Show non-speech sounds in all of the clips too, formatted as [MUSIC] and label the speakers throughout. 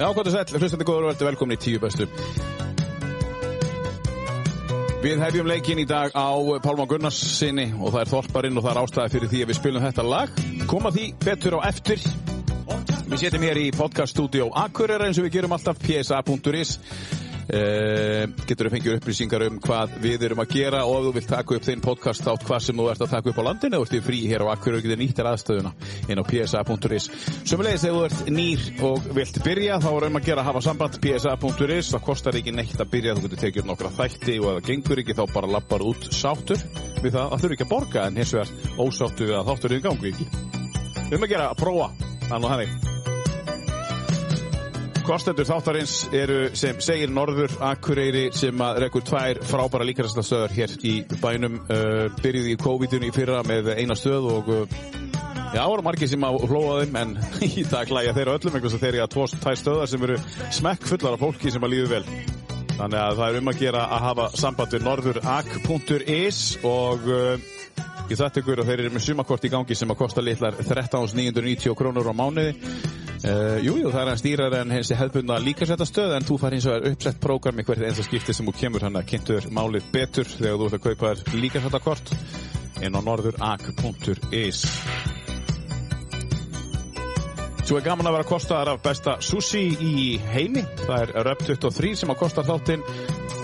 Speaker 1: Já, hvað er sæll, hlustandi góður og verður velkomin í tíu bestu. Við hefjum leikinn í dag á Pálma Gunnarsinni og það er þorparinn og það er ástæði fyrir því að við spilum þetta lag. Koma því betur á eftir. Við setjum hér í podcaststudió Akureyra eins og við gerum alltaf psa.is. Uh, getur fengið upplýsingar um hvað við erum að gera og ef þú vilt taka upp þinn podcast þátt hvað sem þú ert að taka upp á landinu og ert í frí hér á Akureyri og getur nýtt þér aðstöðuna inn á psa.is Sumulegis ef þú ert nýr og vilt byrja þá er um að gera að hafa samband psa.is það kostar ekki neitt að byrja, þú getur tekið upp nokkra þætti og ef það gengur ekki þá bara lappar út sáttur við það, það þurfi ekki að borga en hins vegar ósáttu við að þátturinn gangi ekki um að gera að prófa, þannig og hannig Kostendur þáttarins eru sem segir Norður Akureyri sem að rekur tvær frábæra líkastastöður hér í bænum uh, byrjuði í COVID-19 í fyrra með eina stöð og uh, já, voru margir sem að hlóa þeim en [LAUGHS] í dag hlæja þeirra öllum einhvers að þeirri að tvo tvær stöðar sem eru smekk fullar af fólki sem að líðu vel þannig að það er um að gera að hafa samband við norðurak.is og uh, Ég þætti ykkur að þeir eru með sumakort í gangi sem að kosta litlar 13.990 krónur á mánuði. Uh, jú, jú, það er hans dýrar en hins er hefðbundna líkasettastöð en þú fær hins vegar uppsett prógram í hvert eins að skipti sem þú kemur hann að kynntur málið betur þegar þú ert að kaupa þér líkasettakort inn á norðurak.is Svo er gaman að vera kostaðar af besta sushi í heimi. Það er Röp 23 sem að kosta þáttinn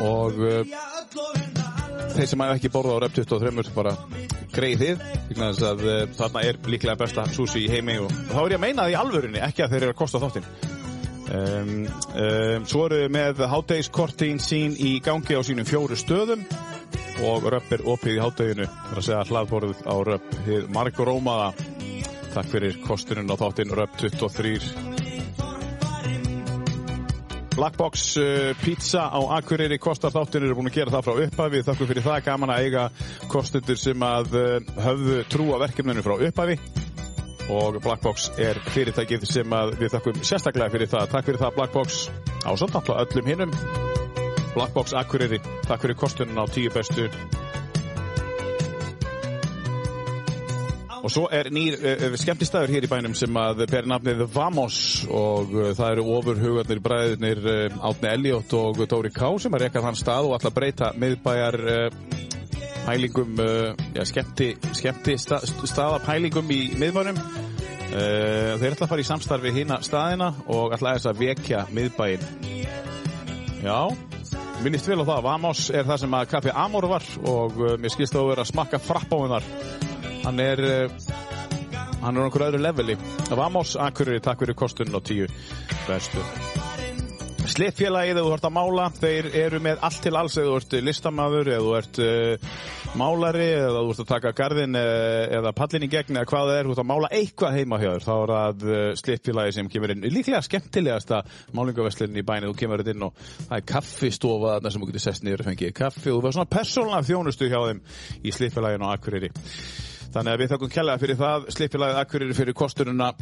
Speaker 1: og uh, þeir sem hafa ekki borðað á Röp 23 bara greið þið. Vegna þess að uh, þarna er líklega besta sushi í heimi og þá er ég að meina það í alvörunni, ekki að þeir eru að kosta þáttinn. Um, um, svo eru með hátægiskortin sín í gangi á sínum fjóru stöðum og Röp er opið í hátæginu. Það er að segja hlaðborðið á Röp. Þið margur ómaða Takk fyrir kostunum á þáttinn Röp 23 Blackbox uh, pizza á Akureyri kostar þáttinn eru búin að gera það frá upphafi þakku fyrir það gaman að eiga kostundur sem að uh, höfðu trú á verkefninu frá upphafi og Blackbox er fyrirtækið sem að við þakkum sérstaklega fyrir það takk fyrir það Blackbox á samt alltaf öllum hinnum Blackbox Akureyri, takk fyrir kostunum á tíu bestu Og svo er nýr uh, skemmtistæður hér í bænum sem að ber nafnið Vamos og uh, það eru ofurhugarnir bræðinir uh, Átni Elliot og Dóri K. sem að rekað hann stað og alltaf breyta miðbæjar uh, pælingum, uh, já, skemmti, skemmti sta, staða pælingum í miðbænum. Uh, þeir ætla að fara í samstarfi hína staðina og ætla þess að vekja miðbæin. Já, minnist vel á það. Vamos er það sem að Kapi Amor var og uh, mér skilst þá að vera að smakka frapp á hennar. Hann er eh, Hann er á einhverju öðru leveli Vamos, Akureyri, takk fyrir kostun og tíu Bestu Sliðfélagið, ef þú ert að mála Þeir eru með allt til alls Ef þú ert listamaður, ef þú ert uh, málari Eða þú ert að taka garðin uh, Eða pallin í gegn, eða hvað það er Þú ert að mála eitthvað heima hjá þér Þá er það uh, sliðfélagið sem kemur inn Líklega skemmtilegasta málingaveslinn í bæni Þú kemur þetta inn og það er kaffistofa Þarna sem þú getur sest niður og fengið kaffi Og þú verður svona persónlega þjónustu hjá þeim Í sliðfélaginu á Akureyri Þannig að við þakkum kjærlega fyrir það, Slippfélagið Akureyri fyrir kostununa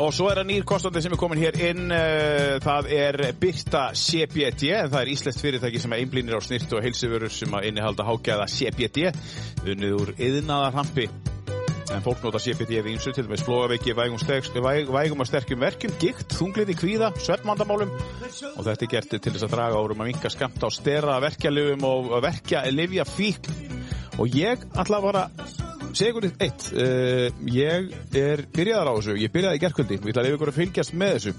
Speaker 1: og svo er það nýr kostandi sem er komin hér inn, eh, það er Birta CBD, en það er íslenskt fyrirtæki sem er einblínir á snirt og heilsiförur sem að innihalda hágæða CBD, unnið úr yðnaðarhampi. En fólk nota CBD við ímsu, til dæmis flóaveiki, vægum, stegst, væg, vægum og sterkum verkjum, gikt, þungliði, kvíða, sveppmandamálum og þetta er gert til þess að draga árum að minka skamta á stera verkjalegum og verkja livja fík og ég ætla að vara segundið eitt uh, ég er byrjaðar á þessu, ég byrjaði í gerkvöldi við ætla að ykkur að fylgjast með þessu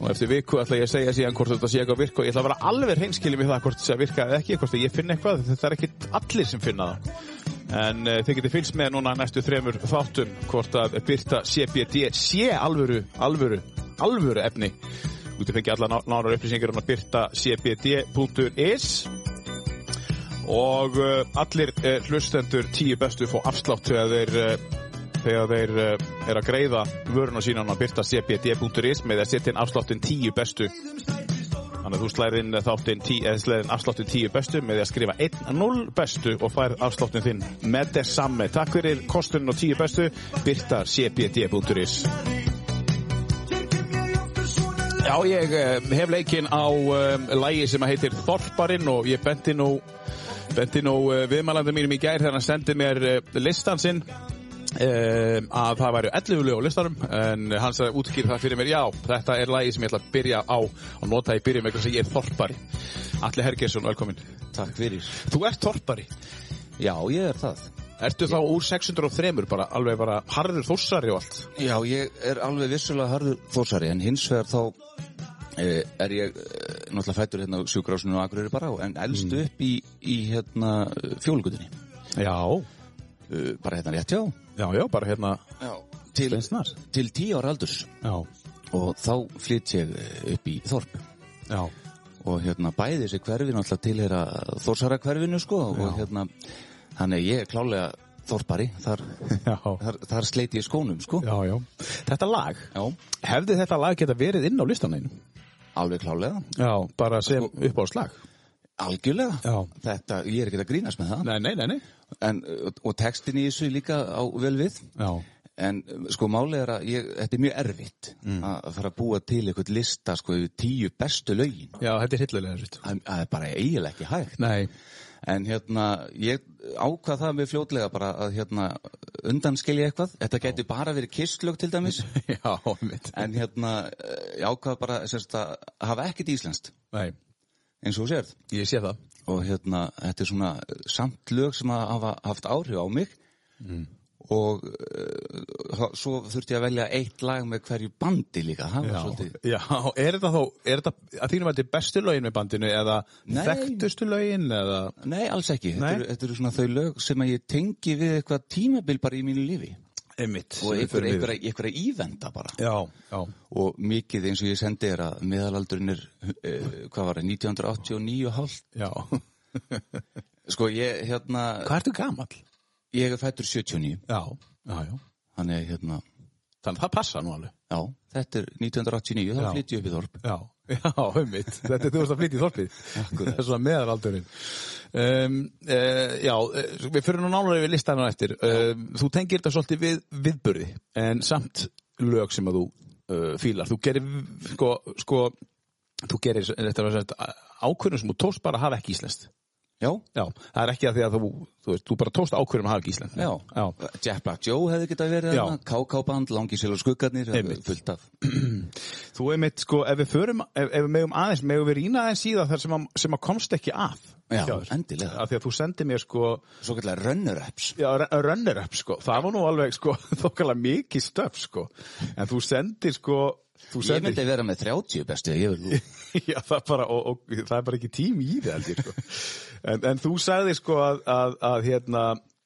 Speaker 1: og eftir viku ætla ég að segja síðan hvort þetta sé eitthvað að virka og ég ætla að vera alveg hreinskilið með það hvort þetta sé að virka eða ekki, hvort að ég finn eitthvað þetta er ekki allir sem finna það en uh, þið getið fylgst með núna næstu þremur þáttum hvort að byrta CBD sé alvöru, alvöru, alvöru efni út í fengi allar nánar upplýsingar um að byrta cbd.is og uh, allir uh, hlustendur tíu bestu fá afslátt þegar þeir uh, þegar þeir uh, er að greiða vöruna sína á byrtacbd.is með að setja inn afsláttinn tíu bestu þannig að þú slæðir inn þáttinn tí, eða slæðir inn afsláttinn tíu bestu með því að skrifa 1-0 bestu og fær afsláttinn þinn með þess samme takk fyrir kostunum og tíu bestu byrtacbd.is Já, ég eh, hef leikinn á um, lægi sem heitir Þorparinn og ég benti eh, nú, benti nú uh, viðmælandi mínum í gær þegar hann sendi mér uh, eh, listan sinn um, að það væru 11 lög á listanum en hann sagði útskýr það fyrir mér já, þetta er lagið sem ég ætla að byrja á og nota í byrjun vegna sem ég er þorpari Alli Hergersson, velkomin
Speaker 2: Takk fyrir.
Speaker 1: Þú ert þorpari,
Speaker 2: Já, ég er það.
Speaker 1: ertu þá úr 603 bara alveg bara harður þossari og allt
Speaker 2: Já, ég er alveg vissulega harður þósari en hins vegar þá e, er ég e, náttúrulega fættur hérna á sjúkrásinu og akureyri bara en elst upp í, í hérna fjólugutinni.
Speaker 1: Já,
Speaker 2: E, bara hérna rétt hjá.
Speaker 1: já, já, bara hérna
Speaker 2: Já. Til,
Speaker 1: Sveinsnar.
Speaker 2: til tíu ára aldurs
Speaker 1: Já,
Speaker 2: og þá flytt ég e, upp í Þorp
Speaker 1: já,
Speaker 2: og hérna bæði þessi hverfi náttúrulega tilheyra þósara hverfinu sko og
Speaker 1: Já.
Speaker 2: hérna þannig að ég er klálega Þorpari, þar, [LAUGHS]
Speaker 1: já,
Speaker 2: þar, þar sleiti ég skónum sko.
Speaker 1: já, já Þetta lag,
Speaker 2: Já,
Speaker 1: hefði þetta lag geta verið inn á listaninu?
Speaker 2: alveg klálega,
Speaker 1: Já, bara sem upp á slag
Speaker 2: algjörlega.
Speaker 1: Já.
Speaker 2: Þetta, ég er ekki að grínast með það.
Speaker 1: Nei, nei, nei, nei
Speaker 2: en, og, og textin í þessu líka á vel við
Speaker 1: Já,
Speaker 2: en sko máli er að ég, þetta er mjög erfitt að fara að búa til eitthvað lista sko yfir tíu bestu lögin
Speaker 1: já þetta er hillulega þessu
Speaker 2: það það er bara eiginlega ekki hægt
Speaker 1: Nei,
Speaker 2: en hérna ég ákvað það með fljótlega bara að hérna undanskilja eitthvað þetta gæti bara verið kistlög til dæmis
Speaker 1: [LAUGHS] já, mitt
Speaker 2: en hérna eh, ég ákvað bara sérst, að hafa ekkit íslenskt
Speaker 1: Nei,
Speaker 2: eins og þú sérð
Speaker 1: ég sé það
Speaker 2: og hérna, þetta er svona eh, samt lög sem að hafa haft áhrif á mig
Speaker 1: Mm.
Speaker 2: og uh, svo þurfti ég að velja eitt lag með hverju bandi líka, það var svolítið
Speaker 1: já, er þetta þá, er þetta að þínum veldi bestu lögin með bandinu eða
Speaker 2: Nei.
Speaker 1: þekktustu lögin eða
Speaker 2: Nei, alls ekki,
Speaker 1: Nei.
Speaker 2: Þetta, eru, þetta eru svona þau lög sem að ég tengi við eitthvað tímabil bara í mínu lífi
Speaker 1: Einmitt
Speaker 2: og
Speaker 1: sem við
Speaker 2: einhver,
Speaker 1: förum
Speaker 2: einhver,
Speaker 1: yfir.
Speaker 2: einhver að ívenda bara
Speaker 1: Já, já,
Speaker 2: og mikið eins og ég sendi er að meðalaldurinn er, uh, hvað var það, 1989 hálf
Speaker 1: já Hvað
Speaker 2: sko ég, hérna,
Speaker 1: ertu gamall?
Speaker 2: ég er fættur 79
Speaker 1: Já, já, já
Speaker 2: þannig að hérna,
Speaker 1: Þannig að það passa nú alveg
Speaker 2: já, þetta er 1989
Speaker 1: Já.
Speaker 2: þá flytti ég upp í Þorp
Speaker 1: Já, [LAUGHS] já, ummitt. Þetta er þú veist að flytja í þorpið. Það er svona meðaraldurinn. Um, uh, já, eh, við fyrir nú nálega yfir listanum eftir. Um, þú tengir þetta svolítið við viðburði, en samt lög sem að þú uh, fílar. Þú gerir, sko, sko þú gerir, þetta var sett ákvörðum sem þú tóst bara að hafa ekki íslenskt.
Speaker 2: Já,
Speaker 1: Já, það er ekki að því að þú, þú veist, þú bara tóst ákvörðum að hafa ekki íslenskt.
Speaker 2: Já,
Speaker 1: já.
Speaker 2: Jeff Black Joe hefði getað verið
Speaker 1: Já.
Speaker 2: þarna, KK-band, Langisel og Skuggarnir, það er
Speaker 1: Einmitt.
Speaker 2: fullt af.
Speaker 1: Þú er mitt, sko, ef við förum, ef, ef við megum aðeins, megum við rýna aðeins síðan þar sem að, sem að komst ekki að.
Speaker 2: Já,
Speaker 1: hjá þér.
Speaker 2: endilega.
Speaker 1: Af því að þú sendir mér, sko,
Speaker 2: Svo kallar runner-ups.
Speaker 1: já, re- runner-up, sko, það var nú alveg, sko, [LAUGHS] þokkala mikið stöf, sko, en þú sendir, sko, þú
Speaker 2: Ég
Speaker 1: sendir,
Speaker 2: myndi vera með 30 bestu, ég vil
Speaker 1: [LAUGHS] já, það er bara, og, og það er bara ekki tími í það, held ég, sko, en, en þú sagði, sko, að, að, að hérna,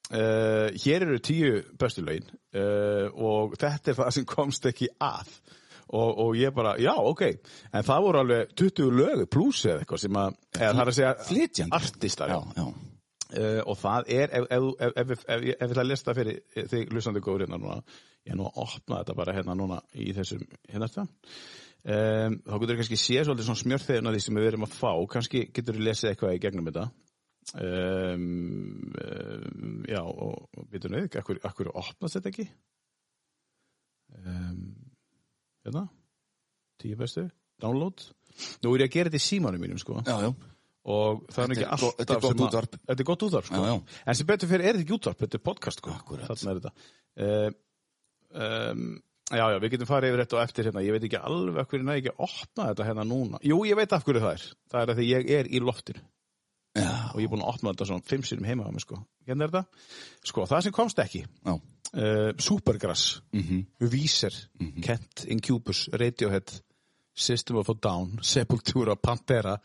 Speaker 1: Uh, hér eru tíu bestu lögin uh, og þetta er það sem komst ekki að og, og ég bara, já, ok en það voru alveg 20 lög pluss eða eitthvað sem að, eða það er að segja
Speaker 2: Flytjandi.
Speaker 1: artistar,
Speaker 2: Já, já.
Speaker 1: uh, og það er ef, ef, ef, ef, ef, ef, ef við það lista fyrir eh, þig lusandi góður hérna núna ég er nú að opna þetta bara hérna núna í þessum hérna þetta um, þá getur við kannski séð svolítið svona smjörþegin að því sem við erum að fá, kannski getur við lesið eitthvað í gegnum þetta um, um, já og býtum við, akkur, akkur opnast þetta ekki um, hérna tíu bestu, download nú er ég að gera þetta í símanum mínum sko
Speaker 2: Já, já.
Speaker 1: og það er nú
Speaker 2: Þetta
Speaker 1: ekki
Speaker 2: er
Speaker 1: alltaf
Speaker 2: go- þetta er gott
Speaker 1: sem að-
Speaker 2: útvarp.
Speaker 1: þetta er gott útvarp sko.
Speaker 2: Já, já.
Speaker 1: en sem betur fyrir er þetta ekki útvarp, þetta er podcast sko.
Speaker 2: Akkúrat.
Speaker 1: þarna er þetta uh, um, já, já, við getum farið yfir þetta og eftir hérna, ég veit ekki alveg af hverju næg ekki að opna þetta hérna núna, jú, ég veit af hverju það er það er að því ég er í loftinu
Speaker 2: Já,
Speaker 1: og ég er búin að opna þetta svona fimm sinum heima á mig sko, hérna er þetta, sko, það sem komst ekki
Speaker 2: já. Mhm.
Speaker 1: uh, Supergrass Víser, Kent, Incubus Radiohead, System of a Down Sepultura, Pantera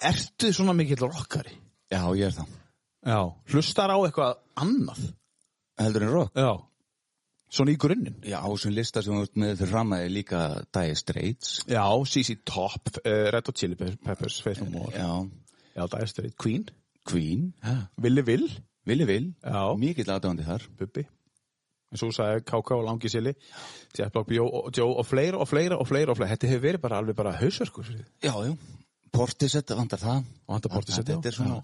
Speaker 1: Ertu svona mikill rockari?
Speaker 2: Já, ég er það.
Speaker 1: Já Hlustar á eitthvað annað?
Speaker 2: Heldur en rock.
Speaker 1: Já Svona í grunninn?
Speaker 2: Já, á þessum lista sem við með fyrir rammaði líka Dire Straits.
Speaker 1: Já, CC Top, uh, Red Hot Chili Pe- Peppers Faith No More,
Speaker 2: Já.
Speaker 1: já, Dire Straits, Queen
Speaker 2: Queen.
Speaker 1: Willi Will,
Speaker 2: Vili Vil.
Speaker 1: Já.
Speaker 2: Mikill aðdáðandi þar.
Speaker 1: Bubbi En svo sagði KK og Langi Sili Jeff Block Joe og- Joe og fleira og fleira og fleira og fleira Þetta hefur verið bara alveg bara hausverkur fyrir þig.
Speaker 2: Já, já. Portisett, vandar það.
Speaker 1: Vantar Portishead, já.
Speaker 2: Þetta er svona.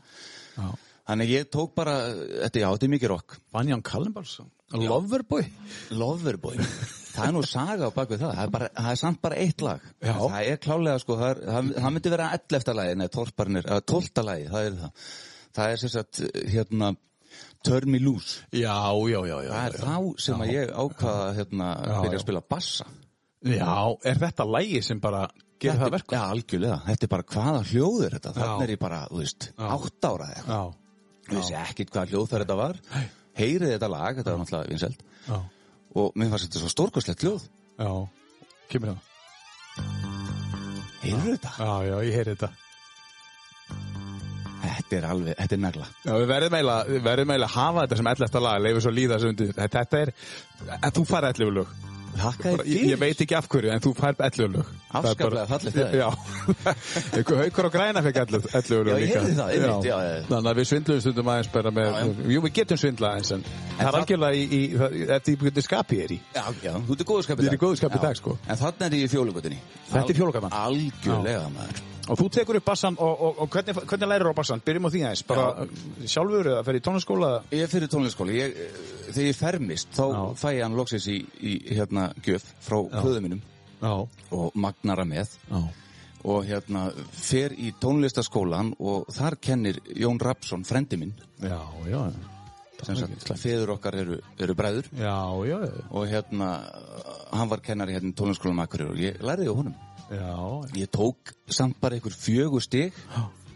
Speaker 1: Já.
Speaker 2: Þannig ég tók bara, þetta, já, þetta er mikið rock.
Speaker 1: Vanjan Kallenbals, Loverboy
Speaker 2: Loverboy Það er nú saga á bakvið það Það er, bara, það er samt bara eitt lag
Speaker 1: Já.
Speaker 2: Það er klálega sko Það, er, það, það myndi vera 11. lagi Nei, 12. lagi Það er það Það er sem sagt hérna Turn Me Loose
Speaker 1: Já, já, já, já.
Speaker 2: það
Speaker 1: já.
Speaker 2: er þá sem að ég ákvaða hérna,
Speaker 1: Já,
Speaker 2: byrja
Speaker 1: já.
Speaker 2: að spila bassa
Speaker 1: Já, er þetta lægi sem bara gerir
Speaker 2: Þetta
Speaker 1: það
Speaker 2: er-
Speaker 1: verkum?
Speaker 2: Já, algjörlega, þetta er bara hvaða hljóð er þetta
Speaker 1: Já.
Speaker 2: þannig er ég bara, þú veist, átt ára eða eitthvað.
Speaker 1: Já,
Speaker 2: Ég vissi ekkit hvaða hljóð þetta var heyrið þetta lag, þetta var náttúrulega vinsælt
Speaker 1: já,
Speaker 2: og mér fannst þetta svo stórkostlegt hljóð
Speaker 1: já, kemur hérna. það.
Speaker 2: heyrið þetta,
Speaker 1: Já, já, ég heyri þetta.
Speaker 2: þetta er alveg, þetta er negla
Speaker 1: Já, við verðum eiginlega, við verðum eiginlega að hafa þetta sem ellasta lag, leifur svo líða þessu undir. Þetta er, en þú fær ellefu lög.
Speaker 2: Þakka þér
Speaker 1: Bara, ég, ég
Speaker 2: fyrir
Speaker 1: veit ekki af hverju, en þú fær ellefu lög. Það er bara-
Speaker 2: Afskaplega fallegt það er.
Speaker 1: Já, [LAUGHS] einhver haukur og græna fekk ellefu lög
Speaker 2: Já, ég
Speaker 1: líka.
Speaker 2: heyrði það, einmitt, já, já, já.
Speaker 1: Þannig að við svindluðum stundum aðeins bara með, jú, við getum svindlað aðeins, en, það er
Speaker 2: það-
Speaker 1: algjörlega í, í, í, eftir í hvernig skapi ég er í.
Speaker 2: Já, já, þú ert í góðu skapið
Speaker 1: Ég er í góðu skapi í dag, sko.
Speaker 2: En þannig er ég í fjólugutinni
Speaker 1: Þetta er fjólugatan.
Speaker 2: Algjörlega maður
Speaker 1: Og þú tekur upp bassan og, og, og hvernig, hvernig lærir á bassan? Byrjum á því aðeins, bara sjálfur eða fer í tónlisskóla?
Speaker 2: Ég er fyrir tónleiksskóli, ég, eh, þegar ég fermist þá
Speaker 1: Já.
Speaker 2: fæ ég hann loksins í, í hérna gjöf frá hlöðu mínum
Speaker 1: Já,
Speaker 2: og magnara með
Speaker 1: já,
Speaker 2: og hérna fer í tónlistaskólan og þar kennir Jón Rapsson, frendi minn
Speaker 1: já, já,
Speaker 2: sem sagt, feður okkar eru, eru bræður
Speaker 1: já, já,
Speaker 2: og hérna, hann var kennari hérna í tónlistaskólanum Akureyri og ég læriði á honum
Speaker 1: já,
Speaker 2: Ég tók samt bara einhver fjögur stig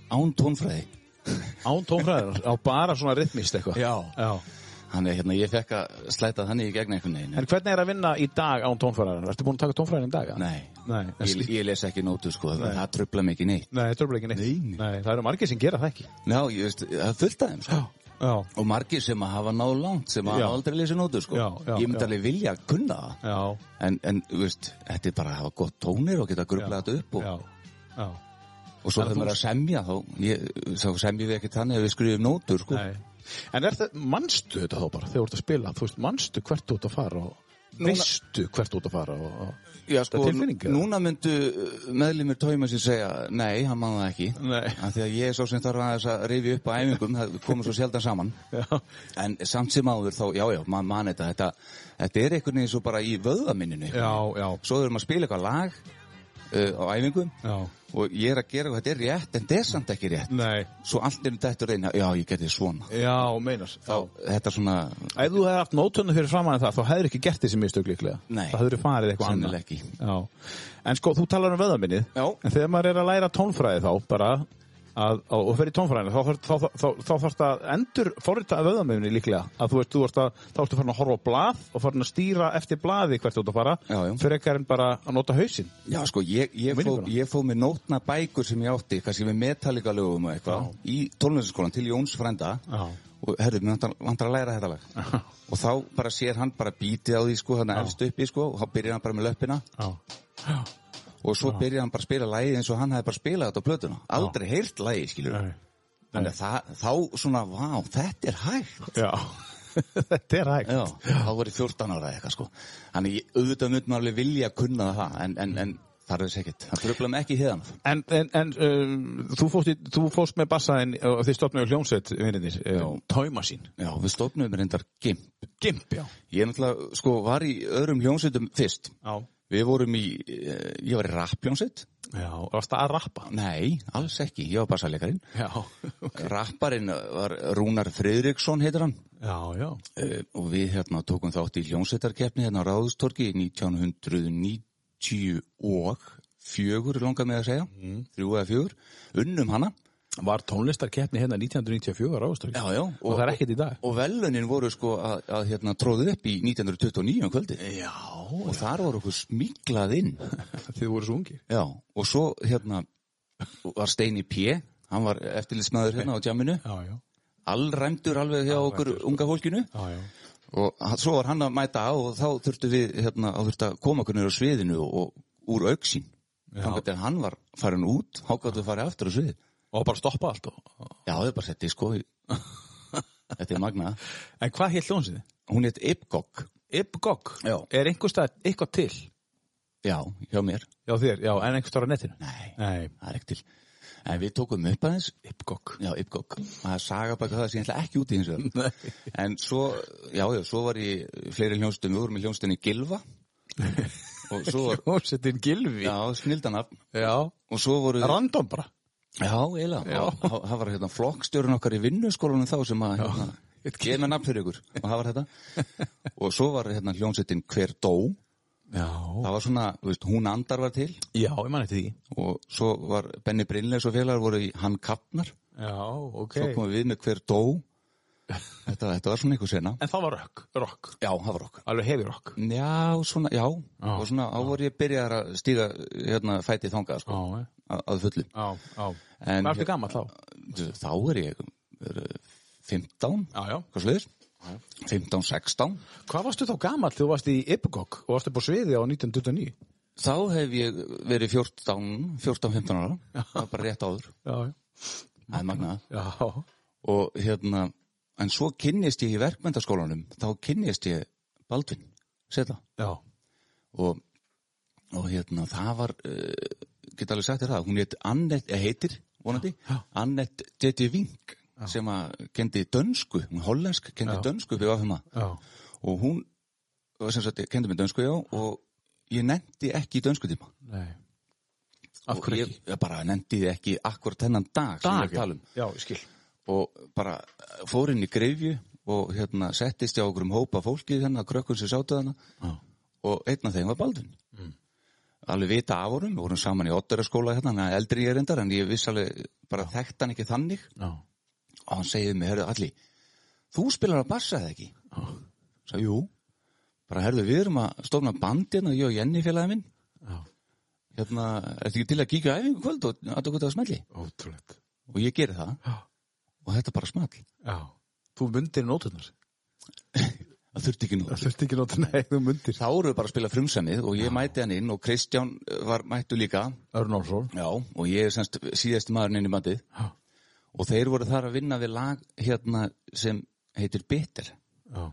Speaker 2: án tónfræði
Speaker 1: án tónfræðar, á bara svona rithmist eitthvað.
Speaker 2: Já.
Speaker 1: já.
Speaker 2: Þannig að hérna, ég fekk að slæta þannig í gegn einhvern veginn
Speaker 1: En hvernig er að vinna í dag án tónfræðar? Ertu búin að taka tónfræðar í dag? eða?
Speaker 2: Nei,
Speaker 1: Nei, en
Speaker 2: ég,
Speaker 1: slí-
Speaker 2: ég les ekki nótu sko, það tröfla mig ekki neitt
Speaker 1: Nei, þetta er bara ekki neitt.
Speaker 2: Nei.
Speaker 1: Nei, það eru margir sem gera það ekki.
Speaker 2: Já, ég veist, það er fullt af þeim sko
Speaker 1: Já,
Speaker 2: Og margir sem að hafa náð langt, sem að
Speaker 1: Já.
Speaker 2: hafa aldrei lesið nótu sko
Speaker 1: Já, já,
Speaker 2: Ég myndi
Speaker 1: já.
Speaker 2: alveg vilja að kunna það
Speaker 1: já,
Speaker 2: En, en, þú veist, þetta er bara að hafa gott tónir og geta
Speaker 1: Já.
Speaker 2: grubla þetta upp og,
Speaker 1: já, já.
Speaker 2: og svo
Speaker 1: En
Speaker 2: þegar
Speaker 1: þú-
Speaker 2: maður er að semja þá, ég, þá semjum við ekki þannig að við skrifum nótur sko
Speaker 1: Nei. En er það, manstu þetta þá bara þegar þú ert að spila? Þú veist, manstu hvert þú ert að fara og veistu hvert þú ert að fara og... og...
Speaker 2: Já,
Speaker 1: Þetta
Speaker 2: sko,
Speaker 1: er tilfinning, eða?
Speaker 2: núna myndu uh, meðlumir tóma sem segja, nei, hann man það ekki
Speaker 1: Nei.
Speaker 2: Af því að ég er svo sem þarf aðeins að rifi upp á æfingum, það komur svo sjaldan saman
Speaker 1: Já.
Speaker 2: en samt sem áður þá, já, já, mann man þetta, þetta þetta er einhvern veginn svo bara í vöðaminninu
Speaker 1: Já, já,
Speaker 2: svo þurfum að spila eitthvað lag uh, á æfingum
Speaker 1: já.
Speaker 2: og ég er að gera og þetta er rétt, en þetta er samt ekki rétt
Speaker 1: Nei,
Speaker 2: svo allt er um þetta reyna, já, ég geti svona
Speaker 1: já, meinar
Speaker 2: þá, þetta er svona,
Speaker 1: Ef þú hefði haft nótunni fyrir framann það, þá hefur ekki gert þessi mistök líklega
Speaker 2: Nei.
Speaker 1: Það hefur farið eitthvað annað
Speaker 2: Sennilega ekki.
Speaker 1: Já, en sko, þú talar um veðaminnið
Speaker 2: Já.
Speaker 1: En þegar maður er að læra tónfræði þá, bara að, og, og fer í tónfræðina, þá, þarf- þá, þá, þá, þá þarfst að endur forrita veðaminnið líklega Að þú veist, þú ert að, þá ertu farin að horfa á blað og farin að stýra eftir blaði hvert þú ert að fara
Speaker 2: Já, já.
Speaker 1: Fyrir ekkar en bara að nota hausinn
Speaker 2: já, sko, ég, ég, fó,
Speaker 1: Minninguna.
Speaker 2: ég fó með nótna bækur sem ég átti, kannski með metalika lögum og eitthvað, í tónlistaskólan til Jóns frænda
Speaker 1: [LAUGHS] Já.
Speaker 2: og herðu, mér vantar, vantar að læra þetta lag og þá bara sér hann bara bítið á því sko, þannig efst uppi sko, og þá byrjar hann bara með löppina
Speaker 1: Já,
Speaker 2: og svo byrjaði hann bara að spila lagið eins og hann hefði bara spilað þetta á plötuna aldrei heyrt lagið skilur
Speaker 1: Nei.
Speaker 2: þannig að það, þá svona, vá, þetta er hægt
Speaker 1: já. [LAUGHS] Þetta er hægt
Speaker 2: já, þá var ég 14 ára eða eitthvað sko þannig ég- auðvitað mynd maður alveg vilja að kunna það en, en, en það er þess ekkert það tröfla mig ekki hérna
Speaker 1: En, en, en um, þú, fórst í, þú fórst með bassaðin og þið stofnaðu hljómsveit, vinninir, um, Taumasín.
Speaker 2: já, við stofnum reyndar gimp
Speaker 1: Gimp, já.
Speaker 2: ég náttúrulega, sko, var í öðrum hljómsveitum fyrst
Speaker 1: Já.
Speaker 2: við vorum í, eh, ég var í rappljómsveit
Speaker 1: Já, varst að rappa.
Speaker 2: nei, alls ekki, ég var bassalegarinn
Speaker 1: Já,
Speaker 2: rapparinn var Rúnar Friðriksson heitir hann
Speaker 1: já, já.
Speaker 2: Eh, og við hérna tókum þátt í hljómsveitarkeppni hérna á Ráðustorki 1990 og fjögur langar með að segja þrjú eða fjögur, unnum hana
Speaker 1: Var tónlistarkeppni hérna 1994 ástofn.
Speaker 2: já, já, og,
Speaker 1: Og það er ekkert í dag.
Speaker 2: og velunin voru sko að, að hérna tróðu upp í 1929 um kvöldi
Speaker 1: Já.
Speaker 2: og þar voru okkur smiklað inn
Speaker 1: [LAUGHS] Þið voru svo ungir.
Speaker 2: já, og svo hérna var Steini P hann var eftirlitsmaður hérna á djaminu
Speaker 1: Já, já.
Speaker 2: allræmdur alveg hjá okkur unga fólkinu
Speaker 1: Já, já.
Speaker 2: og hann- svo var hann að mæta á og þá þurftu við hérna, þá þurftu að koma okkur niður á sviðinu og úr auksín þannig að hann var farin út þá gáttu við farið aftur á svið
Speaker 1: Og bara stoppa allt og...
Speaker 2: já, þau bara setti sko í- þetta er magna
Speaker 1: En hvað hétt hljómsveitin?
Speaker 2: hún heit Ipgok
Speaker 1: Ibgog.
Speaker 2: Já.
Speaker 1: Er einhver stað eitthvað til?
Speaker 2: já, hjá mér
Speaker 1: Já, þér, já, en einhver stað á netinu?
Speaker 2: nei,
Speaker 1: Nei.
Speaker 2: það er ekki til en við tókum upp aðeins
Speaker 1: Ibgog.
Speaker 2: já, Ipgok það er saga baka það sem ég ætla ekki út í hins vegar
Speaker 1: Nei.
Speaker 2: En svo, já, já, svo var ég í fleiri hljónstum, við vorum í hljónstunni Gilva og svo var,
Speaker 1: Hljómsveitin Gilvi.
Speaker 2: já, snildanafn
Speaker 1: já.
Speaker 2: og svo voru
Speaker 1: Random bara.
Speaker 2: Já, eiginlega. Það- Það var hérna flokkstjórun okkar í vinnuskólanum þá sem að hérna, ég er með nafn fyrir ykkur og það var þetta og svo var hérna hljónsveitin hver dó
Speaker 1: Já,
Speaker 2: það var svona, þú veist, hún andar var til
Speaker 1: já, ég mann eftir því.
Speaker 2: og svo var Benny Brynleis og félagar voru í Hann Kappnar
Speaker 1: Já, ok.
Speaker 2: svo komum við með hver dó þetta, þetta var svona einhver sena
Speaker 1: En það var rock, rock.
Speaker 2: já, það var okkur
Speaker 1: Alveg heavy rock.
Speaker 2: já, svona, já,
Speaker 1: Já,
Speaker 2: og svona á voru ég byrjaðar að stíga hérna fætið þangað sko,
Speaker 1: Já,
Speaker 2: að, að fullu
Speaker 1: já, já.
Speaker 2: En-
Speaker 1: En... Varstu gammal þá?
Speaker 2: þá er ég er, eh, 15
Speaker 1: Já, já.
Speaker 2: hvað sliðis 15, 16
Speaker 1: Hvað varstu þá gammal þegar þú varst í Ibgok og varstu upp á sviði á 1929?
Speaker 2: Þá hef ég verið 14, 14-15 ára, það var bara rétt áður,
Speaker 1: Já, já.
Speaker 2: það er magnað.
Speaker 1: Já,
Speaker 2: Og hérna, en svo kynnist ég í verkmyndaskólanum, þá kynnist ég Baldvin, seta.
Speaker 1: já.
Speaker 2: Og, og hérna, það var, uh, geta alveg sagt þér það, hún heit Annette, eh, heitir, vonandi, Annette Detti Vink, sem að kendi dönsku, hún hollensk kendi dönsku við áfum að.
Speaker 1: Já.
Speaker 2: Og hún, var sem sagt, kendi mig dönsku, já, og ég nefndi ekki í dönsku tíma.
Speaker 1: Nei. Af
Speaker 2: Og
Speaker 1: hverju
Speaker 2: ég,
Speaker 1: ekki?
Speaker 2: ég bara nefndi því ekki akkur þennan dag, sem ég er að tala um.
Speaker 1: Já, ég skil.
Speaker 2: og bara fór inn í greifju og hérna settist ég á okkur um hópa fólki þennan, krökkun sem sátu þarna
Speaker 1: Já.
Speaker 2: og einn af þeim var Baldvin alveg vita af honum, við vorum saman í Otteraskóla hérna, hann er eldri ég reyndar en ég viss alveg bara þekkt hann ekki þannig
Speaker 1: Já.
Speaker 2: og hann segiði mig, herðu allir þú spilar að bassa eða ekki sagði, jú, bara herðu við erum að stofna band hérna, ég og Jenny félagi minn
Speaker 1: Já.
Speaker 2: hérna, ertu ekki til að kíkja á æfingu í kvöld og að þú gott að smelli
Speaker 1: Ótrúlegt.
Speaker 2: og ég geri það
Speaker 1: Já.
Speaker 2: og þetta bara small
Speaker 1: Já. Þú myndir nótunar.
Speaker 2: það þurfti ekki nú
Speaker 1: þurfti ekki nótunar, nei, þú myndir.
Speaker 2: þá voru við bara að spila frumsamið og ég mæti hann inn og Kristján eh, var mættu líka
Speaker 1: Örn Olsson.
Speaker 2: já, og ég er semst síðasti maðurinn inn í bandið
Speaker 1: Já.
Speaker 2: og þeir voru þar að vinna við lag hérna sem heitir Bitter
Speaker 1: Já.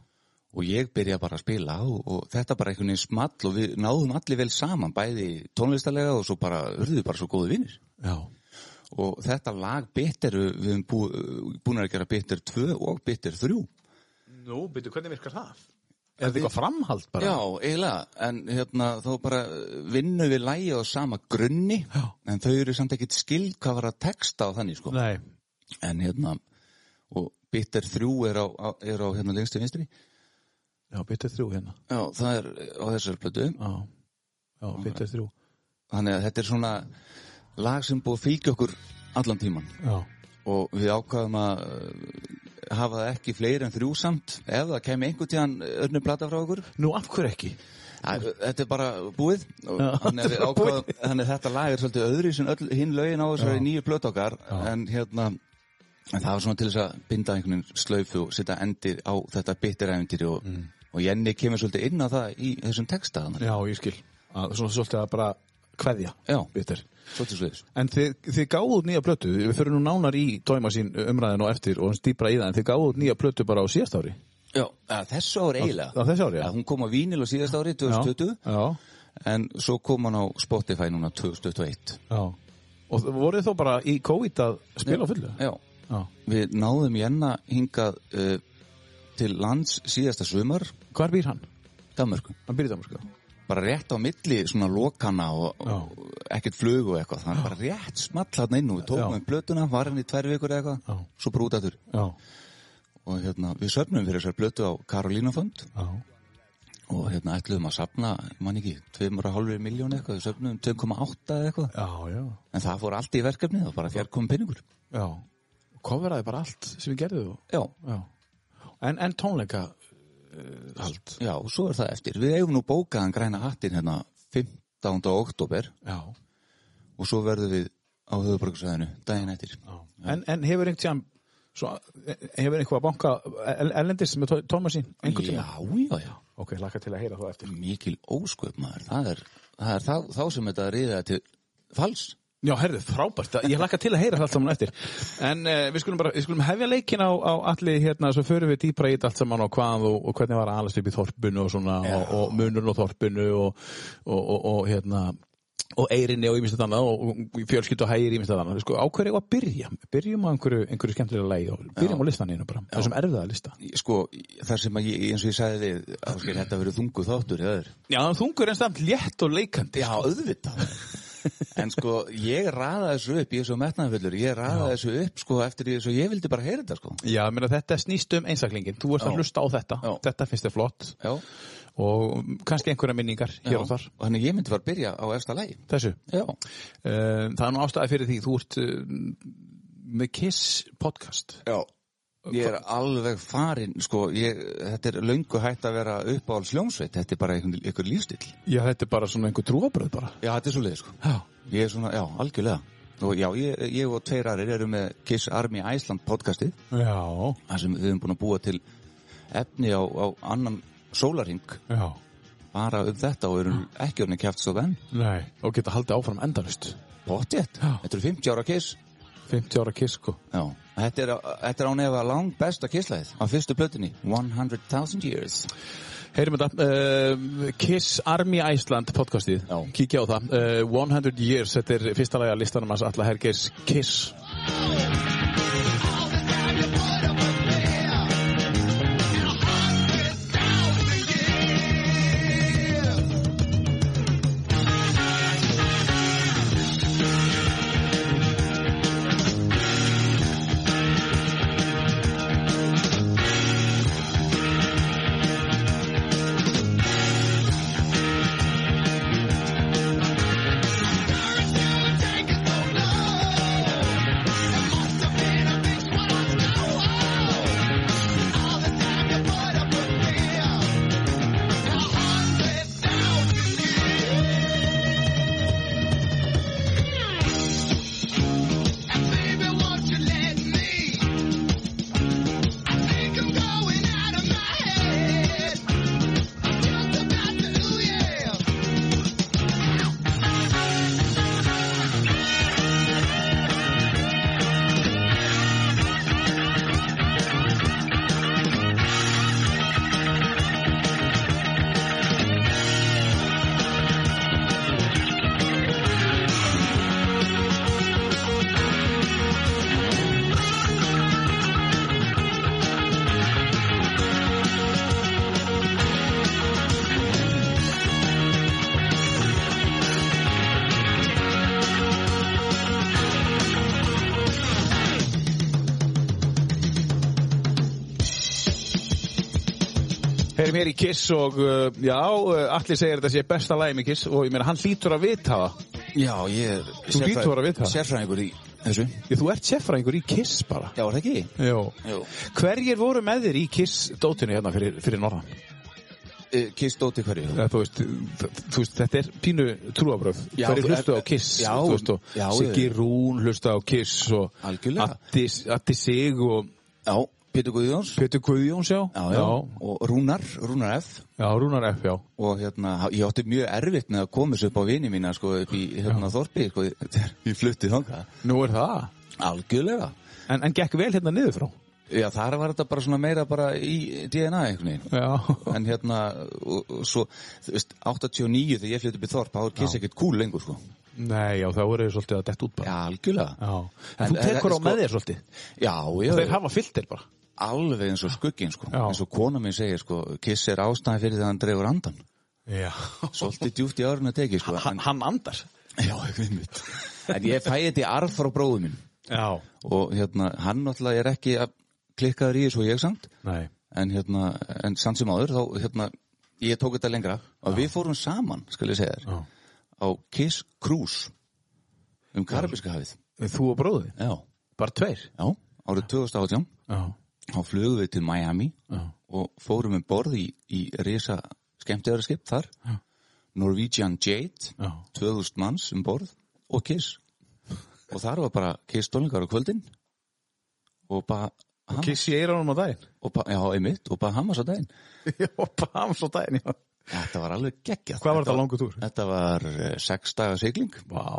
Speaker 2: og ég byrja bara að spila og, og þetta bara einhvern veginn small og við náðum allir vel saman bæði tónlistarlega og svo bara urðu bara svo góði vinnir
Speaker 1: Já.
Speaker 2: og þetta lag Bitter við við höfum bú, búin að gera Bitter 2 og Bitter 3
Speaker 1: Nú, byrju, hvernig virkar það? Er þetta eitthvað framhald bara?
Speaker 2: Já, eiginlega, en hérna þá bara vinnum við lægi á sama grunni
Speaker 1: Já.
Speaker 2: en þau eru samt ekkit skild hvað var að texta á þannig sko
Speaker 1: Nei.
Speaker 2: en hérna, og bitter þrjú er á, á, er á hérna lengstu vinstri
Speaker 1: Já, byrjuð þrjú hérna.
Speaker 2: Já, það er á þessar plötu
Speaker 1: Já. Já, byrjuð þrjú.
Speaker 2: þannig að þetta er svona lag sem búið að fylgja okkur allan tíman
Speaker 1: Já.
Speaker 2: og við ákvaðum að eh, hafa það ekki fleiri en þrjú samt ef það kemur einhvern tíðan örnum plata frá okkur
Speaker 1: Nú, af hverju ekki?
Speaker 2: Æ, Þetta er bara búið og
Speaker 1: Já, [LAUGHS]
Speaker 2: þannig að við
Speaker 1: þetta er
Speaker 2: ákvaðum- þannig að þetta lag er svolítið öðri sem öll hinn lögin á þessari
Speaker 1: Já.
Speaker 2: nýju plötu okkar
Speaker 1: Já.
Speaker 2: en hérna en það var svona til þess að binda einhvern veginn slaufu og setja endir á þetta bitterævendir og,
Speaker 1: Mm.
Speaker 2: og Jenny kemur svolítið inn á það í þessum texta þannig.
Speaker 1: Já, ég skil. Að, svona svolítið að bara kveðja.
Speaker 2: Já,
Speaker 1: Bitter.
Speaker 2: svolítið slauðis
Speaker 1: En þið, þið gáðu út nýja plötu, við fyrir nú nánar í tóima sín umræðin og eftir og hans dýpra í það, en þið gáðu út nýja plötu bara á síðast ári,
Speaker 2: Já, að þessu ári
Speaker 1: á
Speaker 2: eiginlega
Speaker 1: þessu ári,
Speaker 2: að
Speaker 1: já.
Speaker 2: hún kom á Vínil á síðast ári 2020
Speaker 1: Já,
Speaker 2: en svo kom hann á Spotify núna 2021
Speaker 1: já. Og þ- voruð þið þó bara í COVID að spila á fullu?
Speaker 2: Já,
Speaker 1: Já.
Speaker 2: við náðum Jenna hingað uh, til lands síðasta sumar
Speaker 1: Hvar býr hann?
Speaker 2: Danmörku
Speaker 1: Hann býr í Danmarku.
Speaker 2: bara rétt á milli svona lokana og,
Speaker 1: Já.
Speaker 2: og ekkert flug og eitthvað þannig bara rétt small hann inn og við tókum
Speaker 1: Já.
Speaker 2: um plötuna, var hann í tvær vikur eða eitthvað
Speaker 1: Já.
Speaker 2: svo bara út aftur
Speaker 1: Já,
Speaker 2: og hérna, við söfnum fyrir þessar plötu á Karolínafond
Speaker 1: já.
Speaker 2: og hérna ætluðum að safna, mann ekki 2,5 miljón eitthvað, við söfnum um 2,8 eða eitthvað,
Speaker 1: Já, já.
Speaker 2: en það fór allt í verkefnið og bara fjárkomum pinningur
Speaker 1: Já. Coveraði bara allt sem við gerðum.
Speaker 2: Já,
Speaker 1: Já. En, en tónleika uh, hald.
Speaker 2: já, og svo er það eftir við eigum nú bókaðan græna hattin hérna 15. oktober
Speaker 1: Já.
Speaker 2: og svo verðum við á höfuborgarsæðinu daginn eftir
Speaker 1: já. En, en hefur einhvern tíðan, svo, hefur einhvað banka el- erlendis með tóima sín? Einhvern tíðan?
Speaker 2: Já, já, já
Speaker 1: Ok, laka til að heyra þá eftir.
Speaker 2: mikil ósköp maður það er, það er þá, þá sem þetta reyða til fals
Speaker 1: Já, herðu, frábært. Ég hlakka til að heyra það allt saman á eftir. En uh, við skulum bara, við skulum hefja leikin á, á allir hérna, svo förum við dýpra í þetta allt saman og hvað og, og hvernig var að alast upp í þorpinu og svona, og, og munurinn og þorpinu og, og, og, og hérna, og eirinni og ýmislegt annað og, og fjölskyld og hægir ýmislegt annað. Sko, á hverju á að byrja? Byrjum á einhverju, einhverju skemmtilega lægi og byrjum á listaninu bara, þessum erfiða lista.
Speaker 2: sko, þar sem að ég, eins og ég sagði við áskil, þetta verið þungu þáttur í öður
Speaker 1: Já, þungur en samt létt og leikandi.
Speaker 2: já, auðvitað [LAUGHS] En sko, ég raðaði þessu upp, ég er svo metnaðanfullur, ég raðaði þessu upp sko eftir því svo ég vildi bara heyra þetta sko.
Speaker 1: Já, ég meina, þetta snýst um einstaklingin. Þú ert
Speaker 2: Já.
Speaker 1: að hlusta á þetta.
Speaker 2: Já.
Speaker 1: Þetta finnst þér flott
Speaker 2: Já.
Speaker 1: og kannski einhverja minningar hér og þar.
Speaker 2: Og þannig ég myndi bara byrja á efsta lægi.
Speaker 1: Þessu.
Speaker 2: Já.
Speaker 1: Uh, það er nú ástæði fyrir því. Þú ert uh, með Kiss podcast.
Speaker 2: Já. Ég er alveg farinn, sko, ég, þetta er löngu hætt að vera uppáhalds hljómsveit, þetta er bara einhver, einhver lífstil.
Speaker 1: Já, þetta er bara svona einhver trúabröð bara.
Speaker 2: Já, þetta er svo leið, sko.
Speaker 1: Já.
Speaker 2: Ég er svona, já, algjörlega. Og já, ég, ég og tveir aðrir eru með Kiss Army Iceland podcastið,
Speaker 1: Já.
Speaker 2: þar sem við höfum búin að búa til efni á, á annan sólarhing
Speaker 1: Já.
Speaker 2: bara um þetta og erum ekki orðin kæft svo venn.
Speaker 1: Nei. Og geta haldið áfram endalust.
Speaker 2: Pottjett,
Speaker 1: Já.
Speaker 2: þetta eru 50 ára Kiss.
Speaker 1: 50 ára Kiss, sko.
Speaker 2: Já, þetta er, þetta er án efa lang besta Kisslæðið á fyrstu plötunni, 100.000 Years.
Speaker 1: Heyrum þetta, uh, Kiss Army Iceland podcastið,
Speaker 2: Já.
Speaker 1: kíkja á það uh, 100 Years, þetta er fyrsta lagi að listanum hans Alla Hergeirs Kiss Heyrum hér í Kiss og uh, já, uh, Alli segir þetta sé besta lagi með Kiss og ég meina hann hlýtur að vita það
Speaker 2: Já, ég er
Speaker 1: hlýtur að vera að vita það.
Speaker 2: sérfræðingur í þessu.
Speaker 1: Ég, Þú ert sérfræðingur í Kiss bara
Speaker 2: Já, er það ekki?
Speaker 1: Jó.
Speaker 2: Jú.
Speaker 1: Hverjir voru með þér í Kiss dótinu hérna fyrir, fyrir norðan?
Speaker 2: Kiss dóti E, hverju?
Speaker 1: Eða, þú, veist, þ- þú veist, þetta er pínu trúabröð
Speaker 2: Já,
Speaker 1: Hverjir
Speaker 2: þú-
Speaker 1: hlustu á
Speaker 2: eh,
Speaker 1: Kiss?
Speaker 2: já,
Speaker 1: þú veist, og
Speaker 2: já,
Speaker 1: Siggi
Speaker 2: ég-
Speaker 1: Rún hlusta á Kiss og
Speaker 2: Algjörlega.
Speaker 1: Addi, Addi Sig og
Speaker 2: Já, Pétur Guðjóns.
Speaker 1: Petur Guðjóns, já
Speaker 2: Já, já. Og Rúnar, Rúnar F.
Speaker 1: Já, Rúnar F, já
Speaker 2: Og hérna, ég átti mjög erfitt með að koma þessu upp á vini mína, sko, upp í hérna Þorpi, sko, þegar ég fluttið þangað.
Speaker 1: Nú er það
Speaker 2: Algjörlega.
Speaker 1: En, en gekk vel hérna niður frá
Speaker 2: Já, þar var þetta bara svona meira bara í DNA einhvern veginn.
Speaker 1: Já
Speaker 2: En hérna, og, og svo, þú veist, 89 þegar ég flutti upp í Þorp, þá er Kiss ekkert cool lengur, sko.
Speaker 1: [LAUGHS] Nei, já, það voru þið svolítið að dett út bara
Speaker 2: Já, algjörlega.
Speaker 1: Já. En,
Speaker 2: En-
Speaker 1: þú tekur
Speaker 2: en-
Speaker 1: á
Speaker 2: sko-
Speaker 1: með þér svolítið
Speaker 2: Já, já.
Speaker 1: Þeir hafa fyllt þér bara
Speaker 2: alveg eins og skugginn sko.
Speaker 1: Já.
Speaker 2: eins og kona minn segir sko, kiss er ástæði fyrir það hann dreifur andan
Speaker 1: Já
Speaker 2: svolítið djúft í árun að teki sko.
Speaker 1: Hann, hann andar
Speaker 2: já, einmitt. en ég fæði þetta í arf frá bróðum minn
Speaker 1: Já
Speaker 2: og hérna, hann náttúrulega er ekki að klikkaður í þessu og ég samt
Speaker 1: Nei
Speaker 2: en, hérna, en samt sem áður þá, hérna, ég tók þetta lengra og við fórum saman, skal ég segja þér
Speaker 1: Já.
Speaker 2: á kiss cruise um Karabíska hafið
Speaker 1: En Þú og bróði
Speaker 2: já,
Speaker 1: Bara tveir
Speaker 2: já, árið 2018
Speaker 1: Já
Speaker 2: þá flugum við til Miami
Speaker 1: Já.
Speaker 2: og fórum um borð í, í risa skemmtiðarskip þar
Speaker 1: Já.
Speaker 2: Norwegian Jade
Speaker 1: Já
Speaker 2: 2000 manns um borð og Kiss og þar var bara Kiss tónlingar á kvöldin og bara og,
Speaker 1: Kiss ég er ánum á daginn
Speaker 2: og ba, já, einmitt, og bara Hamas á daginn
Speaker 1: Já, bara hans á daginn, já
Speaker 2: þetta var alveg geggjað
Speaker 1: Hvað var þetta langur túr?
Speaker 2: þetta var uh, sex daga sigling
Speaker 1: Vá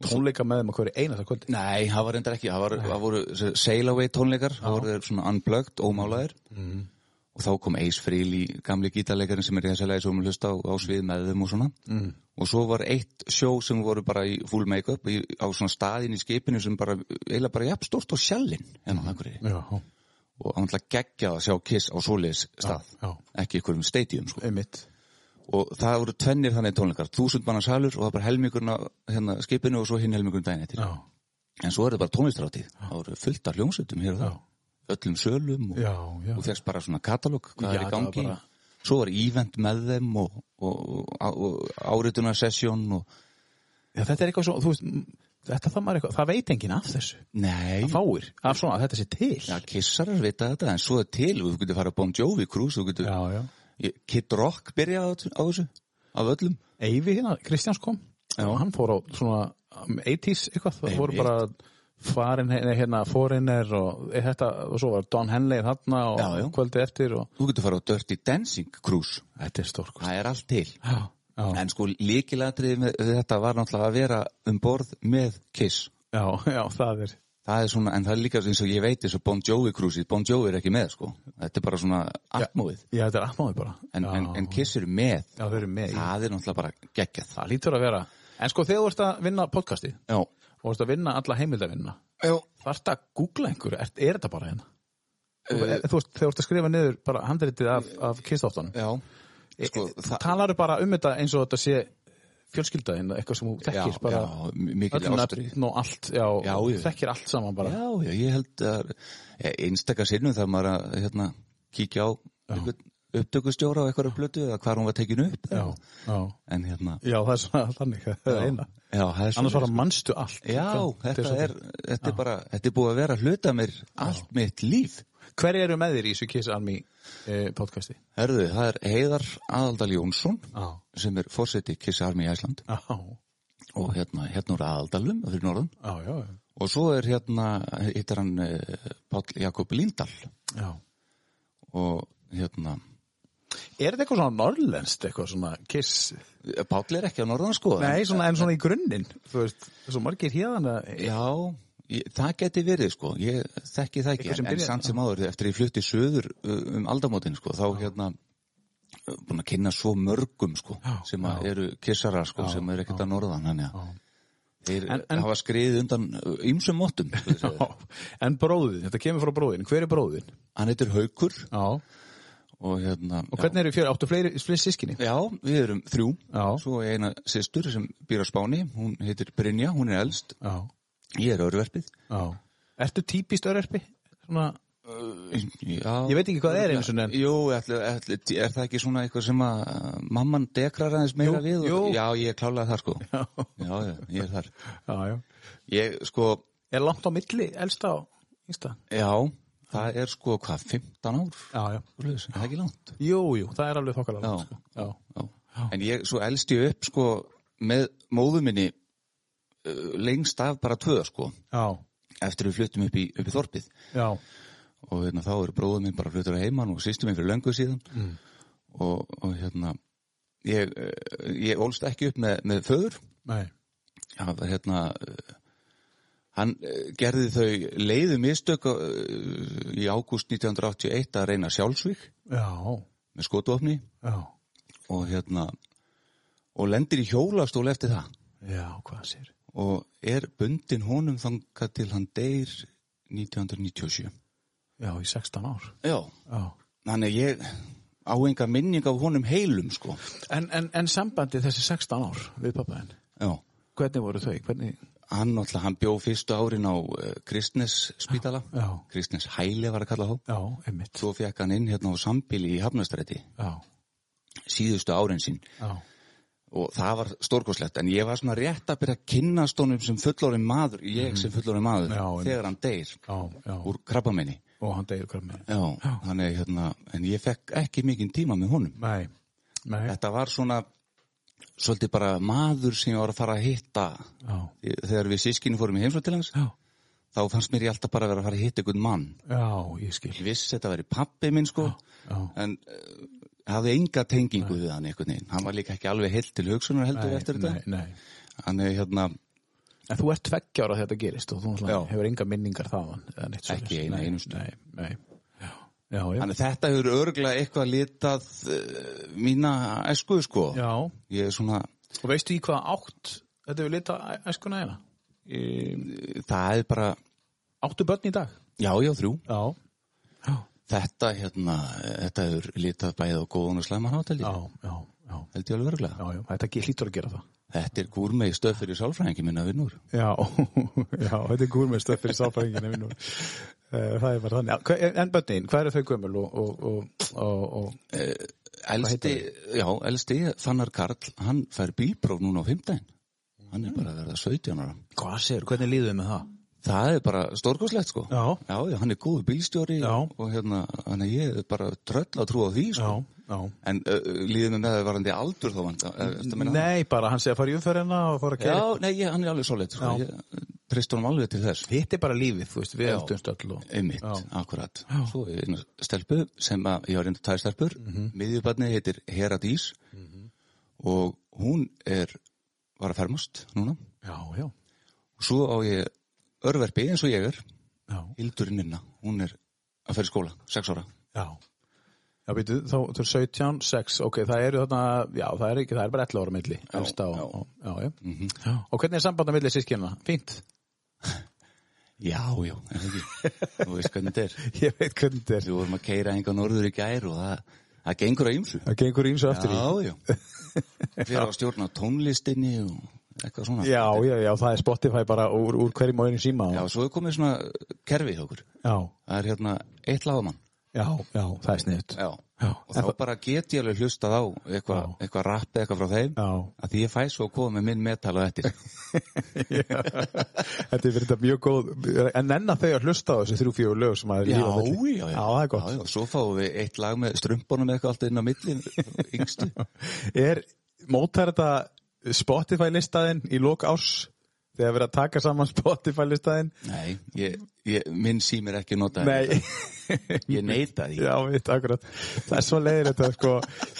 Speaker 1: Tónleika með þeim að hverju einasta kvöldi
Speaker 2: nei, það var reyndar ekki það, var, það voru s- sail away tónleikar það voru þeir svona unplugged, ómálaðir og þá kom Ace Frehley gamli gítarleikarinn sem er í þessu lagi sem við hlusta á, á svið með þeim og svona mm. og svo var eitt sjó sem voru bara í full make-up í- á svona staðin í skipinu sem bara, eiginlega bara jafn stórt og sjallinn en á Akureyri
Speaker 1: Já
Speaker 2: og hann ætla geggja að sjá Kiss á svoleiðis stað
Speaker 1: já.
Speaker 2: ekki ykkur um stadium sko
Speaker 1: Einmitt
Speaker 2: og það voru tvennir þannig tónleikar þúsund manna salur og það var bara helmingurinn af hérna, skipinu og svo hinn helmingurinn daginn eftir
Speaker 1: Já,
Speaker 2: en svo er það bara tónlistaráttíð það voru fullt af hljómsveitum hér og
Speaker 1: já,
Speaker 2: það öllum sölum og,
Speaker 1: já, já.
Speaker 2: og fegst bara svona katalóg hvað
Speaker 1: Já,
Speaker 2: er í
Speaker 1: það var
Speaker 2: gangi
Speaker 1: bara-
Speaker 2: svo var ívent með þeim og, og, og, og áritunarsessjón og
Speaker 1: já þetta er eitthvað svo, þú veist, m, þetta það maður eitthvað, það veit enginn af þessu.
Speaker 2: nei,
Speaker 1: Það fáir af svona að þetta sé til.
Speaker 2: ja, kissarar vita þetta en svo er til, þú getur fara að Bon Jovi krús, þú getur,
Speaker 1: já. já.
Speaker 2: Ég- Kid Rock byrjaði á, þessu- á þessu, af öllum
Speaker 1: Eyvi hérna, Kristjáns kom
Speaker 2: Já.
Speaker 1: og hann fór á svona um, 80s eitthvað, það voru
Speaker 2: Einmitt.
Speaker 1: bara farin nei, hérna, forinir og e, þetta, og svo var Don Henley þarna og
Speaker 2: Já, já.
Speaker 1: kvöldi eftir og
Speaker 2: þú getur fara á Dirty Dancing krús
Speaker 1: þetta er stórkust
Speaker 2: það er allt til
Speaker 1: já, já,
Speaker 2: En sko líkilatrið með þetta var náttúrulega að vera um borð með Kiss.
Speaker 1: já, já, það er
Speaker 2: Það er svona, en það er líka eins og ég veit eins og Bon Jovi krúsið, Bon Jovi er ekki með sko. Þetta er bara svona atmóið.
Speaker 1: já, þetta er atmáði bara
Speaker 2: En,
Speaker 1: já,
Speaker 2: en, en Kiss eru með.
Speaker 1: já, þau eru með í-
Speaker 2: Það er náttúrulega bara geggjað.
Speaker 1: það lítur að vera en sko þegar þú ert að vinna podcastið
Speaker 2: Já.
Speaker 1: og ert að vinna alla heimildavinna
Speaker 2: Já.
Speaker 1: þarft að googla einhverju, er, er þetta bara hérna?
Speaker 2: Uh,
Speaker 1: Þú veist, þú veist, þegar þú ert að skrifa niður bara handritið af, af kistáttanum
Speaker 2: Já. Sko,
Speaker 1: Þa...
Speaker 2: það,
Speaker 1: Talar bara um þetta eins og þetta sé fjölskyldaðin, eitthvað sem þú þekkir
Speaker 2: já,
Speaker 1: bara
Speaker 2: já, mikil
Speaker 1: öll
Speaker 2: ástri.
Speaker 1: nöfn og allt, já,
Speaker 2: Já,
Speaker 1: og
Speaker 2: já.
Speaker 1: þekkir allt saman bara.
Speaker 2: Já, já, ég held að ja, einstakar sinnum þarf maður að hérna, kíkja á einhvern upptökustjóra á eitthvað blötu eða hvar hún var tekinu upp.
Speaker 1: já, já.
Speaker 2: En hérna,
Speaker 1: Já, það er svona þannig, það er eina.
Speaker 2: já, það er
Speaker 1: Annars var það mannstu allt.
Speaker 2: Já, þetta er, þetta er bara, þetta er búið að vera að hluta mér allt mitt líf.
Speaker 1: Hver eru með þér í þessu Kiss Army eh, podcasti?
Speaker 2: Herðu, það er Heiðar Aðaldal Jónsson
Speaker 1: Já.
Speaker 2: sem er fórseti Kiss Army í Æsland
Speaker 1: Já,
Speaker 2: og hérna, hérna úr Aðaldalum fyrir norðan
Speaker 1: já, já.
Speaker 2: og svo er hérna, hittar hann uh, Páll Jakob Lindahl
Speaker 1: já.
Speaker 2: og hérna,
Speaker 1: Er þetta eitthvað svona norrlenskt, eitthvað svona Kiss?
Speaker 2: Páll er ekki á norðan sko. en-
Speaker 1: Nei, svona, en svona í grunninn, þú veist, svo margir hérna.
Speaker 2: Já, ég, það geti verið sko, ég þekki það ekki,
Speaker 1: Eitthvað sem
Speaker 2: en, en
Speaker 1: byrjar-
Speaker 2: samt sem áður, eftir ég flutti söður uh, um aldamótin sko, þá hérna uh, búin að kynna svo mörgum sko,
Speaker 1: Já,
Speaker 2: sem að eru kissarar sko, sem eru ekkert að norðan, hann já. Þeir
Speaker 1: En- en-
Speaker 2: hafa skriðið undan ymsum móttum, sko, þeir segja.
Speaker 1: En bróðin, þetta kemur frá bróðin, hver er bróðin?
Speaker 2: hann heitir Haukur
Speaker 1: Já.
Speaker 2: og hérna,
Speaker 1: Og hvernig eru fjöri, áttu fleiri, fleiri sískinni?
Speaker 2: já, við erum þrjú,
Speaker 1: Já.
Speaker 2: svo er eina systur sem býr á Spáni, hún heitir Brynja, hún er elst,
Speaker 1: Já,
Speaker 2: ég er örverfið.
Speaker 1: já. Ertu típist örerpi? Svona,
Speaker 2: Já,
Speaker 1: ég veit ekki hvað það er einu sinni en...
Speaker 2: Jú, ætli, ætli, er það ekki svona eitthvað sem að uh, mamman dekrar aðeins meira
Speaker 1: Jú,
Speaker 2: við? og-
Speaker 1: jú.
Speaker 2: Já, ég klálaði það sko. Já. já, ég er þar.
Speaker 1: Já, já.
Speaker 2: Ég, sko,
Speaker 1: Er langt á milli, elsta á yngsta?
Speaker 2: já, það er sko hvað, 15 ár?
Speaker 1: Já, já.
Speaker 2: Svoleiðis, Það er ekki langt.
Speaker 1: Jú, jú, það er alveg þokkalega.
Speaker 2: Já.
Speaker 1: Sko. já.
Speaker 2: Já. En ég, svo elst ég upp sko með móðu minni uh, lengst af bara tvö sko,
Speaker 1: Já,
Speaker 2: eftir við fluttum upp í, upp í þorpið.
Speaker 1: já.
Speaker 2: og hérna, þá er bróður minn bara fluttur að heiman og sýstum minn fyrir löngu síðan og, og hérna ég, eh, ég ólst ekki upp með, með föður
Speaker 1: Nei.
Speaker 2: hann, var, hérna, eh, hann eh, gerði þau leiðu mistök eh, í ágúst 1981 að reyna sjálfsvík
Speaker 1: Já,
Speaker 2: með skotuofni
Speaker 1: já.
Speaker 2: og hérna og lendir í hjólastól eftir það
Speaker 1: Já, hvað sér?
Speaker 2: og er bundin honum þangað til hann deyr 1997
Speaker 1: Já, í 16 ár.
Speaker 2: Já,
Speaker 1: Já.
Speaker 2: þannig að ég á enga minning af honum heilum sko
Speaker 1: En, en, en sambandi þessi 16 ár við pappaðin,
Speaker 2: Já,
Speaker 1: hvernig voru þau? Hvernig?
Speaker 2: hann náttúrulega, hann bjó fyrstu árin á uh, Kristnes spítala,
Speaker 1: Já,
Speaker 2: Kristnes hæli var að kalla þá.
Speaker 1: já, einmitt.
Speaker 2: Svo fekk hann inn hérna á sambili í Hafnastræti
Speaker 1: Já,
Speaker 2: síðustu árin sín
Speaker 1: já.
Speaker 2: og það var stórkoslegt en ég var svona rétt að byrja að kynnast honum sem fullorinn maður, ég sem fullorinn maður
Speaker 1: Mhm. Já, einmitt.
Speaker 2: þegar hann deyr
Speaker 1: Já, já.
Speaker 2: úr krabbamenni.
Speaker 1: Og hann degir hvað með.
Speaker 2: Já, hann er hérna, en ég fekk ekki mikinn tíma með honum.
Speaker 1: Nei, nei.
Speaker 2: Þetta var svona, svolítið bara maður sem ég var að fara að hitta
Speaker 1: Já,
Speaker 2: þegar við sískinni fórum í heimsókn til hans.
Speaker 1: já.
Speaker 2: þá fannst mér ég alltaf bara að vera að fara að hitta einhvern mann.
Speaker 1: Já, ég skil.
Speaker 2: Ég vissi þetta veri pappi minn sko,
Speaker 1: já.
Speaker 2: en uh, hafði enga tengingu við hann einhvern veginn. Hann var líka ekki alveg heilt til hugsunar heldur eftir þetta.
Speaker 1: Nei, nei.
Speaker 2: Hann er hérna
Speaker 1: En þú ert tveggjára þegar þetta gerist og þú náttúrulega
Speaker 2: Já.
Speaker 1: hefur enga minningar þaðan eða neitt
Speaker 2: Ekki
Speaker 1: svoleiðis.
Speaker 2: eina
Speaker 1: Nei,
Speaker 2: einustu.
Speaker 1: Nei, nei. Já, já.
Speaker 2: Þannig að þetta hefur örgulega eitthvað litað uh, mína esku sko.
Speaker 1: já.
Speaker 2: Ég er svona,
Speaker 1: Og veistu í hvaða átt þetta við lita æ- æskuna hérna? eina?
Speaker 2: eh, það er bara,
Speaker 1: Áttu börn í dag?
Speaker 2: já, já, þrjú.
Speaker 1: Já. Já,
Speaker 2: Þetta hérna, eh, þetta hefur litað bæðið á góðan og slæman háteldi.
Speaker 1: já, já.
Speaker 2: held ég alveg örgulega.
Speaker 1: Já, já, þetta ge- hlýtur að gera það.
Speaker 2: Þetta er gúrmegi stöð fyrir sálfræðingi minna vinnur.
Speaker 1: Já, [LAUGHS] já þetta er gúrmestöð fyrir sáfæringinu minn. Eh, Það er bara þannig. Já, hva- En bönnin, hvað eru þau gömul og, og, og, og, og
Speaker 2: Elsti, já, elsti Fannar Karl, hann fær bílpróf núna á fimmtæðin. Hann
Speaker 1: Mm.
Speaker 2: er bara að verða 17 ára.
Speaker 1: hvað segir, hvernig líðum við það?
Speaker 2: Það er bara stórkoslegt sko.
Speaker 1: Já.
Speaker 2: já, hann er góð bílstjóri
Speaker 1: Já.
Speaker 2: og hérna, hann er ég er bara tröll að trúa því sko.
Speaker 1: já.
Speaker 2: En uh, líðinu með það varandi aldur þá vant. Uh,
Speaker 1: Nei, bara hann segir að fara í umferðina og fara að
Speaker 2: Já,
Speaker 1: gera.
Speaker 2: nei, ég, hann er alveg svolít sko.
Speaker 1: Já.
Speaker 2: Ég treyst honum alveg til þess.
Speaker 1: Hitt er bara lífið, þú veist, við
Speaker 2: Já.
Speaker 1: öllumst öll og...
Speaker 2: Einmitt,
Speaker 1: Já.
Speaker 2: akkurat. Svo er einu stelpu sem að, ég var reynda tæði stelpur, mm
Speaker 1: Mhm.
Speaker 2: miðjubarnið heitir Hera Dís og hún er, var að fermast núna.
Speaker 1: Já, já,
Speaker 2: Svo á ég örverfi eins og ég er,
Speaker 1: já,
Speaker 2: Hildur Ninna, hún er að fer í skóla, sex ára.
Speaker 1: já. Já, býtu, þá, þú er 17, 6, ok, það eru þarna, já, það er ekki, það er bara 11 ára milli, elsta og,
Speaker 2: já.
Speaker 1: og, já, já.
Speaker 2: Mhm.
Speaker 1: já. Og hvernig er samband á milli sískina? Fínt.
Speaker 2: Já, já, en ekki. Þú veist hvernig þetta er.
Speaker 1: [LAUGHS] Ég veit hvernig þetta er.
Speaker 2: Við vorum að keira einhver norður í gær og það, það gengur að ymsu.
Speaker 1: Það gengur ímsu eftir því.
Speaker 2: Já, já. Fyrir að stjórna tónlistinni og eitthvað svona.
Speaker 1: Já, já, já, það er Spotify bara úr, úr hverjum á einu síma.
Speaker 2: Já,
Speaker 1: Já,
Speaker 2: svo er komið svona kerfi hjá okkur.
Speaker 1: já,
Speaker 2: Það er hérna eitt lagamann.
Speaker 1: já, já það er sniðut.
Speaker 2: Já.
Speaker 1: Já,
Speaker 2: Og þá bara get ég alveg hlustað á eitthvað eitthva rappi eitthvað frá þeim.
Speaker 1: Já,
Speaker 2: Að því ég fæ svo að koma með minn metal á eftir.
Speaker 1: [LAUGHS] þetta er verið þetta mjög góð, en enna þau að hlusta á þessu þrjú fjögur lög sem að
Speaker 2: Já,
Speaker 1: lífa á milli.
Speaker 2: já, já.
Speaker 1: Já, það er gott.
Speaker 2: Já, já, svo fáum við eitt lag með strömbunum eitthvað alltaf inn á millin, yngstu.
Speaker 1: Er, mótar þetta Spotify listaðinn í lok árs þegar verið að taka saman Spotify listaðinn?
Speaker 2: Nei, ég, ég, minn símir ekki nota
Speaker 1: Nei, [LAUGHS]
Speaker 2: Ég neita því.
Speaker 1: já, veit, akkurat. Það er svo leiðir þetta, sko,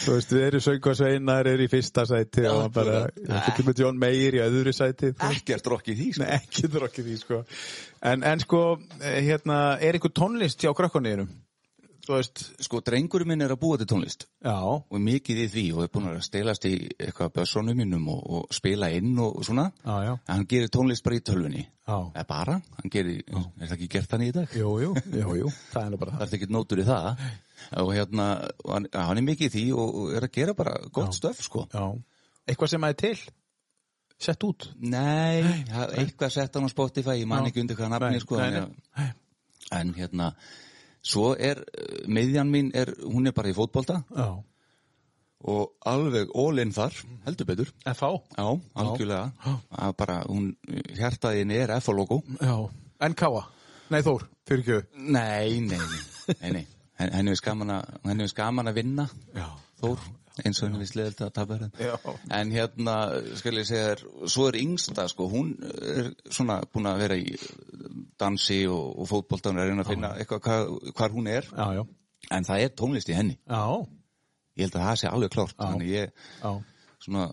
Speaker 1: þú veist, við erum söngvarsveinar, eru í fyrsta sæti og
Speaker 2: Akkurat.
Speaker 1: bara, þú kemur John Mayer í öðru sæti, þú
Speaker 2: Ekkert rokkið því, sko.
Speaker 1: Nei, ekki drokkið því, sko. En, en sko, eh, hérna, er einhver tónlist hjá krökkunniðinum? Þú veist,
Speaker 2: Sko, drengurinn minn er að búa til tónlist
Speaker 1: já,
Speaker 2: og er mikið í því og er búin að stelast í eitthvað bössónum mínum og, og spila inn og, og svona.
Speaker 1: já, já,
Speaker 2: En hann gerir tónlist bara í tölvunni.
Speaker 1: já.
Speaker 2: Eða bara, hann gerir, er það ekki gert þannig í dag?
Speaker 1: Jú, jú, jú, jú, það er nú bara
Speaker 2: Það
Speaker 1: það.
Speaker 2: er ekkert nótur í það. Og hérna, og hann, hann er mikið í því og, og er að gera bara gott stöf, sko.
Speaker 1: Já. Eitthvað sem að er til? Sett út?
Speaker 2: Nei, það- eitthvað sett hann á Spotify, ég man ekki undir hvað nafni,
Speaker 1: Nei,
Speaker 2: sko.
Speaker 1: nei,
Speaker 2: þannig að-
Speaker 1: nei.
Speaker 2: En hérna, svo er, uh, miðjan mín er, hún er bara í fótbolta
Speaker 1: Já.
Speaker 2: og alveg ólinn þar, heldur betur.
Speaker 1: F.A.
Speaker 2: Já, algjörlega. Að bara, hún, hjartaðin er F-logo.
Speaker 1: Já. N.K.A. Nei, Þór, fyrir ekki.
Speaker 2: Nei, nei, nei, nei,
Speaker 1: [LAUGHS]
Speaker 2: nei. Hen- Henni er skaman að, henni er skaman að vinna,
Speaker 1: Já.
Speaker 2: Þór, eins og henni við sleðilt að tapa
Speaker 1: Já.
Speaker 2: hérna. En hérna, skal ég segja þér, svo er yngsta, sko, hún er svona búin að vera í dansi og, og fótbolta, hún er að reyna að finna eitthvað hvað, hvar hún er,
Speaker 1: Já, já.
Speaker 2: en það er tónlist í henni.
Speaker 1: Já.
Speaker 2: Ég held að það sé alveg klárt, þannig ég,
Speaker 1: Já.
Speaker 2: svona,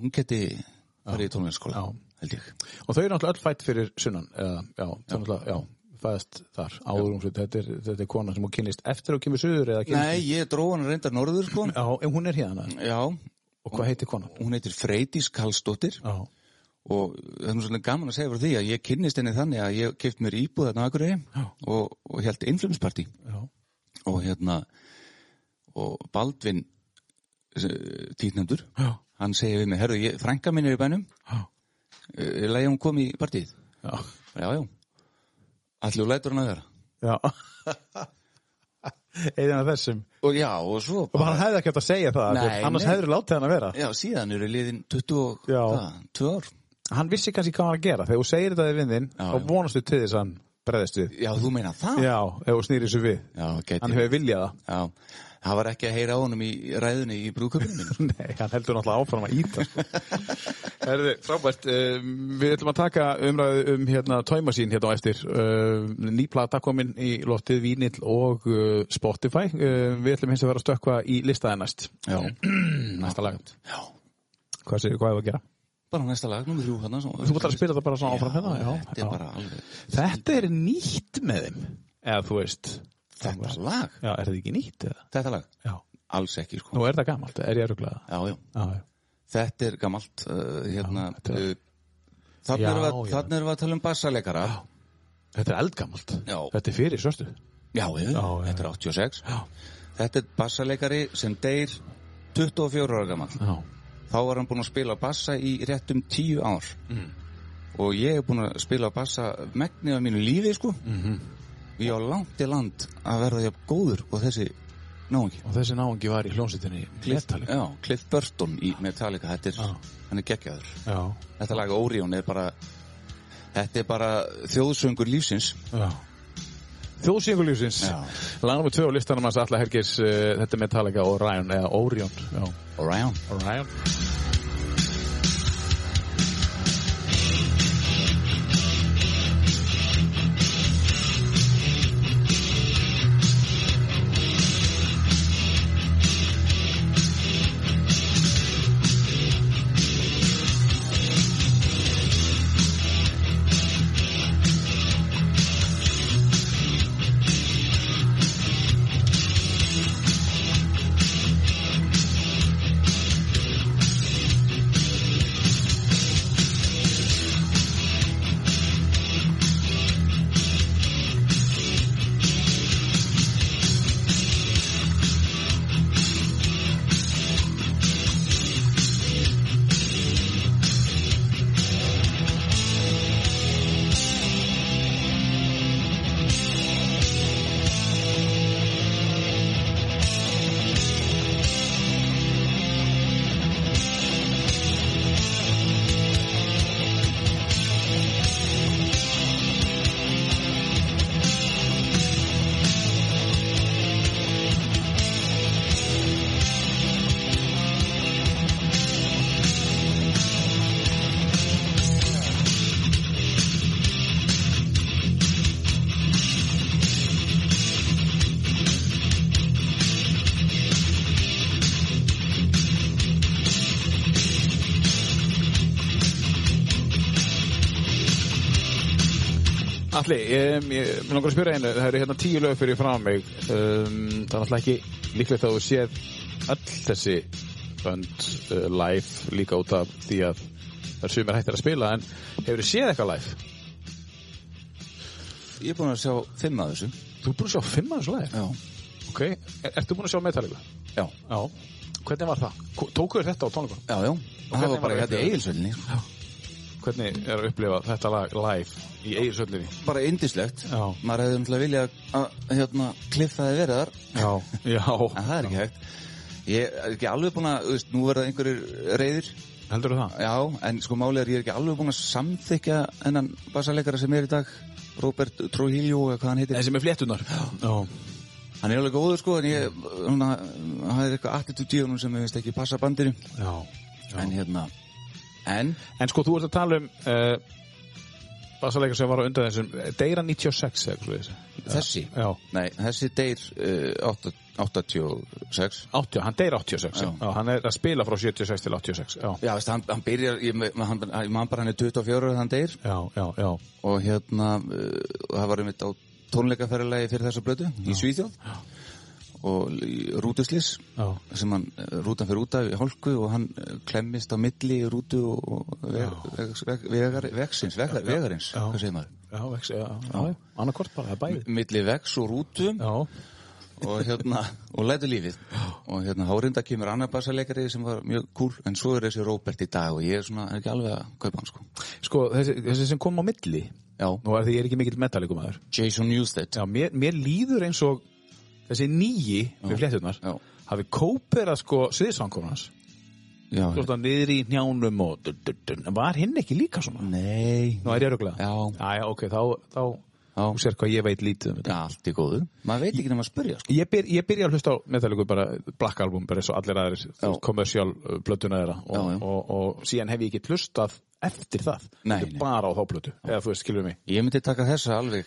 Speaker 2: hún geti farið í tónlistskóla,
Speaker 1: Já.
Speaker 2: held ég.
Speaker 1: Og þau eru náttúrulega öll fætt fyrir sunnan. eða, Já, þau náttúrulega, já, fæðast þar. Áður um svo, þetta er, þetta er kona sem hún kynist eftir að hún kemur suður eða kynist.
Speaker 2: Nei, ég dró hann reyndar norður, sko.
Speaker 1: Já, en hún er hérna.
Speaker 2: Já,
Speaker 1: Og hvað heitir konan?
Speaker 2: hún heitir Freydís Karlsdóttir.
Speaker 1: Já.
Speaker 2: og það er nú svolítið gaman að segja fyrir því að ég kynnist henni þannig að ég keft mér íbúð þarna á Akureyri og, og held innflumsparti
Speaker 1: Já.
Speaker 2: og hérna og Baldvin týtnendur,
Speaker 1: Já.
Speaker 2: hann segir við mig herru, ég, frænka minn er í bænum
Speaker 1: Já.
Speaker 2: uh, leiði hún kom í partíð
Speaker 1: Já.
Speaker 2: já, já, allir og lætur hann að vera
Speaker 1: [LAUGHS] Já. Einn af þessum.
Speaker 2: og já, og svo
Speaker 1: Og hann hefði ekki átt að segja það,
Speaker 2: Nei,
Speaker 1: nei, annars
Speaker 2: nei.
Speaker 1: hefur látið hann að vera.
Speaker 2: já, síðan eru liðin 22
Speaker 1: Já.
Speaker 2: ár
Speaker 1: Hann vissi kannski hvað hann var að gera, þegar þú segir þetta við vindin
Speaker 2: Já,
Speaker 1: og
Speaker 2: já.
Speaker 1: vonastu til þess að hann breðist við.
Speaker 2: já, þú meina það
Speaker 1: Já, ef þú snýrir þessu við.
Speaker 2: já gæti
Speaker 1: Hann hefur viljað það. [LAUGHS]
Speaker 2: já, það var ekki að heyra á honum í ræðunni í brúköpunum minn
Speaker 1: Nei, hann heldur náttúrulega áfram að íta. sko.
Speaker 2: [LAUGHS]
Speaker 1: Herðu, frábært, um, við ætlum að taka umræðu um hérna tóimasín hérna á eftir. Um, ný plata komin í loftið Vínill og uh, Spotify. Um, við ætlum hins að vera að stökkva í listaði næst.
Speaker 2: já,
Speaker 1: [CLEARS THROAT] Næsta lag.
Speaker 2: já
Speaker 1: Hvað séu, hvað hefur að gera?
Speaker 2: Bara næsta lag, nummer þrjú hann
Speaker 1: Þú ætlar að spila þetta bara svona áfram hérna? Já,
Speaker 2: Þetta
Speaker 1: já.
Speaker 2: er bara alveg
Speaker 1: Þetta er nýtt með þeim, eða þú veist.
Speaker 2: Þetta lag,
Speaker 1: Já, er þetta ekki nýtt eða?
Speaker 2: þetta lag,
Speaker 1: Já.
Speaker 2: alls ekki sko
Speaker 1: Nú er þetta gamalt, er ég öruglega?
Speaker 2: Já, já,
Speaker 1: Já, já.
Speaker 2: þetta er gamalt uh, hérna,
Speaker 1: Já, þetta er-
Speaker 2: uh, Þannig
Speaker 1: Já,
Speaker 2: erum við,
Speaker 1: já.
Speaker 2: þarna erum við að tala um bassaleikara Já,
Speaker 1: Þetta er eldgamalt.
Speaker 2: Já.
Speaker 1: Þetta er fyrir svörstu.
Speaker 2: já, já,
Speaker 1: já.
Speaker 2: þetta er 86
Speaker 1: Já.
Speaker 2: Þetta er bassaleikari sem deyr 24 ára gammal
Speaker 1: Já.
Speaker 2: þá var hann búinn að spila bassa í réttum 10 ár
Speaker 1: Mm.
Speaker 2: og ég er búinn að spila bassa megnið af mínu lífi sko
Speaker 1: Mhm.
Speaker 2: ég á langt í land að verða jafn góður og þessi náungi
Speaker 1: Og þessi náungi var í hljómsveitinni Glettaleg.
Speaker 2: Já, Cliff Burton í Metallica þetta er,
Speaker 1: Já.
Speaker 2: hann er geggjaður
Speaker 1: Já.
Speaker 2: þetta lag Orion er bara þetta er bara þjóðsöngur lífsins
Speaker 1: Já. Þjóðsingulífsins.
Speaker 2: Já.
Speaker 1: Lagnum við tvö á listanum hans Alla Hergis, uh, þetta er Metallica og Orion, eða Orion. Já.
Speaker 2: Orion
Speaker 1: Orion. Alli, ég, ég, ég langar að spyrja einu, það eru hérna tíu lög fyrir frá mig, um, það er alltaf ekki líklegt að þú séð öll þessi bönd uh, live líka út af því að það er sumir hættir að spila, en hefur þú séð eitthvað live?
Speaker 2: ég er búinn að sjá fimm að þessu
Speaker 1: Þú er búin að sjá fimm aðeins live?
Speaker 2: Já,
Speaker 1: Ok, er, ertu búin að sjá Metallica?
Speaker 2: já,
Speaker 1: Já. Hvernig var það? Ko- Tókuðu þér þetta á tónleikunum?
Speaker 2: já, já. það
Speaker 1: hvernig
Speaker 2: var bara
Speaker 1: var
Speaker 2: hérna í
Speaker 1: upplifunin?
Speaker 2: eigilsvöldinni sko.
Speaker 1: Hvernig er að upplifa þetta lag live í eiginsöllinni?
Speaker 2: bara indislegt
Speaker 1: Já.
Speaker 2: maður hefði umtla viljað að hérna, kliffaði verið þar
Speaker 1: Já. [LAUGHS] Já,
Speaker 2: en það er ekki hægt ég er ekki alveg búinn að, þú veist, nú verða einhverjir reyðir
Speaker 1: heldur þú það?
Speaker 2: já, en sko málið er ég er ekki alveg búinn að samþykja hennan bassaleikara sem er í dag Robert Trujillo, eða hvað hann heitir
Speaker 1: Þessi með fléttunar? Já.
Speaker 2: hann er alveg góður sko, en ég núna, hann er eitthvað attitude í honum sem ég veist ekki passa bandinu
Speaker 1: Já.
Speaker 2: en hérna, en
Speaker 1: En sko, þú ert að tala um uh, basaleikar sem var á undan þessum eh, Deira 96 eða eitthvað þessi
Speaker 2: þessi
Speaker 1: Já,
Speaker 2: nei, þessi deyr uh, 86
Speaker 1: 80, hann Deira 86 já.
Speaker 2: Já.
Speaker 1: hann er að spila frá 76 til 86 Já,
Speaker 2: Já, veist, hann, hann byrjar, ég, me- hann, ég man bara hann er 24 þegar hann deyr
Speaker 1: já, já, já.
Speaker 2: og hérna, uh, það var einmitt á tónleikaferðalegi fyrir þessa blötu í Svíþjóð og í rútuslis
Speaker 1: já.
Speaker 2: sem hann, eh, rútan fyrir út af í hálku og hann eh, klemmist á milli í rútu og og ve- vegs- veg- vegar, vegsins, vegar, vegarins,
Speaker 1: Já.
Speaker 2: hvað segir maður?
Speaker 1: Já, vex, já, já, annarkort bara, það er bæði
Speaker 2: Milli vegs og rútu
Speaker 1: Já,
Speaker 2: og hérna, og lætu lífið og hérna, hárinda kemur annar bassaleikari sem var mjög kúl, en svo er þessi Róbert í dag og ég er svona ekki alveg að kaupa hann sko.
Speaker 1: sko, þessi, þessi sem kom á milli
Speaker 2: Já,
Speaker 1: Nú er því ég er ekki mikill metallíkumæður
Speaker 2: Jason Newsted
Speaker 1: Já, mér, mér líður eins og þessi nýji með fléttunar
Speaker 2: Já.
Speaker 1: hafi kóperað sko sviðsangur hans
Speaker 2: Já,
Speaker 1: Þú veist að niður í njánum og dun, dun, dun. var hinn ekki líka svona?
Speaker 2: nei
Speaker 1: Nú er ég röglega?
Speaker 2: Já.
Speaker 1: já, ok, þá, þá,
Speaker 2: Já.
Speaker 1: þú sér hvað ég veit lítið um þetta.
Speaker 2: Já, allt í góðu Maður veit ekki nema að spyrja sko.
Speaker 1: Ég, byr, ég byrja að hlusta á Metallica bara Black Album, bara eins og allir aðrir þú veist, commercial uh, blötuna þeirra og,
Speaker 2: Já, já.
Speaker 1: Og, og, síðan hef ég ekki hlustað eftir það.
Speaker 2: Nei,
Speaker 1: Þetta er
Speaker 2: nei.
Speaker 1: Bara á þá blötu, eða þú veist, skilur mig.
Speaker 2: Ég myndi taka þessa alveg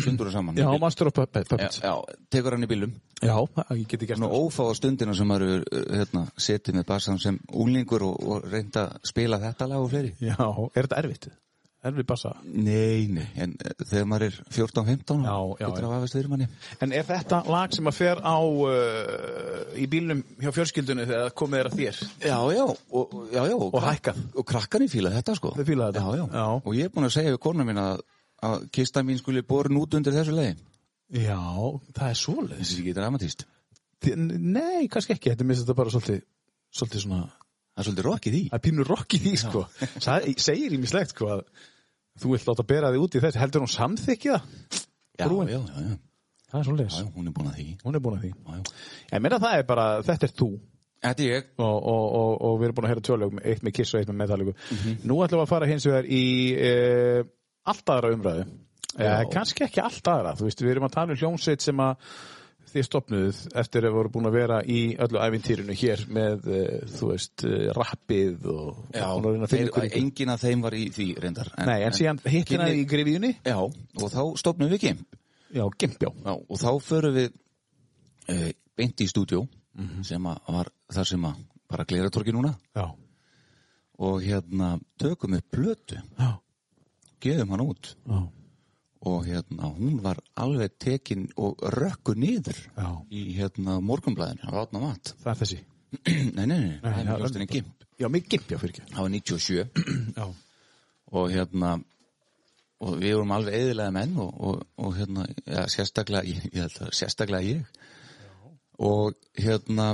Speaker 2: stundur og saman
Speaker 1: Já,
Speaker 2: Í bíl.
Speaker 1: Master of Pupp- Puppets.
Speaker 2: já, tekur hann í bílum
Speaker 1: Já, ég geti gert
Speaker 2: Nú
Speaker 1: það.
Speaker 2: ófáða stundina sem maður hefur, uh, hérna, setið með bassan sem úlingur og, og reynda að spila þetta lag og fleiri
Speaker 1: Já, er þetta erfitt? Erfið bassa.
Speaker 2: Nei, nei En uh, þegar maður er 14-15
Speaker 1: Já, já,
Speaker 2: Þetta
Speaker 1: já.
Speaker 2: er að afast fyrir manni
Speaker 1: En er þetta lag sem að fer á uh, í bílnum hjá fjörskildunni þegar komið er að þér?
Speaker 2: Já, já, og, já, já, og,
Speaker 1: Og
Speaker 2: krak-
Speaker 1: hækkað.
Speaker 2: Og krakkan í fíla þetta sko
Speaker 1: Þau fíla þetta?
Speaker 2: já, já.
Speaker 1: Já.
Speaker 2: Og ég er búin að segja við kona mín að, að kista mín skuli borin út undir þessu lagi
Speaker 1: Já, það er svoleiðis.
Speaker 2: Þessi ekki dramatist
Speaker 1: Þi- Nei, kannski ekki, þetta minnst þetta bara svolítið, svolítið svona,
Speaker 2: Það er svolítið rokið í.
Speaker 1: það er pínur rokk í því, sko. [LAUGHS] Það segir ímislegt, sko, að þú vilt láta bera þig út í þessu, heldur hún samþykja það?
Speaker 2: Já,
Speaker 1: brúin.
Speaker 2: já, já, já,
Speaker 1: Það er svolítið,
Speaker 2: já, hún er búin að því.
Speaker 1: hún er búin að því.
Speaker 2: Já, já.
Speaker 1: Ég meina það er bara, þetta er þú
Speaker 2: Þetta er ég.
Speaker 1: og, og, og, og við erum búin að heyra tjóðlegum, eitt með Kiss og eitt með Metallica. Nú ætlum við að fara hins vegar í e, allt aðra umræðu. E,
Speaker 2: Já.
Speaker 1: kannski ekki allt aðra, þú veist, við erum að tala um hljómsveit sem að þið stopnuðuð eftir að voru búin að vera í öllu ævintýrinu hér með, e, þú veist, e, rappið og, og að reyna að finna
Speaker 2: þeir-
Speaker 1: ykkur í-
Speaker 2: enginn af þeim var í því reyndar.
Speaker 1: Nei, en síðan hittina í grefiðunni
Speaker 2: Já, og þá stopnum við Gimp.
Speaker 1: Já, gimpjá
Speaker 2: Já, og þá förum við e, beint í stúdjó
Speaker 1: Mhm.
Speaker 2: sem að var þar sem að bara glera torki núna
Speaker 1: Já,
Speaker 2: og hérna tökum við plötu,
Speaker 1: já,
Speaker 2: gefum hann út
Speaker 1: já,
Speaker 2: og hérna hún var alveg tekin og rökku niður
Speaker 1: já.
Speaker 2: í hérna morgunblæðinu, það var átna mat. [CLEARS THROAT]
Speaker 1: Það er þessi
Speaker 2: nei, nei, nei, nei,
Speaker 1: það
Speaker 2: það
Speaker 1: er
Speaker 2: var hljóstinni Gimp,
Speaker 1: Já, mig gimpjá fyrir ekki
Speaker 2: það var 97
Speaker 1: Já,
Speaker 2: og hérna og við vorum alveg eðilega menn og, og, og hérna, ja, sérstaklega ég, ég held að sérstaklega ég og hérna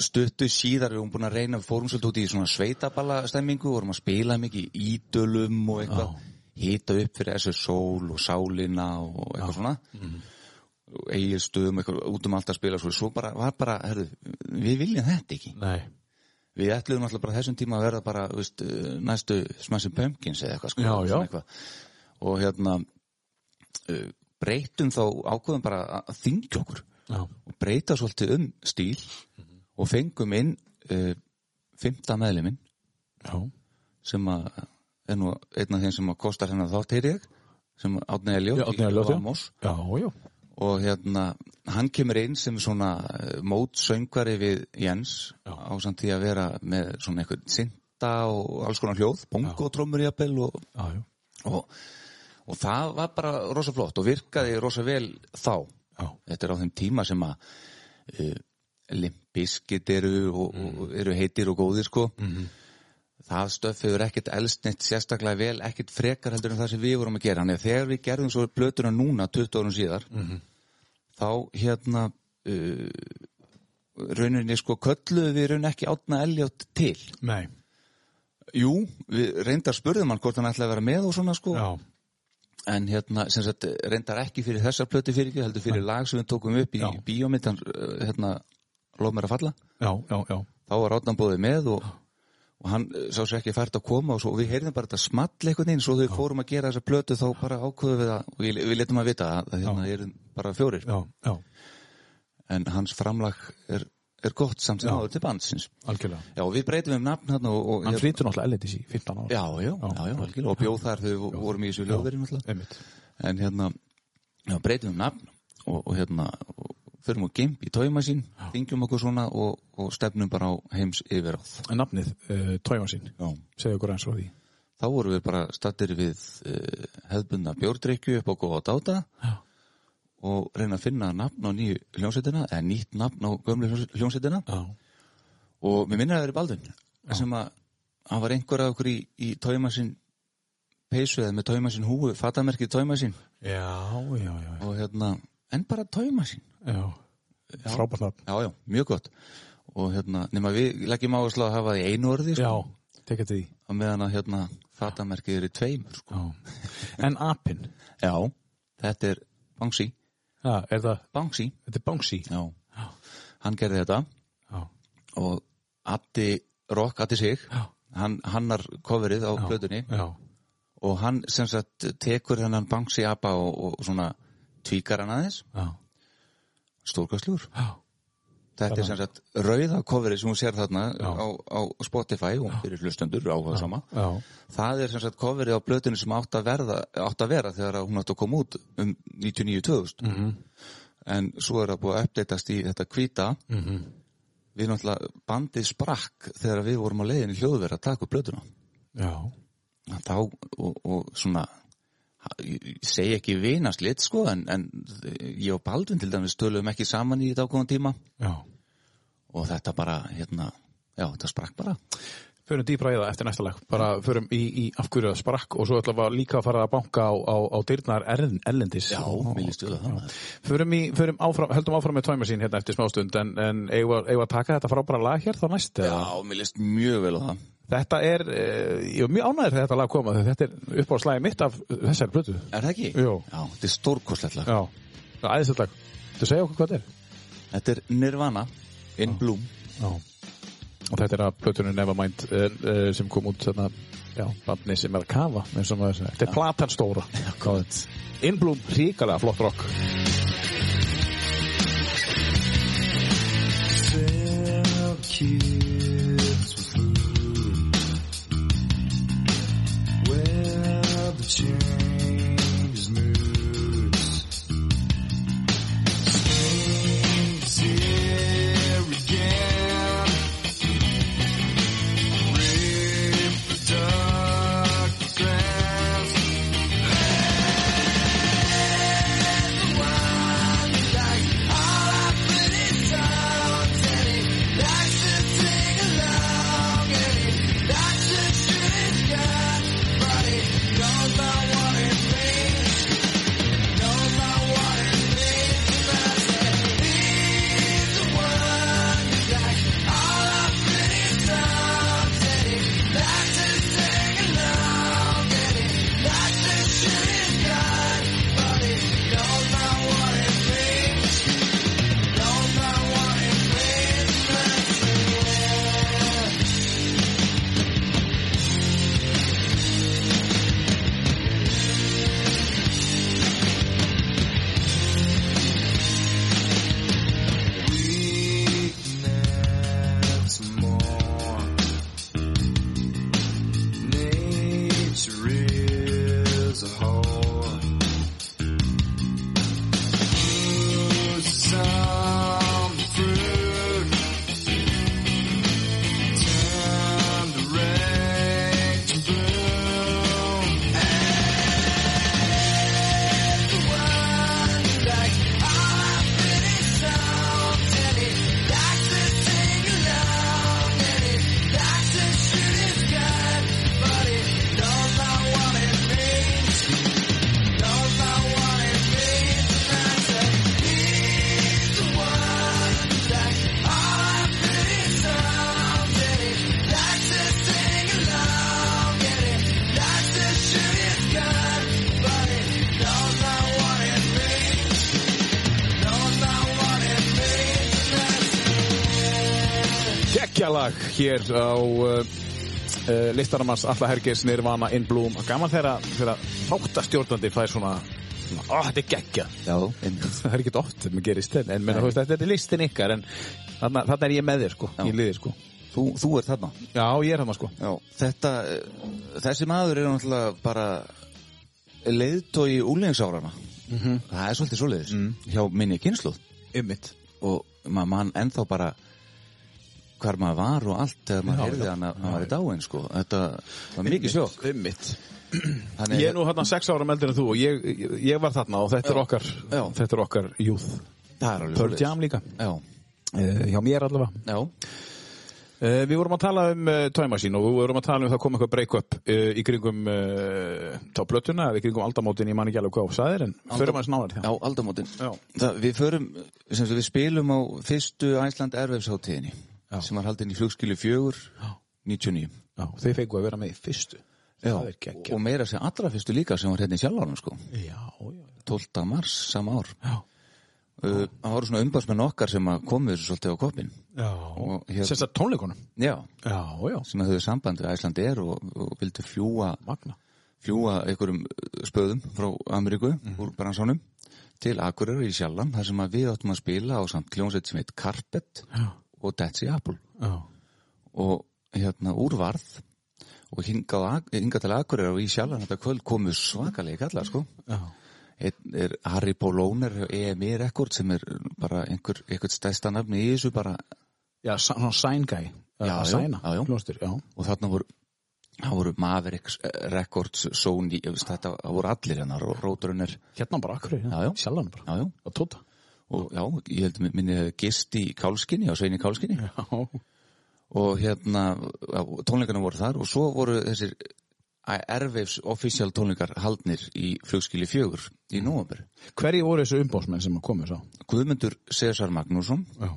Speaker 2: stuttu síðar við vorum búin að reyna við fórum svolítið út í svona sveitaballa stemmingu vorum að spila mikið í ídölum og eitthvað, hita upp fyrir þessu sól og sálina og eitthvað svona og eigið stöðum eitthvað út um allt að spila svo, svo bara, var bara, herðu, við viljum þetta ekki
Speaker 1: nei
Speaker 2: Við ætluðum alltaf bara þessum tíma að verða bara þú veist, eh, næstu smashing pumpkins eða eitthvað sko.
Speaker 1: Já, já.
Speaker 2: svona Eitthvað. Og hérna eh, breytum þá ákveðum bara að þingja okkur
Speaker 1: Já,
Speaker 2: og breyta svolítið um stíl og fengum inn uh, fymta meðliminn
Speaker 1: já,
Speaker 2: sem að er nú einn af þeim sem að kostar hennar þátt heyri ég sem Átni Eljótt
Speaker 1: Já, Árni Elliot, já.
Speaker 2: Vamos
Speaker 1: já, já
Speaker 2: og hérna hann kemur inn sem svona eh, mótsöngvari við Jens
Speaker 1: Já.
Speaker 2: á samt því að vera með svona einhvern synda og alls konar hljóð, bongo, trommur jafnvel og,
Speaker 1: Já, já,
Speaker 2: og, og það var bara rosa flott og virkaði rosa vel þá
Speaker 1: já,
Speaker 2: þetta er á þeim tíma sem að uh, limpiskit eru og, og eru heitir og góðir sko -hmm. það stöf hefur ekkert elstnitt sérstaklega vel, ekkert frekar heldur en það sem við vorum að gera, en þegar við gerðum svo blötuna núna 20 árum síðar -hmm. þá hérna uh, rauninni sko kölluðu við raun ekki átna eljátt til
Speaker 1: nei,
Speaker 2: jú, við reyndar spurðum hann hvort hann ætlaði að vera með og svona sko
Speaker 1: já,
Speaker 2: en hérna, sem sagt, reyndar ekki fyrir þessar plötu fyrir ekki, heldur fyrir lag sem við tókum upp í
Speaker 1: Já.
Speaker 2: bíómyndan, uh, hérna, lof mér að falla,
Speaker 1: já, já, já,
Speaker 2: þá var Ráðnan bóðið með og, og hann uh, sá sér ekki fært að koma og svo, og við heyrðum bara þetta small einhvern veginn, svo þau fórum að gera þessa plötu þá bara ákveðum við það, og við, við letum að vita að að hérna erum bara fjórir,
Speaker 1: já, já,
Speaker 2: en hans framlag er, er gott samt sem áður til bandsins.
Speaker 1: algjörlega
Speaker 2: Já, og við breytum um nafn hérna og, og
Speaker 1: Hann flytur náttúrulega LDC 15 ára
Speaker 2: já, já, já, já, algjörlega, og bjóð þar þau vorum í þessu ljóðverið náttúrulega.
Speaker 1: Einmitt.
Speaker 2: en hérna já, breytum um nafn og, og hérna og förum og gimp í tóima sín þingjum okkur svona og, og stefnum bara á heims yfiráð
Speaker 1: En nafnið, uh, Tójón sín,
Speaker 2: já.
Speaker 1: segðu okkur eins frá því
Speaker 2: þá vorum við bara stattir við uh, hefðbundna bjórdrykju upp á góða dáta
Speaker 1: Já.
Speaker 2: og reyna að finna nafn á nýju hljómsettina eða nýtt nafn á gömlu hljós- hljómsettina
Speaker 1: Já,
Speaker 2: og mér minna að það er Baldun sem að hann var einhver af okkur í, í tóima sín peysu eða með tóima sín húu fatamerkið tóima sín
Speaker 1: já, já, já,
Speaker 2: og hérna en bara tóima sín
Speaker 1: já. Frábært nafn
Speaker 2: Já, já, mjög gott og hérna, nema við leggjum áherslu að hafa það í einu orði, sko,
Speaker 1: Já, tekja til því
Speaker 2: á meðan að hérna fatamerkið eru í tveimur, sko.
Speaker 1: já. En apinn,
Speaker 2: Já, þetta er Banksy,
Speaker 1: já, er það,
Speaker 2: Banksy,
Speaker 1: þetta er Banksy
Speaker 2: já, hann gerði þetta
Speaker 1: Já,
Speaker 2: og Addi Rock, Addi Sig,
Speaker 1: Já.
Speaker 2: hann, hannar coverið á plötunni
Speaker 1: já,
Speaker 2: og hann sem sagt tekur hennan Banksy apa og, og svona tvíkar hann aðeins,
Speaker 1: já,
Speaker 2: stórkastlur.
Speaker 1: já,
Speaker 2: Þetta er sem sagt rauða coverið sem hún sér þarna
Speaker 1: Já.
Speaker 2: á, á Spotify og fyrir hlustendur áhuga sama.
Speaker 1: já,
Speaker 2: Það er sem sagt coverið á blötunni sem átt að, verða, átt að vera þegar að hún átt að koma út um 99-2000 -hmm. en svo er það búið að uppdeitast í þetta hvíta
Speaker 1: Mhm.
Speaker 2: við náttúrulega bandið sprakk þegar við vorum á leiðinni í hljóðverð að taka upp blötuna
Speaker 1: já,
Speaker 2: þá og, og svona ha- ég ég segi ekki vinast lit sko en, en ég og Baldvin til dæmis töluðum ekki saman í þetta ákvæðan tíma
Speaker 1: já
Speaker 2: og þetta bara hérna, já þetta sprakk bara
Speaker 1: förum dýpra í það eftir næsta lag bara förum í, í af hverju það sprakk og svo ætlum við að líka að fara að banka á, á, á dyrnar erðin ellendis
Speaker 2: Já, mér líst við að það maður.
Speaker 1: förum, í, förum áfram, höldum áfram með tvæmur sín hérna eftir smástund en, en eigum við- eigum við að taka þetta frábæra lag hér þá næst eða?
Speaker 2: Já, mér líst mjög vel á það.
Speaker 1: þetta er, eh, ég er mjög ánæður þegar þetta lag koma þetta er upp á slæði mitt af þessari blötu
Speaker 2: Er það ekki?
Speaker 1: Jú.
Speaker 2: Já, þetta er stórkostlega.
Speaker 1: já, æðisett lag þú segja okkur hvað þetta er
Speaker 2: Þetta er Nirvana in Bloom.
Speaker 1: já. og þetta er að blötunum Nevermind uh, uh, sem kom út þarna, já, bandni sem er að kafa eins og maður segir. þetta er platan stóra innblúm ríkalega flott rock
Speaker 3: Nature is a whole. Lose some fruit. Turn the rain to bloom.
Speaker 1: geggjalag hér á uh, uh, listanamans Alla Hergers Nirvana In Bloom gaman þegar þegar þáttastjórnandi fær svona svona, ó þetta er geggja
Speaker 2: Já, einmitt.
Speaker 1: það er ekki oft sem gerist hérna, en, en menn, þú veist, þetta er listin ykkar en þarna, þarna er ég með þér sko,
Speaker 2: Já.
Speaker 1: í liði sko
Speaker 2: Þú, þú er þarna.
Speaker 1: já ég er hann sko
Speaker 2: Já. Þetta, eh, þessi maður er náttúrulega bara leiðtói úlíðingsárarna.
Speaker 1: Mhm.
Speaker 2: -hmm. Það er svolítið svoleiðis
Speaker 1: Mm.
Speaker 2: hjá minni kynsluð
Speaker 1: ymmit
Speaker 2: og maður mann ennþá bara hvar maður var og allt þegar maður
Speaker 1: Já,
Speaker 2: heyrði
Speaker 1: já.
Speaker 2: hann að hann var í dáin sko. Þetta var mikið sjokk.
Speaker 1: ymmit
Speaker 2: [CLEARS THROAT] Þannig-
Speaker 1: ég er nú hérna sex ára meldur en þú og ég, ég, ég var þarna og þetta er okkar
Speaker 2: Já.
Speaker 1: þetta er okkar youth
Speaker 2: Það er alveg
Speaker 1: Pearl
Speaker 2: svoleiðis.
Speaker 1: Jam líka
Speaker 2: Já,
Speaker 1: uh, hjá mér allavega
Speaker 2: já,
Speaker 1: Uh, við vorum að tala um uh, Tvæmasín og við vorum að tala um það kom eitthvað break-up uh, í kringum uh, þá blötuna eða í kringum aldamótin, ég man ekki alveg hvað það er en förum aðeins nánar til
Speaker 2: já, aldamótin
Speaker 1: Já.
Speaker 2: það, Við förum, sem sagt, við spilum á fyrstu Æsland erfefsháttíðinni sem var haldin í flugskilu fjögur 99
Speaker 1: það Þau fengu að vera með í fyrstu Það er geggja
Speaker 2: og meira sem allra fyrstu líka sem var hérna í sjálfárnum sko
Speaker 1: Já, já,
Speaker 2: 12. mars sama ár
Speaker 1: já,
Speaker 2: Uh, Það voru svona umbásmenn okkar sem að komu þessu svolítið á koppin Og
Speaker 1: já.
Speaker 2: hér-
Speaker 1: Sérst að tónleikunum
Speaker 2: Já,
Speaker 1: hérna- Já, já,
Speaker 2: sem að höfðu samband við Æsland er og, og vildu fljúa
Speaker 1: magna
Speaker 2: fljúa einhverjum uh, spöðum frá Ameríku úr bransanum til Akureyri í Sjallan þar sem að við áttum að spila á samt kljónsett sem heit Carpet
Speaker 1: Já.
Speaker 2: og That's the Apple
Speaker 1: Já,
Speaker 2: og hérna úrvarð og hingað, á Ak- hingað til Akureyri og í Sjallan þetta kvöld komu svakalegi kallar sko
Speaker 1: já,
Speaker 2: Einn er Harry E Pólóner og EMI Record sem er bara einhver, einhver stæsta nafni í þessu bara
Speaker 1: já sa- svona sign guy
Speaker 2: Já,
Speaker 1: Að
Speaker 2: já,
Speaker 1: sæna,
Speaker 2: já, já.
Speaker 1: Klóstur, já
Speaker 2: og þarna voru það voru Mavericks eh, Records, Sony, ég veist, þetta það voru allir hennar og Róturunner
Speaker 1: Hérna bara akkur,
Speaker 2: Já, já.
Speaker 1: sjálfan bara
Speaker 2: já, já,
Speaker 1: Og tóta
Speaker 2: og já, ég held að minni hefði gist í kálskinni, á sveini kálskinni
Speaker 1: Já,
Speaker 2: og hérna já, tónleikarnir voru þar og svo voru þessir Airwaves official tónleikar haldnir í flugskili fjögur
Speaker 1: Mm.
Speaker 2: í nóvambur.
Speaker 1: Hverji voru þessu umbósmenn sem að komu svo?
Speaker 2: Guðmundur Cesar Magnússon,
Speaker 1: Já.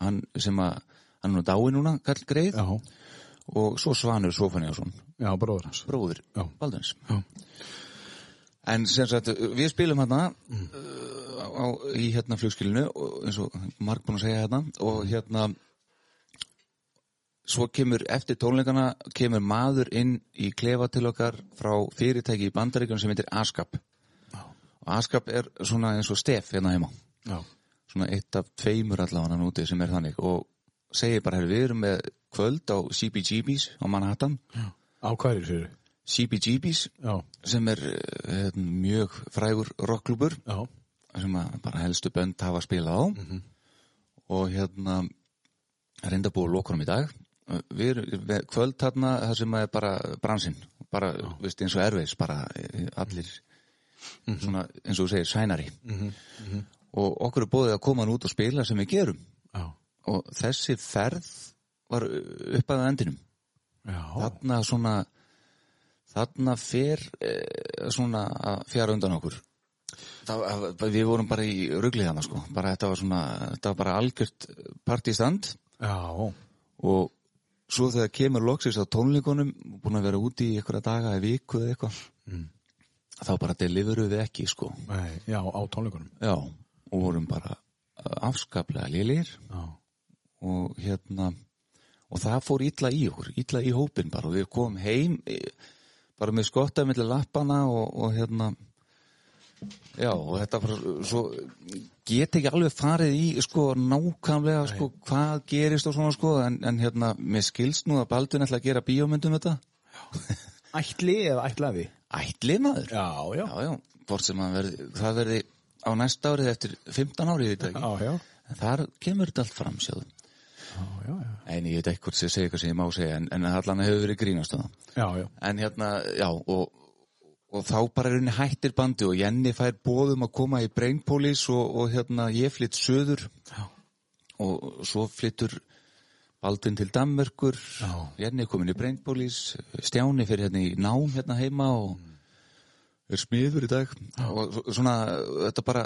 Speaker 2: hann sem að hann er nú dáið núna, Karl Greið
Speaker 1: Já,
Speaker 2: og svo Svanur Sofanjásson,
Speaker 1: já, bróður hans.
Speaker 2: bróðir
Speaker 1: Já.
Speaker 2: Baldins.
Speaker 1: Já.
Speaker 2: En sem sagt, við spilum hérna uh, á, í hérna flugskilinu og eins og Mark búin að segja hérna og hérna svo kemur eftir tónleikana kemur maður inn í klefa til okkar frá fyrirtæki í bandaríkjum sem heitir ASCAP og ASCAP er svona eins og stef hérna heima
Speaker 1: Já.
Speaker 2: svona eitt af tveimur allavega hann úti sem er þannig og segir bara, "Heyrðu, við erum með kvöld á CBGB's á Manhattan
Speaker 1: Á hverju sér?
Speaker 2: CBGB's
Speaker 1: Já,
Speaker 2: sem er eh, hérna, mjög frægur rockklubur
Speaker 1: já,
Speaker 2: sem að bara helstu bönd hafa spilað á og hérna er enda búið að lokunum í dag Uh, við erum við- kvöld þarna það sem er bara bransinn bara, veist, eins og erfiðs, bara eh, allir svona, eins og þú segir, sænari og okkur er búið að koma hann út og spila sem við gerum
Speaker 1: já,
Speaker 2: og þessi ferð var upp að endinum
Speaker 1: já.
Speaker 2: þarna svona þarna fer eh, svona að fjara undan okkur það, var- við vorum bara í rugliðana sko, bara þetta var svona þetta var bara algjört partístand
Speaker 1: Já,
Speaker 2: og svo þegar kemur loksins á tónleikunum búin að vera úti í einhverja daga eða viku eða eitthvað þá bara deliveru við ekki sko
Speaker 1: nei, já, á tónleikunum.
Speaker 2: já, og vorum bara eh, afskaplega lélir
Speaker 1: Já,
Speaker 2: og hérna og það fór illa í okkur, illa í hópin bara og við komum heim eh, bara með skottaði millir lappana og, og hérna já og þetta bara svo get ekki alveg farið í sko nákvæmlega sko hvað gerist og svona sko en, en hérna mér skilst nú að Baldvin ætla að gera bíómyndum þetta
Speaker 1: ætli eða ætlaði?
Speaker 2: ætli maður
Speaker 1: Já, já,
Speaker 2: já já, hvort sem að verði, það verði á næsta árið eftir 15 árið í dag
Speaker 1: já, já,
Speaker 2: en þar kemur þetta allt fram sjáðu
Speaker 1: já, já,
Speaker 2: En ég veit ekki hvort sem segja eitthvað sem ég má segja en, en allan hefur verið grínast á það.
Speaker 1: já, já,
Speaker 2: En hérna, já, og, og þá bara er henni hættir bandi og Jenny fær bóðum að koma í Brainpolis og, og hérna ég flytt söður
Speaker 1: Já.
Speaker 2: og svo flyttur Baldin til Danmörkur,
Speaker 1: Já.
Speaker 2: Jenny er komin í Brainpolis, Stjáni fyrir hérna í nám hérna heima og er smiður í dag og svo- svona, þetta bara,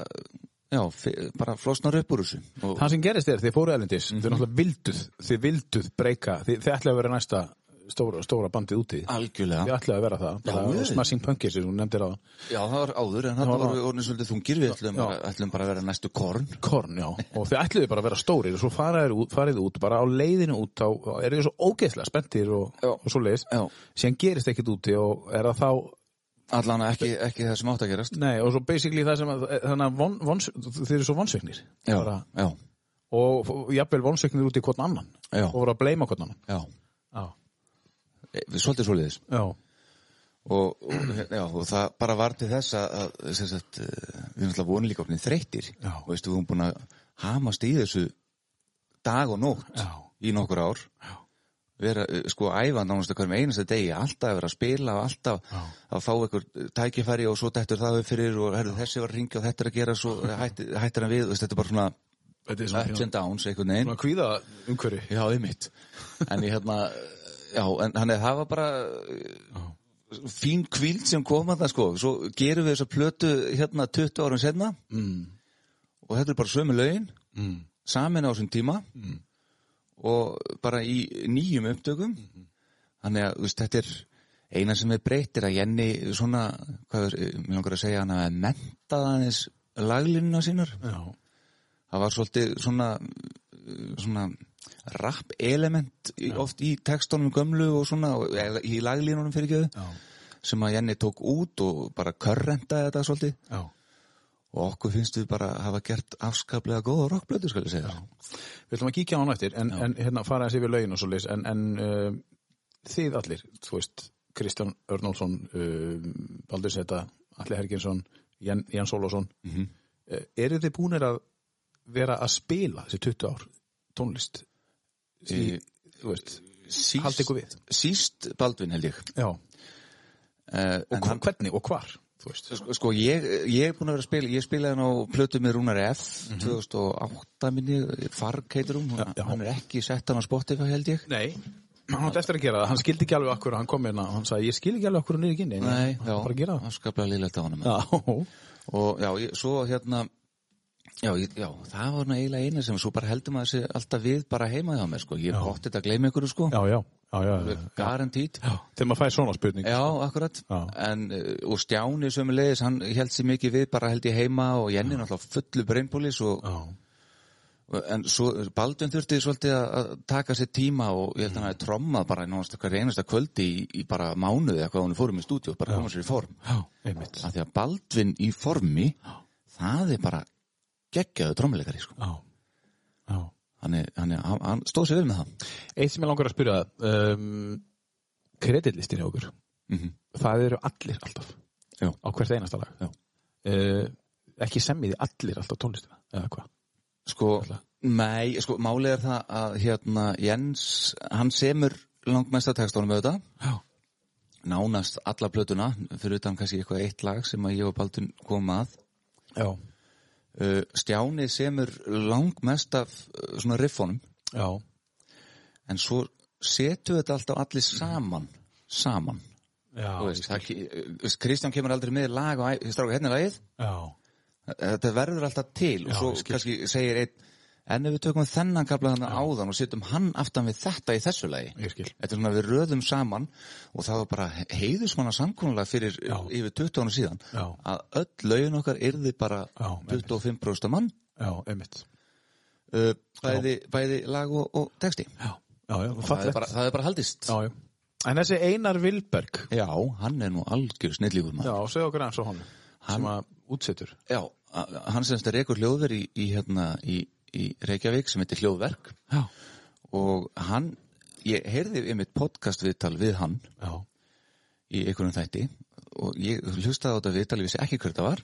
Speaker 2: já, fe- bara flosnar upp úr þessu. Og,
Speaker 1: Það sem gerist er, þið fóru elendis, þið náttúrulega vilduð, þið vilduð breyka, þið, þið ætlaði að vera næsta stóra, stóra bandið úti.
Speaker 2: Algjörlega.
Speaker 1: Þið ætlaði að vera það, bara
Speaker 2: Já, við.
Speaker 1: smashing punkir sem þú nefndir á
Speaker 2: Já, það var áður, en þarna
Speaker 1: var
Speaker 2: vorum við orðin svolítið þungir, við ætlum,
Speaker 1: Já.
Speaker 2: bara, ætlum bara að vera næstu korn.
Speaker 1: korn, já, og þið ætlaði bara að vera stórir og svo faraðið út, farið út, bara á leiðinu út, þá eru þið svo ógeðslega spenntir og,
Speaker 2: Já.
Speaker 1: og svo leiðis,
Speaker 2: Já.
Speaker 1: síðan gerist ekkit úti og er það þá
Speaker 2: Allan ekki, ekki það sem átt að gerast.
Speaker 1: Nei, og svo basically það sem að, eh, þannig að von, von, þeir eru svo vonsveiknir
Speaker 2: Já,
Speaker 1: Bara,
Speaker 2: já,
Speaker 1: og og jafnvel vonsveiknir út í hvort annan
Speaker 2: Já.
Speaker 1: og voru að bleima hvort annan
Speaker 2: já,
Speaker 1: Já,
Speaker 2: E, við svolítið svolítiðis.
Speaker 1: já,
Speaker 2: Og, og, já, og það bara var til þess að, að sem sagt, eh, við erum alltaf vonum líka opnið þreyttir.
Speaker 1: Já.
Speaker 2: Og veistu, við erum búin að hamast í þessu dag og nótt
Speaker 1: Já.
Speaker 2: í nokkur ár. Já. Vera, eh, sko, æfa nánast hverjum einasta degi, alltaf að vera að spila og alltaf
Speaker 1: Já.
Speaker 2: að fá einhver tækifæri og svo dettur það upp fyrir og herðu, þessi var að ringja og þetta er að gera svo hættir, hættir hann við, veist, þetta er bara svona
Speaker 1: þetta er
Speaker 2: ups and downs einhvern veginn
Speaker 1: að kvíða umhverju
Speaker 2: já, einmitt en ég hérna, já, en hann er það var bara já. fín kvíld sem kom að það sko svo gerum við þessa plötu hérna 20 árum senna mm. og þetta er bara sömu lögin mm. samin á þessum tíma mm. og bara í nýjum upptökum þannig að þú veist, þetta er eina sem er breytt er að Jenny svona, hvað er, mér langar að segja hann að menta aðeins laglínuna sínar
Speaker 1: Já,
Speaker 2: það var svolítið svona eh, svona rap element í, oft í textunum gömlu og svona, og- eða í laglínunum fyrir
Speaker 1: já,
Speaker 2: sem að Jenny tók út og bara körrentaði þetta svolítið
Speaker 1: já
Speaker 2: og okkur finnst við bara hafa gert afskaplega góða rockblötu skal ég segja þér.
Speaker 1: Við ætlum að kíkja á hann eftir en, en hérna fara eins yfir lögin og svo leiðis en, en uh, þið allir, þú veist Kristján Örnólfsson uh, Baldur Seta, Alli Herginsson Jan, Jens Ólafsson mm -hmm. Eru þið búinir að vera að spila þessi 20 ár tónlist Eh,
Speaker 2: Í-
Speaker 1: þú veist,
Speaker 2: síst,
Speaker 1: Haldið ykkur við.
Speaker 2: síst Baldvin held ég
Speaker 1: já,
Speaker 2: uh,
Speaker 1: og hann, hvernig og hvar þú veist
Speaker 2: Sko, sko ég, ég er búin að vera að spila, ég spilaði hann á plötu með Rúnar F 2008 minni, Farg heitir hún,
Speaker 1: Já, já.
Speaker 2: hann er ekki sett hann á Spotify held ég.
Speaker 1: Nei, hann átti eftir að gera það, hann skildi ekki alveg akkur hann kom inn að, hann sagði, ég skil ekki alveg akkur hann er ekki inn en hann
Speaker 2: Nei, já,
Speaker 1: bara að gera það
Speaker 2: hann skaplega lýlegt á hann.
Speaker 1: Já,
Speaker 2: Og já, ég, svo hérna, já, ég, já, það var hann eiginlega eina sem, svo bara heldur maður sér alltaf við bara heima hjá mér, sko, ég er bótt þetta að gleyma ykkur, sko,
Speaker 1: já, já, já, já, já.
Speaker 2: garantít.
Speaker 1: já. Þegar maður fæði svona spurning
Speaker 2: Já, akkurat,
Speaker 1: Já.
Speaker 2: en uh, og Stjáni sömulegis, hann held sér mikið við bara held ég heima og Jenni náttúrulega fullu breynbólis og
Speaker 1: já,
Speaker 2: En svo, Baldvin þurfti svolítið að að taka sér tíma og ég held að hann að trommað bara í náttúrulega hverju einasta kvöldi í, í bara mánuði eitthvað hún fórum um í stúdíu, bara koma sér í form.
Speaker 1: já, einmitt
Speaker 2: Af því að Baldvin í formi, það er bara geggjaðu trommleikari, sko.
Speaker 1: Já, já
Speaker 2: Hann, er, hann, er, hann, hann stóð sér vel með það.
Speaker 1: Eitt sem ég langar að spyrja það um, Kreditlistin hjá okkur Það eru allir alltaf
Speaker 2: Já.
Speaker 1: Á hvert einasta lag uh, Ekki semmiði allir alltaf tónlistina Eða hvað
Speaker 2: Sko,
Speaker 1: Alla.
Speaker 2: nei, sko, málið er það að hérna Jens, hann semur langmesta textónum auðvitað,
Speaker 1: Já,
Speaker 2: nánast alla plötuna, fyrir utan kannski eitthvað eitt lag sem að ég og Baldvin kom að.
Speaker 1: já,
Speaker 2: Uh, Stjáni semur langmest af uh, svona riffunum
Speaker 1: já,
Speaker 2: en svo setu þetta alltaf allir saman saman
Speaker 1: já,
Speaker 2: Þú veist, það, ke- uh, Kristján kemur aldrei með lag og æ- stráka hérna er lagið
Speaker 1: já.
Speaker 2: þetta verður alltaf til og
Speaker 1: Já,
Speaker 2: svo
Speaker 1: ég skil.
Speaker 2: kannski segir einn en ef við tökum þennan kapla þannig áðan og setjum hann aftan við þetta í þessu lagi
Speaker 1: Ég skil.
Speaker 2: þetta er svona við röðum saman og það var bara heiðusmanna samkónulega fyrir
Speaker 1: Já.
Speaker 2: yfir 20 ára síðan
Speaker 1: Já.
Speaker 2: að öll lögin okkar yrði bara
Speaker 1: Já, einmitt.
Speaker 2: 25% mann
Speaker 1: já, einmitt
Speaker 2: uh, bæði, bæði lag og, og texti
Speaker 1: Já, já, já,
Speaker 2: það er,
Speaker 1: fallegt
Speaker 2: bara, það er bara haldist
Speaker 1: Já, já. En þessi Einar Vilberg,
Speaker 2: Já, hann er nú algjör snillíkur maður
Speaker 1: já, segðu okkur eins og honum, sem að útsettur.
Speaker 2: Já, a- hann semst er ekkur hljóðver í, í, hérna, í, í Reykjavík sem heitir Hljóðverk
Speaker 1: Já.
Speaker 2: og hann, ég heyrði einmitt podcast viðtal við hann
Speaker 1: Já,
Speaker 2: í einhverjum þætti og ég hlustaði á þetta viðtal, ég vissi ekki hver það var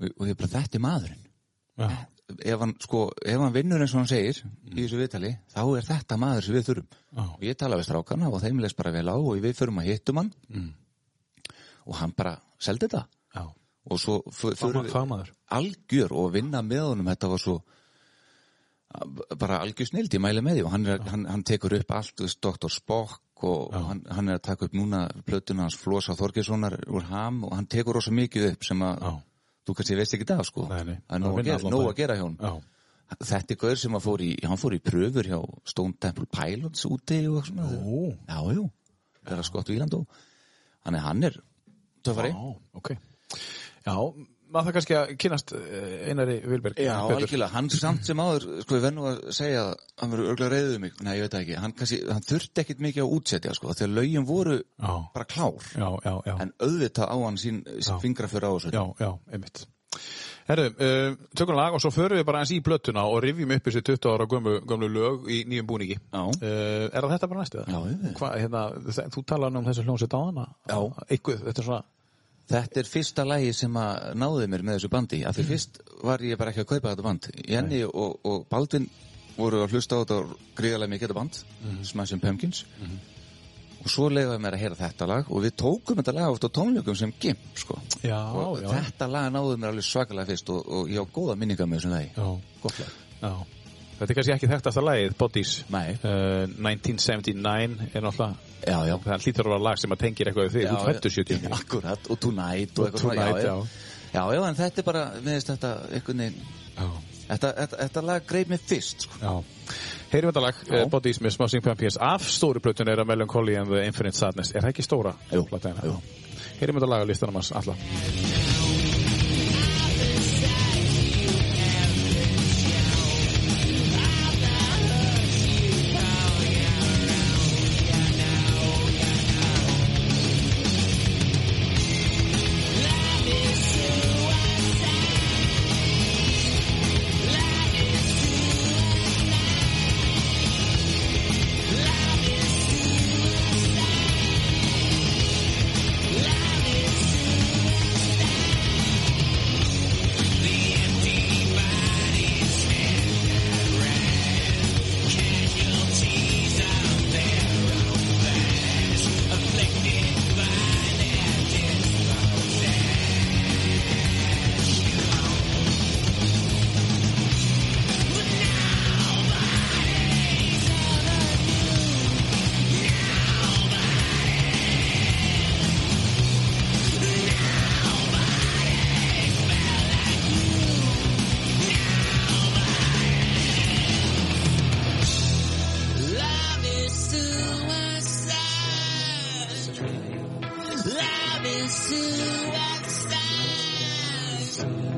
Speaker 2: og, og ég bara, þetta er maðurinn
Speaker 1: já,
Speaker 2: ef hann, sko, ef hann vinnur eins og hann segir í þessu viðtali, þá er þetta maður sem við þurfum.
Speaker 1: Já.
Speaker 2: Og ég tala við strákana og þeim leist bara vel á og við förum að hittum hann
Speaker 1: Mm.
Speaker 2: og hann bara seldi þetta
Speaker 1: já.
Speaker 2: og svo f- förum við
Speaker 1: Fagmaður.
Speaker 2: algjör og vinna með honum þetta var svo bara algjör snild, ég mæli með því og hann, er, hann, hann tekur upp allt, þú veist, Dr. Spock og hann, hann er að taka upp núna plötuna hans Flosa Þorgessonar úr ham og hann tekur rosa mikið upp sem að
Speaker 1: Já.
Speaker 2: þú kannski veist ekki það sko
Speaker 1: Nei, nei.
Speaker 2: Það er
Speaker 1: Hann
Speaker 2: nóg að
Speaker 1: vinnur
Speaker 2: gera,
Speaker 1: allan
Speaker 2: nóg
Speaker 1: daginn.
Speaker 2: að gera hjá honum
Speaker 1: Já,
Speaker 2: þetta er gaur sem að fór í, hann fór í pröfur hjá Stone Temple Pilots úti og svona
Speaker 1: Ó.
Speaker 2: já, jú, það er að skottu Írland og hann er, hann er töfari,
Speaker 1: já, ok. Já, maður það kannski að kynast eh, Einari Vilberg.
Speaker 2: já,
Speaker 1: betur.
Speaker 2: algjörlega hann samt sem áður, sko, ég verð nú að segja að hann verður örglega reyðið um mig, nei, ég veit það ekki hann, kannski, hann þurfti ekkit mikið að útsetja, sko þegar lögin voru
Speaker 1: Já,
Speaker 2: bara klár
Speaker 1: já, já, já,
Speaker 2: en auðvitað á hann sín, sín fingra fyrir á þessu
Speaker 1: já, já, einmitt. Herru, uh, tökum lag og svo förum við bara eins í blöttuna og rifjum upp þessi 20 ára gömlu, gömlu lög í nýjum búningi.
Speaker 2: Já.
Speaker 1: Eh, er það þetta bara næstu?
Speaker 2: Já, já.
Speaker 1: Hva, hérna, þe- þú talaði nú um þessu hljónsett á hana.
Speaker 2: Já.
Speaker 1: Eitthvað, þetta er svona,
Speaker 2: Þetta er fyrsta lægi sem að náði mér með þessu bandi
Speaker 1: Mhm.
Speaker 2: af því fyrst var ég bara ekki að kaupa þetta band Jenny og, og Baldvin voru að hlusta á þetta gríðarlega mikið þetta band
Speaker 1: Mhm.
Speaker 2: Smashing Pumpkins og svo leiðaði mér að heyra þetta lag og við tókum þetta lag oft á tónleikum sem gimp sko.
Speaker 1: já,
Speaker 2: og
Speaker 1: já.
Speaker 2: þetta lag náði mér alveg svakalega fyrst og, og ég á góða minningar með þessum lagi
Speaker 1: Já, gott lag. Já. Þetta er kannski ekki þekktasta lagið, Bodies.
Speaker 2: Nei.
Speaker 1: Uh, 1979 er náttúrulega,
Speaker 2: Já, já,
Speaker 1: það hlýtur að vera lag sem að tengir eitthvað við þig. Þú fættu 79.
Speaker 2: [LAUGHS] Akkurat, og Tonight og,
Speaker 1: Og
Speaker 2: eitthvað svona,
Speaker 1: Tonight,
Speaker 2: já, já, já, en þetta er bara, miðist þetta einhvern veginn
Speaker 1: Já.
Speaker 2: Þetta, þetta, þetta lag greip mér fyrst sko.
Speaker 1: Já. Heyrum þetta lag,
Speaker 2: Já.
Speaker 1: uh, Bodies með Smashing Pumpkins af stóru plötun er að Melancholy and the Infinite Sadness. Er það ekki stóra?
Speaker 2: Jú,
Speaker 1: plata hérna?
Speaker 2: jú.
Speaker 1: Heyrum þetta lag á listanum hans, alla.
Speaker 4: Love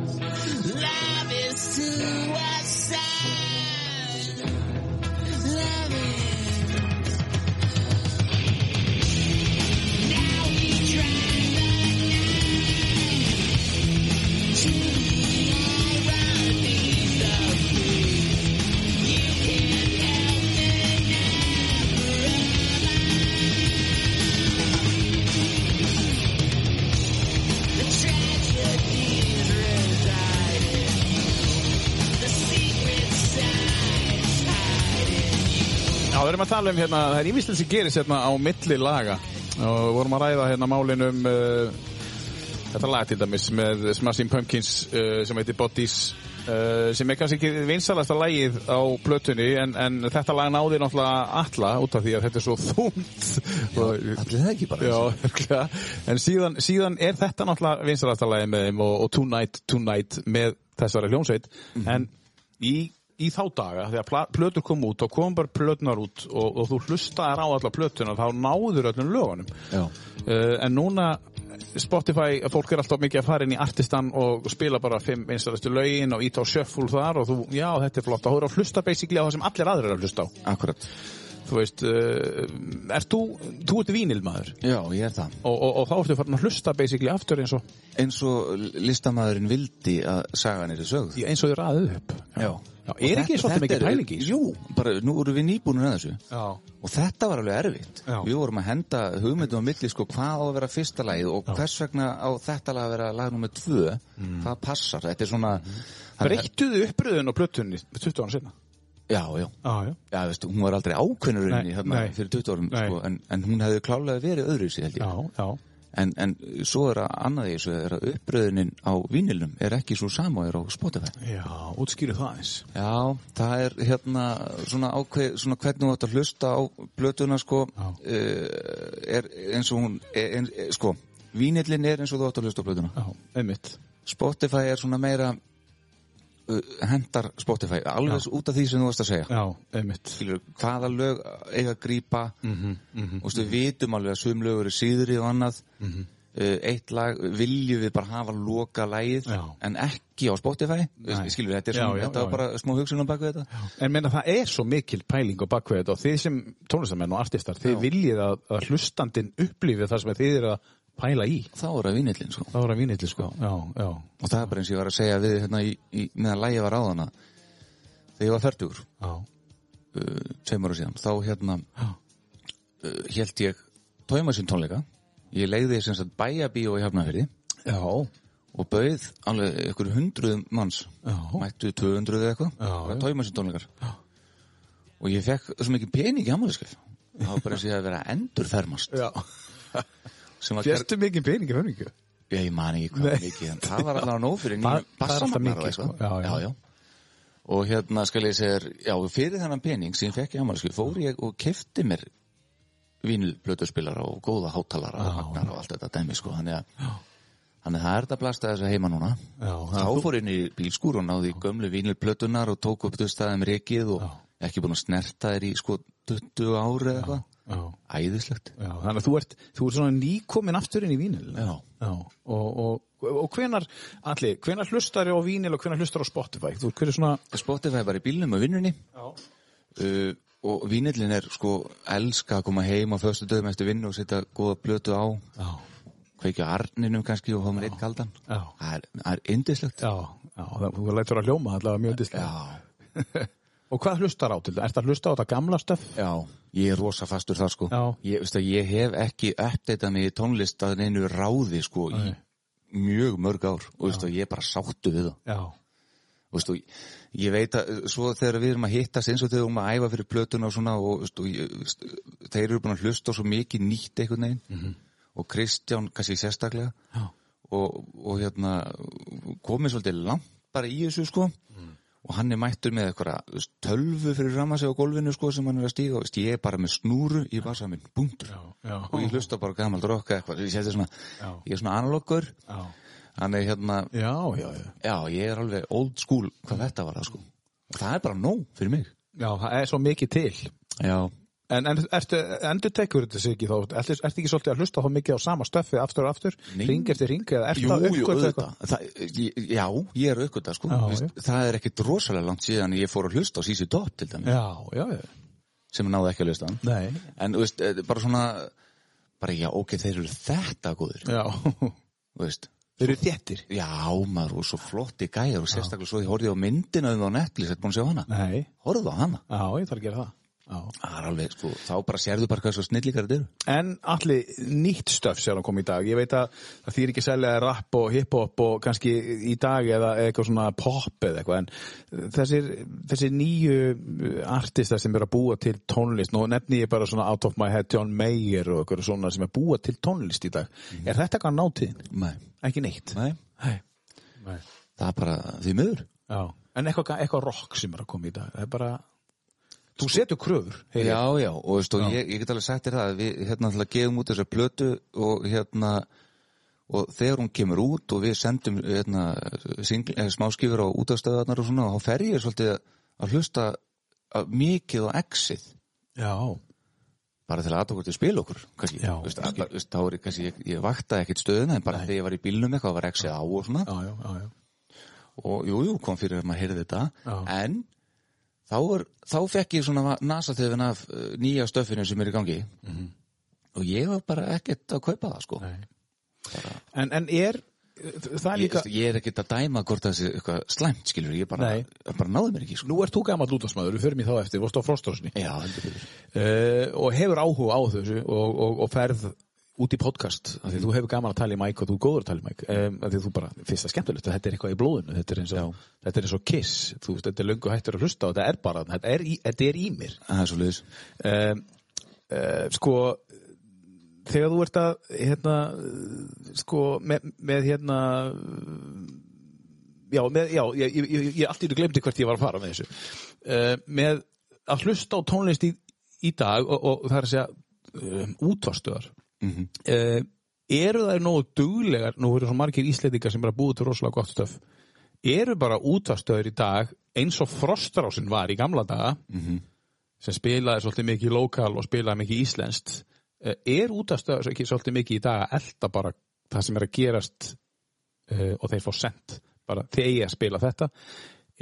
Speaker 3: Love is suicide. Love is. Now we drive the night to the ironies of free. You can't help it now. The tragedies resided. The secret side's hiding.
Speaker 1: Já, við erum að tala um hérna, það er ívislið sem gerist hérna á milli laga og við vorum að ræða hérna málin um uh, þetta lag til dæmis með Smashing Pumpkins uh, sem heitir Bodies uh, sem er kannski ekki vinsalasta lagið á plötunni en, en þetta lag náði náttúrulega alla út af því að þetta er svo þúmt og
Speaker 2: Allir það ekki bara
Speaker 1: Já, örugglega. en síðan, síðan er þetta náttúrulega vinsarastalagi með þeim og, og Tonight, Tonight með þessari hljómsveit en í, í þá daga þegar pla- plötur kom út og kom bara plötunar út og, og þú hlustaðir á alla plötunar þá náður öllum lögunum
Speaker 2: Já.
Speaker 1: uh, en núna Spotify, fólk er alltaf mikið að fara inn í artistan og spila bara fimm vinsarastu lögin og íta á shuffle þar og þú, já þetta er flott, þá eru að hlusta basically á það sem allir aðrir eru að hlusta á
Speaker 2: Akkurat
Speaker 1: þú veist, uh, ert þú, þú ert vinilmaður
Speaker 2: Já, ég er það
Speaker 1: og, og, og þá ertu farin að hlusta basically aftur eins og,
Speaker 2: Eins og listamæðurinn vildi að sagan er í sögð
Speaker 1: eins og þið ræðu upp
Speaker 2: Já,
Speaker 1: Já, er ekki svolítið mikið pæling í þessu?
Speaker 2: Jú, bara nú vorum við nýbúnir að þessu
Speaker 1: Já.
Speaker 2: og þetta var alveg erfitt
Speaker 1: Já.
Speaker 2: Við vorum að henda hugmyndum á milli sko, hvað á að vera fyrsta lagið og hvers vegna á þetta lag að vera lag nummer tvö
Speaker 1: Mm.
Speaker 2: hvað passar, þetta er svona það er-
Speaker 1: Breyttuðu uppröðun á plötunni 20 ára sinna
Speaker 2: Já, já,
Speaker 1: Já, já
Speaker 2: já veist, hún var aldrei ákveðnur
Speaker 1: Nei,
Speaker 2: unni hérna,
Speaker 1: nei.
Speaker 2: fyrir 20 árum
Speaker 1: Nei.
Speaker 2: sko, en, en hún hefði klálega verið öðru sér held ég
Speaker 1: Já, já
Speaker 2: en, en svo er að annað í þessu er að uppröðunin á vínilnum er ekki svo sama og er á Spotify
Speaker 1: Já, útskýru það eins
Speaker 2: Já, það er hérna svona ákveð, svona hvernig þú átt að hlusta á blötuna sko
Speaker 1: Já.
Speaker 2: uh, er eins og hún er, en, er, sko, vínillin er eins og þú átt að hlusta á blötuna
Speaker 1: Já, einmitt
Speaker 2: Spotify er svona meira uh, hendar Spotify, alveg svo út af því sem þú varst að segja
Speaker 1: Já, einmitt
Speaker 2: Skilur, hvaða lög eiga að grípa
Speaker 1: Mhm,
Speaker 2: og stu, við vitum alveg að sum lög eru síðri og annað
Speaker 1: Mhm.
Speaker 2: uh, eitt lag, viljum við bara hafa loka lagið,
Speaker 1: Já.
Speaker 2: en ekki á Spotify,
Speaker 1: Nei.
Speaker 2: skilur þetta er
Speaker 1: Já,
Speaker 2: svona,
Speaker 1: já,
Speaker 2: þetta var
Speaker 1: já,
Speaker 2: bara smá hugsunum bak við þetta
Speaker 1: En meina það er svo mikil pæling og bakveð og þið sem tónlistamenn og artistar þið viljið að, að hlustandinn upplifið það sem þið eru að pæla í
Speaker 2: þá er það vinillin sko.
Speaker 1: Það voru að vinilli sko Já, já
Speaker 2: og það er bara eins og ég var að segja við hérna í, í, meðan lægi var áðana þegar ég var færtugur,
Speaker 1: Já,
Speaker 2: uh, tveimur og síðan þá hérna
Speaker 1: Já.
Speaker 2: uh, held ég tóma sín tónleika ég leiði sem sagt bæjabíó í Hafnafyrði
Speaker 1: já,
Speaker 2: og bauð alveg ykkur hundruðum manns
Speaker 1: Já.
Speaker 2: mættu 200 eða
Speaker 1: Já, já.
Speaker 2: eitthvað tóma sín tónleikar já. og ég fekk svo mikið pening í ammæliskef það var bara eins og ég að vera endurfermast
Speaker 1: já.
Speaker 2: sem var gerð,
Speaker 1: Fyrstu mikið peningi höfningu
Speaker 2: ég man ekki hvað mikið en það var allavega nóg fyrir
Speaker 1: Það- það
Speaker 2: nýjum
Speaker 1: er alltaf
Speaker 2: bassamagnar
Speaker 1: mikið,
Speaker 2: og eitthvað.
Speaker 1: sko. Já, já.
Speaker 2: já, já. og hérna skal ég segja þér, já, fyrir þennan pening sem ég fekk í ammælisku, fór ég og kefti mér vínulblötuspilara og góða hátalara og magnar og allt þetta dæmi sko, þannig að Þannig að það er þetta blasta þessu heima núna.
Speaker 1: Já,
Speaker 2: þá fór inn í bílskúr og náði í gömlu vínilplötunar og tók upp dustaðum rikið og ekki búin að snerta þér í sko 20 ári eða eitthvað.
Speaker 1: Já
Speaker 2: Æðislegt.
Speaker 1: Já, þannig að þú ert, þú ert svona nýkomin aftur inn í vínil.
Speaker 2: Já.
Speaker 1: Og, og, og hvenar, allir, hvenar hlustar á vínil og hvenar hlustar á Spotify? Þú, hver er svona...
Speaker 2: Spotify bara í bílnum og vinnunni.
Speaker 1: Já.
Speaker 2: uh, og vínillin er sko elska að koma heim á föstu dögum eftir vinnu og setja góða blötu á
Speaker 1: Já.
Speaker 2: kveikja á arninum kannski og hafa maður eitt kaldan
Speaker 1: Já.
Speaker 2: það er, það er indislegt
Speaker 1: Já, já, það, þú lætur að hljóma allavega mjög dislega.
Speaker 2: já,
Speaker 1: Og hvað hlustar á til það? Er það að hlusta á þetta gamla stöf?
Speaker 2: já, ég er rosa fastur þar sko
Speaker 1: Já.
Speaker 2: ég, veistu, að ég hef ekki uppdeitað mig í tónlist að neinu ráði sko í mjög mörg ár og veistu, að ég er bara sáttu við það
Speaker 1: Já.
Speaker 2: Þú veist, og ég- ég veit að uh, svo þegar við erum að hittast eins og þegar við erum að æfa fyrir plötuna og svona og, þú veist, og ég, þú veist, þeir eru búin að hlusta á svo mikið nýtt einhvern veginn og Kristján kannski sérstaklega
Speaker 1: Já.
Speaker 2: og, og hérna komið svolítið langt bara í þessu sko og hann er mættur með eitthvað þú veist, tölvu fyrir rama sig á golfinu sko sem hann er að stíga og þú veist, ég er bara með snúru í vasa minn, punktur
Speaker 1: Já, já.
Speaker 2: og ég hlusta bara gamalt rokka eitthvað ég, sé þetta svona,
Speaker 1: Oh. Já.
Speaker 2: ég er svona analogur
Speaker 1: Já,
Speaker 2: hann er hérna
Speaker 1: já, já. Já,
Speaker 2: Já, ég er alveg old school hvað þetta var það sko. Og það er bara nóg fyrir mig.
Speaker 1: já það er svo mikið til.
Speaker 2: Já.
Speaker 1: En, en ertu, endur tekur þetta sig ekki þá? Ertu, ertu ekki svolítið að hlusta þá mikið á sama stöffi aftur og aftur?
Speaker 2: Nei.
Speaker 1: Ring eftir ring eða ertu
Speaker 2: Jú,
Speaker 1: að
Speaker 2: jú,
Speaker 1: uppgöta eitthvað?
Speaker 2: auðvitað. Það, ég- já, ég er aukvitað, sko.
Speaker 1: Já,
Speaker 2: Já, Vist,
Speaker 1: já.
Speaker 2: það er ekkit rosalega langt síðan ég fór að hlusta á Sísi Dott, til dæmis,
Speaker 1: Já, já, já.
Speaker 2: sem náði ekki að hlusta hann.
Speaker 1: Nei.
Speaker 2: En, þú veist, eh, bara svona, bara, já, ok, þeir eru þetta góðir,
Speaker 1: Já.
Speaker 2: þú veist.
Speaker 1: Þeir eru þéttir.
Speaker 2: Já, maður, og svo flotti gæjar og sérstaklega svo ég horfði á myndina um það á Netflix, þetta búin að sjá hana.
Speaker 1: Nei.
Speaker 2: Horfðu á hana.
Speaker 1: Já, ég þarf að gera það. Já.
Speaker 2: Það er alveg, sko, þá bara sérðu bara hvað svo snillíkar þetta eru.
Speaker 1: En allir nýtt stöff sem hann kom í dag. Ég veit að það þýr ekki selja rap og hiphop og kannski í dag eða eitthvað svona pop eða eitthvað. En þessir, þessir nýju artistar sem eru að búa til tónlist, nú nefni ég bara svona out of my head John Mayer og eitthvað svona sem er að búa til tónlist í dag. Er þetta eitthvað náttíðin?
Speaker 2: Nei,
Speaker 1: Ekki neitt.
Speaker 2: nei,
Speaker 1: Mhm. Nei. Nei.
Speaker 2: það er bara því miður.
Speaker 1: Já. En eitthvað, eitthvað rock sem er að koma í dag. Það er bara... Þú setur kröfur. heyri ég.
Speaker 2: Já, já, og veist, og ég, ég get alveg sagt þér það að við hérna alltaf gefum út þessa plötu og hérna og þegar hún kemur út og við sendum hérna, singl, eh, smáskifur á útastöðarnar og svona og þá fer ég svolítið að hlusta að- mikið á exið
Speaker 1: Já.
Speaker 2: bara til að aðtöku til spil okkur kannski,
Speaker 1: Já,
Speaker 2: veist,
Speaker 1: kannski.
Speaker 2: að, bara, veist, þá er ég, kannski, ég, ég vaktaði ekkit stöðuna en bara þegar ég var í bílnum eitthvað var exið á og svona
Speaker 1: Já, já, já, já.
Speaker 2: og jú, jú, kom fyrir að maður heyrði þetta
Speaker 1: Já.
Speaker 2: en þá, er, þá fekk ég svona nasatöfin af uh, nýja stöfinu sem er í gangi og ég var bara ekkert að kaupa það sko
Speaker 1: Nei. En, en er, það er
Speaker 2: ég,
Speaker 1: líka...
Speaker 2: ég er ekkert að dæma hvort það sé eitthvað slæmt skilur, ég bara,
Speaker 1: Nei.
Speaker 2: ég bara náði mér ekki sko.
Speaker 1: Nú ert þú gammal útastmaður, við förum í þá eftir, vorst á Frostrósni
Speaker 2: Já, heldur betur.
Speaker 1: uh, og hefur áhuga á þessu og, og, og ferð út í podcast af því þú hefur gaman að tala í mæk og þú er góður að tala í mæk um, af því þú bara, fyrst það skemmtilegt að þetta er eitthvað í blóðinu þetta er eins og, þetta er eins og kiss þú, veist, þetta er löngu hættur að hlusta og þetta er bara þetta er í, þetta er í mér
Speaker 2: Það er svo liðis
Speaker 1: um, uh, sko þegar þú ert að hérna, eh, sko með, með hérna eh, já, með, já ég, ég, ég, ég allt í þú glemdi hvert ég var að fara með þessu uh, með að hlusta á tónlist í, í dag og, og það er að segja um, útvarstöðar mm eru þær nógu duglegar nú eru svo margir íslendingar sem bara búið til rosalega gott stöf eru bara útvarstöður í dag eins og frostrásin var í gamla daga
Speaker 2: Mhm.
Speaker 1: sem spilaði svolítið mikið lokal og spilaði mikið íslenskt eh, er útastöðar ekki svolítið mikið í dag að elda bara það sem er að gerast eh, og þeir fá sent bara þeir að spila þetta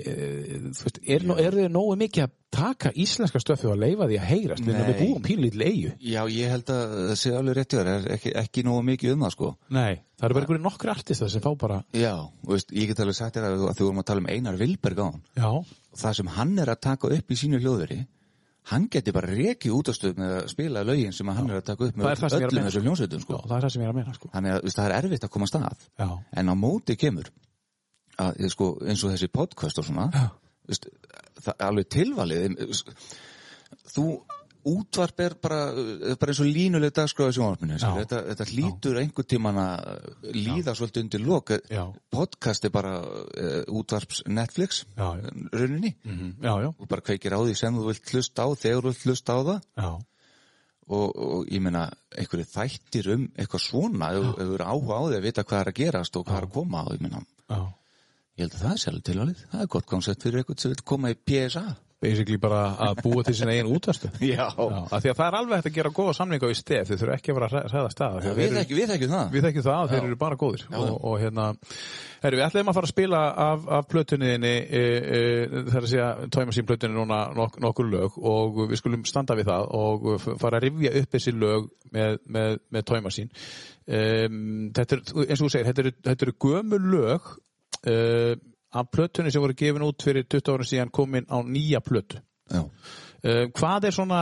Speaker 1: Eh, þú veist, er, nú- eru þeir nógu mikið að taka íslenska stöfið og leifa því að heyrast við erum
Speaker 2: Nei.
Speaker 1: við búum pínlítið eigu
Speaker 2: Já, ég held að það sé alveg rétt hjá þér, það er ekki, ekki nógu mikið um það sko
Speaker 1: Nei, það eru bara einhverju nokkri artistar sem fá bara
Speaker 2: Já, og veist, ég get alveg sagt þér að þú, að þú vorum að tala um Einar Vilberg á hann
Speaker 1: Já,
Speaker 2: það sem hann er að taka upp í sínu hljóðveri hann geti bara rekið útastöð með að spila lögin sem að hann er að taka upp með
Speaker 1: Það er það sem ég er að
Speaker 2: öllum
Speaker 1: meina.
Speaker 2: þessum hljónsveitum
Speaker 1: já,
Speaker 2: sko.
Speaker 1: það er það sem ég er að meina sko.
Speaker 2: þannig að veist, það er erfitt að koma stað
Speaker 1: Já,
Speaker 2: en á móti kemur að, eh, sko, eins og þessi podcast og svona
Speaker 1: Já.
Speaker 2: veist, það er alveg tilvalið em, veist, þú útvarp er bara, eh, bara eins og línuleg dagskráði sjónvarpinu
Speaker 1: Já.
Speaker 2: þetta, þetta hlýtur einhvern tíman að eh, líða svolítið undir lok
Speaker 1: Já.
Speaker 2: podcast er bara uh, útvarps Netflix eh,
Speaker 1: Já, já.
Speaker 2: rauninni
Speaker 1: mhm, já, já,
Speaker 2: þú bara kveikir á því sem þú vilt hlusta á þegar þú vilt hlusta á það
Speaker 1: já,
Speaker 2: og, og ég meina einhverju þættir um eitthvað svona ef ef þú eru áhuga á því að vita hvað er að gerast og hvað er að koma á ég meina,
Speaker 1: já
Speaker 2: ég held að það er sérlega tilvalið það er gott koncept fyrir eitthvað sem vil koma í PSA
Speaker 1: Basically bara að búa til sinna eigin útastöð
Speaker 2: Já,
Speaker 1: Já, af því að það er alveg hægt að gera góða samlinga í stef, þið þurfa ekki að vera að hræ- hræðast það af því að þeir
Speaker 2: við
Speaker 1: eru-
Speaker 2: þekkjum við ekki það
Speaker 1: við þekkjum það, þeir eru bara góðir og, og hérna, herru, við ætlum að fara að spila af, af plötunniðinni e, e, það er að segja, tóma sín plötunni núna nok nokkur lög og við skulum standa við það og f- fara að rifja upp þessi lög með, með, með tóma sín þetta er, eins og þú segir þetta eru, þetta eru gömul lög e, af plötunni sem voru gefin út fyrir 20 ára síðan komin á nýja plötu
Speaker 2: Já.
Speaker 1: Uh, hvað er svona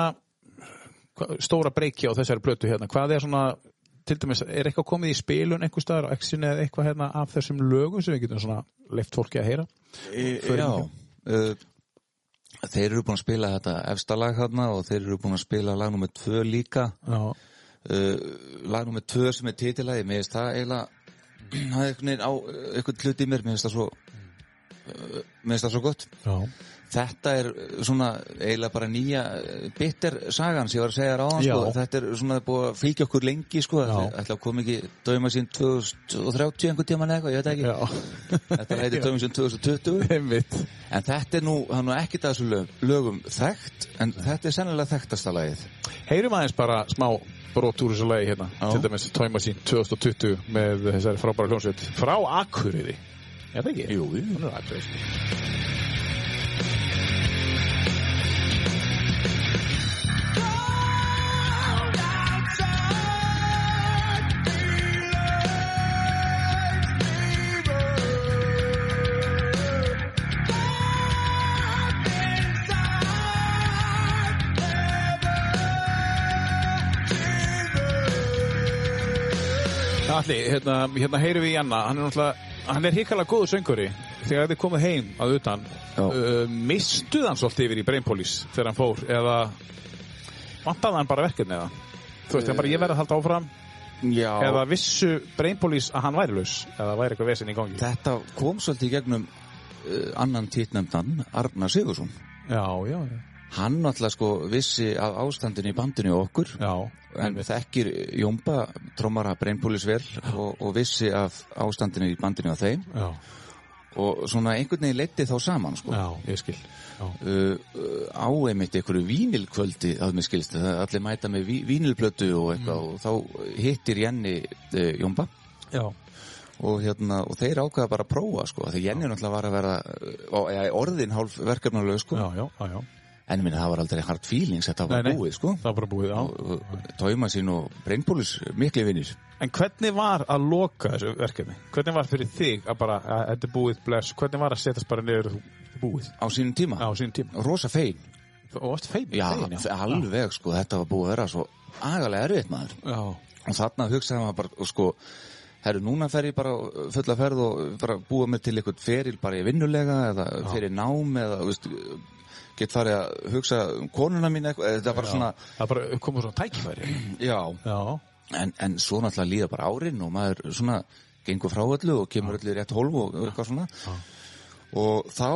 Speaker 1: hva, stóra breyki á þessari plötu hérna hvað er svona, til dæmis, er eitthvað komið í spilun einhvers staðar á exinu eða eitthvað hérna af þessum lögum sem við getum svona leift fólki að heyra Förum
Speaker 2: Já. Uh, Þeir eru búin að spila þetta efsta lag þarna og þeir eru búin að spila lag nummer 2 líka
Speaker 1: já,
Speaker 2: uh, lag nummer 2 sem er titilagi mér finnst það eiginlega [CLEARS THROAT] það er einhvern veginn á uh, einhvern hlut í mér mér finnst það svo uh, mér finnst það svo gott
Speaker 1: já,
Speaker 2: þetta er uh, svona eiginlega bara nýja uh, bitter sagan sem ég var að segja þér áðan
Speaker 1: Já.
Speaker 2: sko. þetta er svona búið að fylgja okkur lengi sko.
Speaker 1: Já.
Speaker 2: Þetta- ætla að koma ekki döma sín 2030 einhvern tíma eða eitthvað, ég veit það ekki þetta heitir döma sín 2020
Speaker 1: [LAUGHS] einmitt
Speaker 2: en þetta er nú, hann er nú ekkit að þessu lög, lögum þekkt en þetta er sennilega þekktasta lagið
Speaker 1: Heyrum aðeins bara smá brot úr þessu lagi hérna, til dæmis Time Machine 2020 með þessari frábæra hljónsveit frá Akureyri, er það ekki? Jú, jú. Hún er Akureyri. Alli, hérna, hérna heyrum við í Anna hann er náttúrulega hann er hikalega góðu sönguri þegar þið komið heim að utan uh, mistuð hann svolítið yfir í Brainpolis þegar hann fór eða vantaði hann bara verkefni eða þú veist, hann bara ég verði að halda áfram
Speaker 2: Já,
Speaker 1: eða vissu Brainpolis að hann væri laus eða væri eitthvað vesinn í gangi
Speaker 2: þetta kom svolítið í gegnum uh, annan títnefndan, Arnar Sigursson.
Speaker 1: já, já, já,
Speaker 2: Hann náttúrulega sko vissi af ástandinu í bandinu og okkur,
Speaker 1: já
Speaker 2: en
Speaker 1: einmitt.
Speaker 2: þekkir Jómba, trommara Brainpolis vel og, og vissi af ástandinu í bandinu og þeim
Speaker 1: já,
Speaker 2: og svona einhvern veginn leiddi þá saman sko.
Speaker 1: já, ég skil já,
Speaker 2: uh, uh, á einmitt einhverju vínilkvöldi að mér skilst, það er allir mæta með ví, vínilplötu og eitthvað
Speaker 1: Mm.
Speaker 2: og þá hittir Jenny uh, Jómba
Speaker 1: já,
Speaker 2: og, hérna, og þeir ákvaða bara að prófa sko, þegar Jenny náttúrulega var að vera uh, á- eða orðin hálf verkefnuleg sko,
Speaker 1: já, já, já, já.
Speaker 2: en minna það var aldrei hard feelings, þetta var
Speaker 1: Nei, nei.
Speaker 2: búið sko
Speaker 1: það var bara búið á
Speaker 2: Tóima sín og Brainpolis mikli vinnir
Speaker 1: En hvernig var að loka þessu verkefni? Hvernig var fyrir þig að bara, að þetta er búið bless, hvernig var að setjast bara niður þú- þetta er búið
Speaker 2: á sínum tíma,
Speaker 1: á sínum tíma?
Speaker 2: rosa fein
Speaker 1: Og varst feim?
Speaker 2: já,
Speaker 1: feim,
Speaker 2: alveg sko, þetta var búið að vera svo agalega erfitt maður
Speaker 1: Já,
Speaker 2: og þarna hugsaði maður bara og sko, herru núna fer ég bara á fulla ferð og bara búa mig til eitthvað feril bara í vinnulega eða fyrir nám eða þú veist, get farið að hugsa um konuna mín eitthvað, þetta var bara svona
Speaker 1: það bara komið svona tækifæri.
Speaker 2: já,
Speaker 1: Já,
Speaker 2: en, en svo náttúrulega líða bara árin og maður svona gengur frá öllu og kemur öllu í rétt hólf og eitthvað svona og þá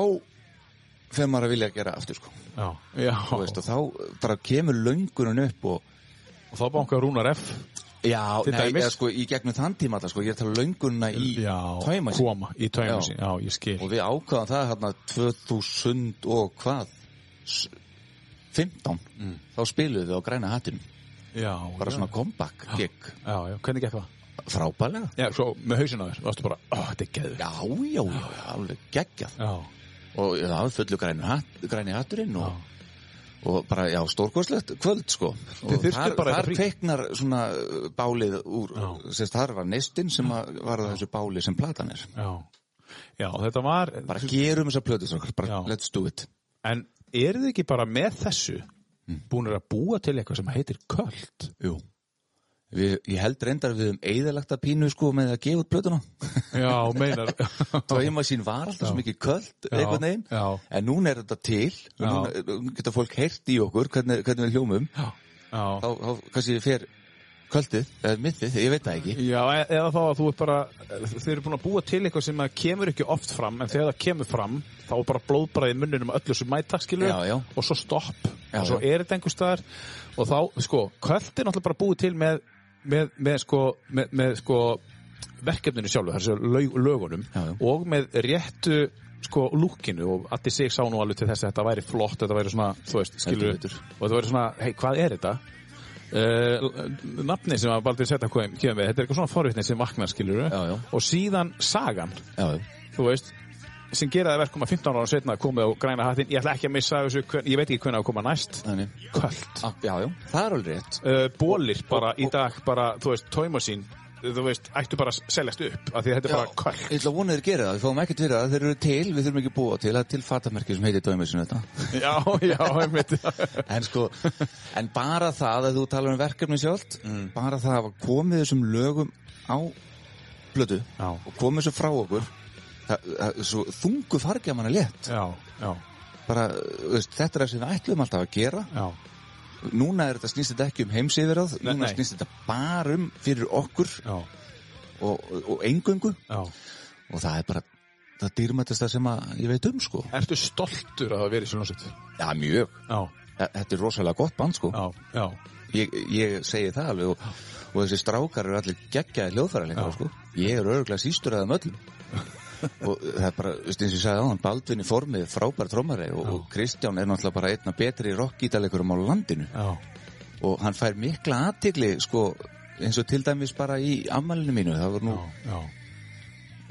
Speaker 2: fer maður að vilja gera aftur sko,
Speaker 1: já, já.
Speaker 2: Þú veist, og þá bara kemur löngunum upp og
Speaker 1: og þá bankar Rúnar F.
Speaker 2: Já,
Speaker 1: Til
Speaker 2: nei,
Speaker 1: dæmis?
Speaker 2: eða sko í gegnum þann tíma þetta sko, ég er að tala löngunna í
Speaker 1: já,
Speaker 2: tæma sín
Speaker 1: Koma, í tæma
Speaker 2: Já.
Speaker 1: sín, já, ég skil.
Speaker 2: og við ákvaðum það hérna 2000 og hvað S- 15 þá spiluðum við á græna hattinum
Speaker 1: Já,
Speaker 2: bara
Speaker 1: já.
Speaker 2: svona comeback gig
Speaker 1: Já, já, hvernig gekk það?
Speaker 2: frábælega
Speaker 1: Já, svo með hausinn á þér, varstu bara, ó, þetta er geður.
Speaker 2: já, já, já, já, alveg geggjað
Speaker 1: Já,
Speaker 2: og já, það var fullu græni, hat, græni hatturinn
Speaker 1: já,
Speaker 2: og, og bara, já, stórkoslegt kvöld sko og
Speaker 1: þurftuð
Speaker 2: þar,
Speaker 1: bara
Speaker 2: þar
Speaker 1: eitthvað frí.
Speaker 2: kveiknar svona uh, bálið úr,
Speaker 1: Já.
Speaker 2: sérst, þar var nestin sem að- var að þessu báli sem platan er
Speaker 1: já. Já, þetta var,
Speaker 2: bara gerum þessar plötu strákar, bara
Speaker 1: Já.
Speaker 2: let's do it
Speaker 1: en eru þið ekki bara með þessu búinir að búa til eitthvað sem heitir köld?
Speaker 2: Jú. Við, ég held reyndar að við höfum eðalagt að pínu sko með að gefa út plötuna.
Speaker 1: Já, meinar.
Speaker 2: Tóima sín var alltaf svo mikið köld
Speaker 1: Já,
Speaker 2: einhvern veginn.
Speaker 1: já.
Speaker 2: En núna er þetta til og
Speaker 1: Já.
Speaker 2: núna núna geta fólk heyrt í okkur hvernig, hvernig við hljómum.
Speaker 1: Já.
Speaker 2: Þá, þá kannski fer köldið, eða mittið, ég veit það ekki.
Speaker 1: Já, e- eða þá að þú ert bara, þið eru búin að búa til eitthvað sem að kemur ekki oft fram, en þegar það kemur fram, þá er bara blóðbræði munnunum öllu sem mæta, skilur,
Speaker 2: Já, já.
Speaker 1: og svo stopp,
Speaker 2: Já,
Speaker 1: og svo
Speaker 2: já.
Speaker 1: er þetta einhver staðar, og þá, sko, kvöld er náttúrulega bara búið til með, með, með sko, með, með, sko, verkefninu sjálfu, þessu lög, lögunum,
Speaker 2: Já, já.
Speaker 1: og með réttu, sko, lúkinu, og allir sig sá nú alveg til þess að þetta væri flott, þetta væri svona, þú veist, skilur,
Speaker 2: Heldur betur.
Speaker 1: og þetta væri svona, hei, hvað er þetta? uh, nafni sem að Baldur Setta kom, kemur með, þetta er eitthvað svona forvitni sem vaknar skilur
Speaker 2: Já, já.
Speaker 1: og síðan sagan,
Speaker 2: Já, já.
Speaker 1: þú veist sem gera það verkum að 15 ára setna komið á græna hattinn, ég ætla ekki að missa þessu hvern- ég veit ekki hvernig á að koma næst
Speaker 2: Þannig.
Speaker 1: kvöld,
Speaker 2: Ah, já, já. Það er alveg rétt.
Speaker 1: uh, bólir bara í dag bara, þú veist, tóma sín þú veist, ættu bara að seljast upp af því að þetta er bara kvöld
Speaker 2: [LAUGHS] Ég ætla að vona þeir gera það, við fáum ekkert fyrir það, þeir eru til, við þurfum ekki að búa til, það er til fatamerkið sem heitir Dóimisinn þetta.
Speaker 1: já, já, einmitt
Speaker 2: En sko, [LAUGHS] en bara það að þú talar um verkefni sjálft, bara það að hafa komið þessum lögum á blödu
Speaker 1: Já.
Speaker 2: og komið þessu frá okkur, það, það, svo þungu fargja manna létt.
Speaker 1: já, já,
Speaker 2: Bara, þú veist, þetta er það sem við ætlum alltaf að gera.
Speaker 1: já,
Speaker 2: Núna er þetta snýst þetta ekki um heimsýðuráð,
Speaker 1: Nei,
Speaker 2: núna
Speaker 1: nei.
Speaker 2: snýst þetta bara um fyrir okkur
Speaker 1: já,
Speaker 2: og, og, og engöngu
Speaker 1: já
Speaker 2: og það er bara, það dýrmættast það sem að ég veit um sko.
Speaker 1: ertu stoltur að það verið svona sett
Speaker 2: Já, mjög.
Speaker 1: já,
Speaker 2: Þe- Þetta er rosalega gott band sko.
Speaker 1: já, já,
Speaker 2: ég, ég segi það alveg og, og þessi strákar eru allir geggjaði hljóðfæralingar
Speaker 1: Já.
Speaker 2: sko. ég er örgulega sístur aðeim
Speaker 1: [LAUGHS]
Speaker 2: öllum og það er bara, veist, eins og ég sagði á hann Baldvin í formið, frábær trómari og, og Kristján er náttúrulega bara einna betri rockgítalekurum á landinu
Speaker 1: já,
Speaker 2: og hann fær mikla aðtigli sko, eins og til dæmis bara í ammælinu mínu, það voru nú
Speaker 1: já.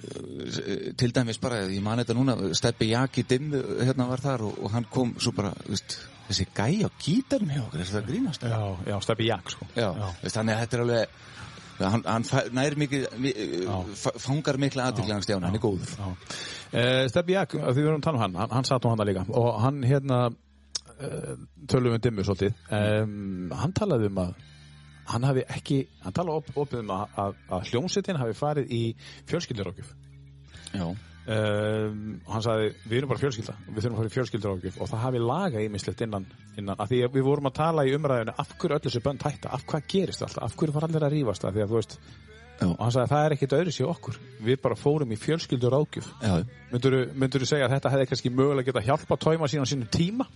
Speaker 2: eh, til dæmis bara, ég man þetta núna steppi Jaki Dimm eh, hérna var þar og, og hann kom svo bara, veist, þessi gæja á gítarnum hjá okkur, þess að það grínast
Speaker 1: Já, já, steppi jakk sko
Speaker 2: Já, Veist, þannig að þetta er alveg hann, hann fær- nær mikið mi- eh, fa- fangar mikla aðtigli hann stjána, hann er góður
Speaker 1: Já. Uh, Steppi Jakk, af því við erum að tala um hann, hann, hann satt nú hann líka og hann hérna uh, tölum við dimmu svolítið um, hann talaði um að hann hafi ekki, hann talaði op, opið um að, að, að hljómsveitin hafi farið í fjölskyldurákjöf
Speaker 2: Já,
Speaker 1: um, og hann sagði við erum bara fjölskylda, við þurfum að fara í fjölskyldurákjöf og það hafi laga ímislegt innan, innan að því að við vorum að tala í umræðinu af hverju öll þessu bönd hætta, af hvað gerist alltaf af hverju var allir að rífast það, því að þú veist
Speaker 2: Já.
Speaker 1: og hann sagði það er ekkit öðru sér okkur við bara fórum í fjölskyldurákjöf
Speaker 2: já
Speaker 1: Myndur þú segja að þetta hefði kannski mögulega geta hjálpa að tóima sín á sínum tíma?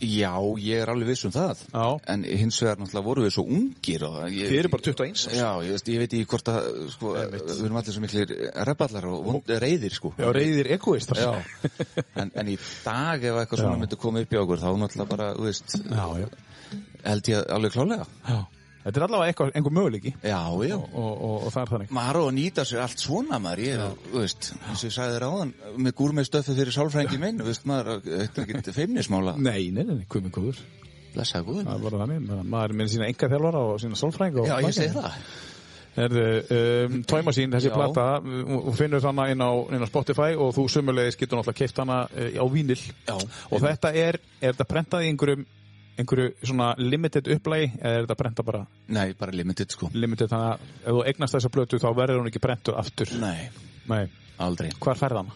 Speaker 2: Já, ég er alveg viss um það
Speaker 1: Já.
Speaker 2: En hins vegar náttúrulega voru við svo ungir og sko. ég,
Speaker 1: Þið eru bara 21 árs.
Speaker 2: Já, ég, veist, ég veit í hvort að sko, við erum allir svo miklir reballar og vond, reyðir sko
Speaker 1: Já, reyðir egoistar.
Speaker 2: Já. en, en í dag ef eitthvað svona
Speaker 1: Já.
Speaker 2: myndi koma upp í okkur þá náttúrulega bara, þú veist,
Speaker 1: Já, já.
Speaker 2: held ég alveg klálega
Speaker 1: já. Þetta er allavega eitthvað, einhver möguleiki
Speaker 2: Já, já
Speaker 1: og, og, og það er þannig.
Speaker 2: maður á að nýta sér allt svona maður, ég, þú veist, eins og ég sagði þér áðan með gúrmeð stöfi fyrir sálfrængi minn, þú veist, maður, þetta er ekki feimnismála
Speaker 1: Nei, nei, nei, nei, komið góður.
Speaker 2: blessaði
Speaker 1: Það
Speaker 2: góðum.
Speaker 1: er bara þannig. Ma- Maður er með sína enga þjálfara og sína sólfræng.
Speaker 2: Já, ég segi það.
Speaker 1: Herðu, um, tóima sín, þessi
Speaker 2: Já.
Speaker 1: plata, og finnur hana inn á, inn á Spotify og þú sumulegis getur náttúrulega keift hana eh, á vínil.
Speaker 2: Já.
Speaker 1: Og þetta er, er þetta prentað í einhverjum, einhverju svona limited upplægi eða er þetta prentað bara
Speaker 2: Nei, bara limited, sko.
Speaker 1: limited þannig að ef þú eignast þessa plötu þá verður hún ekki brentur aftur
Speaker 2: Nei,
Speaker 1: Nei,
Speaker 2: aldrei.
Speaker 1: hvar færð hana?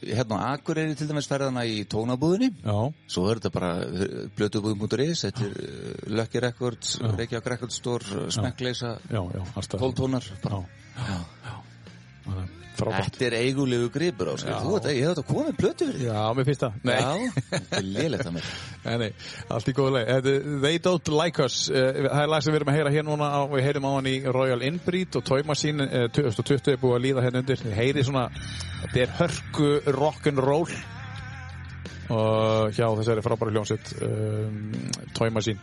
Speaker 2: Hérna, Akur er til dæmis ferðana í tónabúðinni,
Speaker 1: Já,
Speaker 2: svo er þetta bara eh, blötubúðin.is, þetta er eh, Lucky Records, Reykjavík Record Store, Smekkleisa,
Speaker 1: já, já, alltaf
Speaker 2: 12 tónar, bara.
Speaker 1: Já, já, frábært
Speaker 2: Þetta er eigulegu gripur á, sko. Þú veit, ég hef þetta komið blötu fyrir því.
Speaker 1: Já, mér finnst það Nei,
Speaker 2: Já, þetta er
Speaker 1: [LAUGHS]
Speaker 2: lélegt að mér.
Speaker 1: nei, nei, allt í góðu leið Þetta er They Don't Like Us Eh, Það er lag sem við erum að heyra hér núna á, Við heyrum á hann í Royal Inbreed og Toy Machine eh, 2020 er búið að líða hérna undir Þið heyri svona, þetta er hörku rock'n'roll og hjá þessari frábæri hljómsveit um, Toy Machine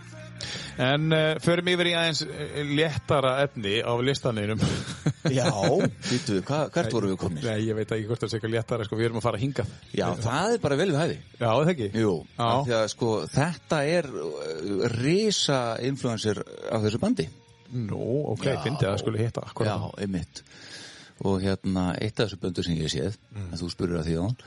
Speaker 1: En uh, förum yfir í aðeins eh, léttara efni á listaninum
Speaker 2: Já, býtu, hvað, hvert vorum við komnir?
Speaker 1: [LAUGHS] Nei, ég veit ekki hvort það sé eitthvað léttara sko, við erum að fara hingað
Speaker 2: Já, það er bara vel við hæfi.
Speaker 1: Já, er það ekki?
Speaker 2: Jú,
Speaker 1: Já.
Speaker 2: af því að sko þetta er uh, risa influencer af þessu bandi.
Speaker 1: Nú, ok, fyndi að það skulle hitta akkurat
Speaker 2: Já, einmitt. Og hérna, eitt af þessu böndu sem ég séð,
Speaker 1: Mm.
Speaker 2: en þú spurur að því á hann.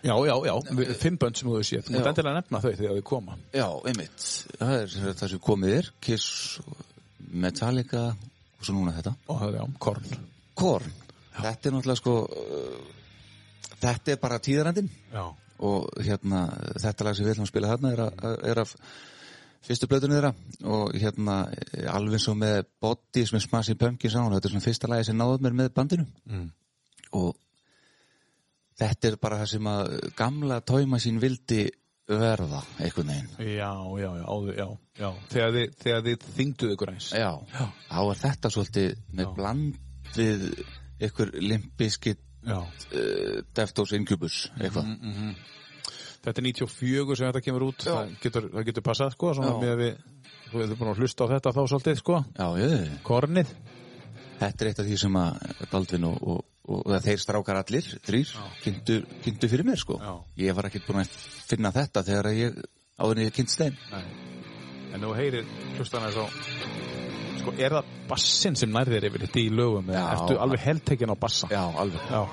Speaker 1: Já, já, já, við- fimm bönd sem þú séð Þú
Speaker 2: Já.
Speaker 1: mútt endilega nefna þau þegar þau koma
Speaker 2: Já, einmitt. Það er það sem komið er, Kiss, Metallica og svo núna þetta.
Speaker 1: og það er já, korn
Speaker 2: Korn. Þetta er náttúrulega sko, uh, þetta er bara tíðarandinn.
Speaker 1: Já,
Speaker 2: og hérna þetta lag sem við ætlum að spila þarna er, að, er af fyrstu blöðunni þeirra og hérna eh, alveg eins og með Bodies með Smashing Pumpkins á hún þetta er svona fyrsta lagi sem náðum mér með bandinu mm. og þetta er bara það sem að gamla tóima sín vildi verða einhvern veginn
Speaker 1: já, já, já, áður, já, já. Þegar, þið, þegar þið þyngduð ykkur eins
Speaker 2: Já, þá er þetta svolítið með bland við ykkur limpiskit
Speaker 1: Já,
Speaker 2: uh, Deftos Incubus eitthvað
Speaker 1: þetta er 94 sem þetta kemur út það getur, það getur passað, sko svona
Speaker 2: Já.
Speaker 1: með að við, þú hefur búin að hlusta á þetta þá svolítið, sko
Speaker 2: Já, jöðu
Speaker 1: Kornið
Speaker 2: Þetta er eitt af því sem að Baldvin og, og, og, og þeir strákar allir, þrýr, kynntu, kynntu fyrir mér sko.
Speaker 1: Já.
Speaker 2: Ég var ekkert búin að finna þetta þegar að ég áður en ég kynnt þeim.
Speaker 1: Nei. En þú heyrir hlustana svo Sko, er það bassin sem nærðir yfir þetta í lögum eða
Speaker 2: Já.
Speaker 1: Ertu alveg heldtekinn á bassa?
Speaker 2: Já, alveg.
Speaker 1: Já,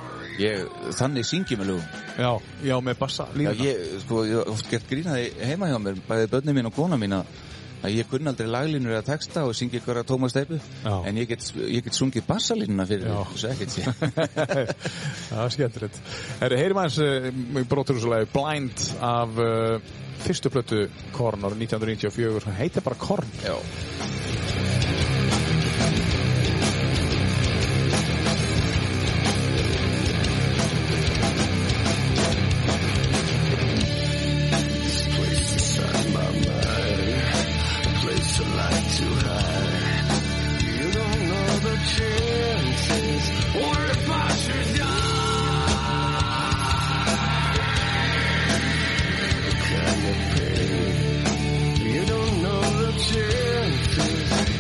Speaker 2: Ég, þannig syngi með lögum.
Speaker 1: já, já, með bassa
Speaker 2: Já,
Speaker 1: lína
Speaker 2: ég, sko, ég hef oft gert grínaði heima hjá mér, bæði börnum mín og kona mín að að ég kunn aldrei laglinur að texta og syngi ykkur að Tómas Steipu
Speaker 1: Já.
Speaker 2: en ég get, ég get sungið bassalínuna fyrir
Speaker 1: Já.
Speaker 2: þau, svo ekkert
Speaker 1: [LAUGHS]
Speaker 2: sé
Speaker 1: Það er skemmtilegt Herri, heyrim aðeins uh, brotur þessu lagi Blind af uh, fyrstu plötu Korn árið 1994 sem heitir bara Korn
Speaker 2: Já.
Speaker 4: You don't know the truth.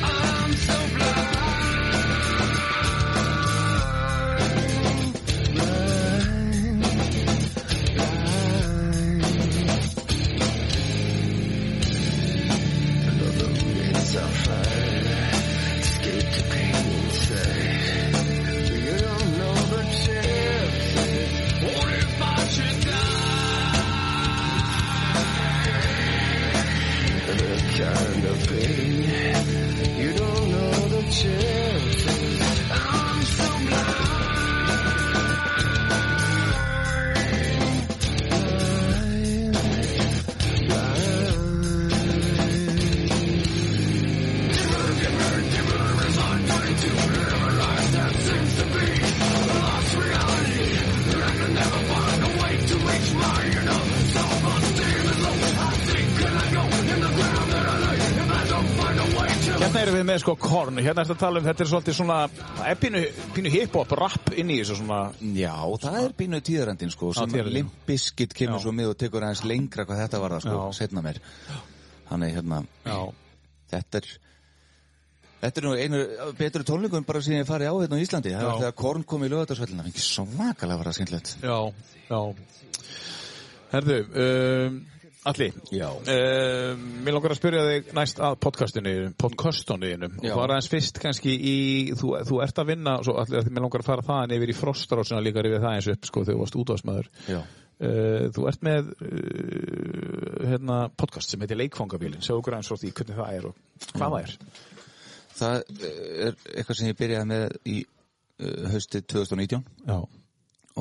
Speaker 1: hérna erum við með sko korn, hérna er þetta að tala um, þetta er svolítið svona, það er pínu, pínu hip-hop rap inn í þessu svona,
Speaker 2: Já, það er bínu tíðarandinn sko sem
Speaker 1: tíðarandinn.
Speaker 2: limpiskitt kemur
Speaker 1: Já.
Speaker 2: svo mið og tekur aðeins lengra hvað þetta var það sko,
Speaker 1: Já.
Speaker 2: setna mér Þannig hérna,
Speaker 1: já,
Speaker 2: þetta er Þetta er nú einu af betri tónleikum bara síðan ég farið á hérna á Íslandi Það var
Speaker 1: Já.
Speaker 2: þegar Korn kom í lögatarsvellina Það fengi svakalega var það skemmtilegt
Speaker 1: já, já. Herðu, um, Alli,
Speaker 2: Já.
Speaker 1: um, mér langar að spyrja þig næst að podcastinu, podcastoniðinu og
Speaker 2: Já.
Speaker 1: það er aðeins fyrst kannski í, þú, þú ert að vinna, svo Alli, að mér langar að fara þaðan yfir í frostrósina líka yfir það eins upp sko þegar þú varst útvarsmaður.
Speaker 2: Já,
Speaker 1: Uh, þú ert með uh, hérna, podcast sem heitir Leikfangabílin segðu okkur aðeins frá því hvernig það er og hvað það er
Speaker 2: það er eitthvað sem ég byrjaði með í uh, haustið 2019
Speaker 1: Já,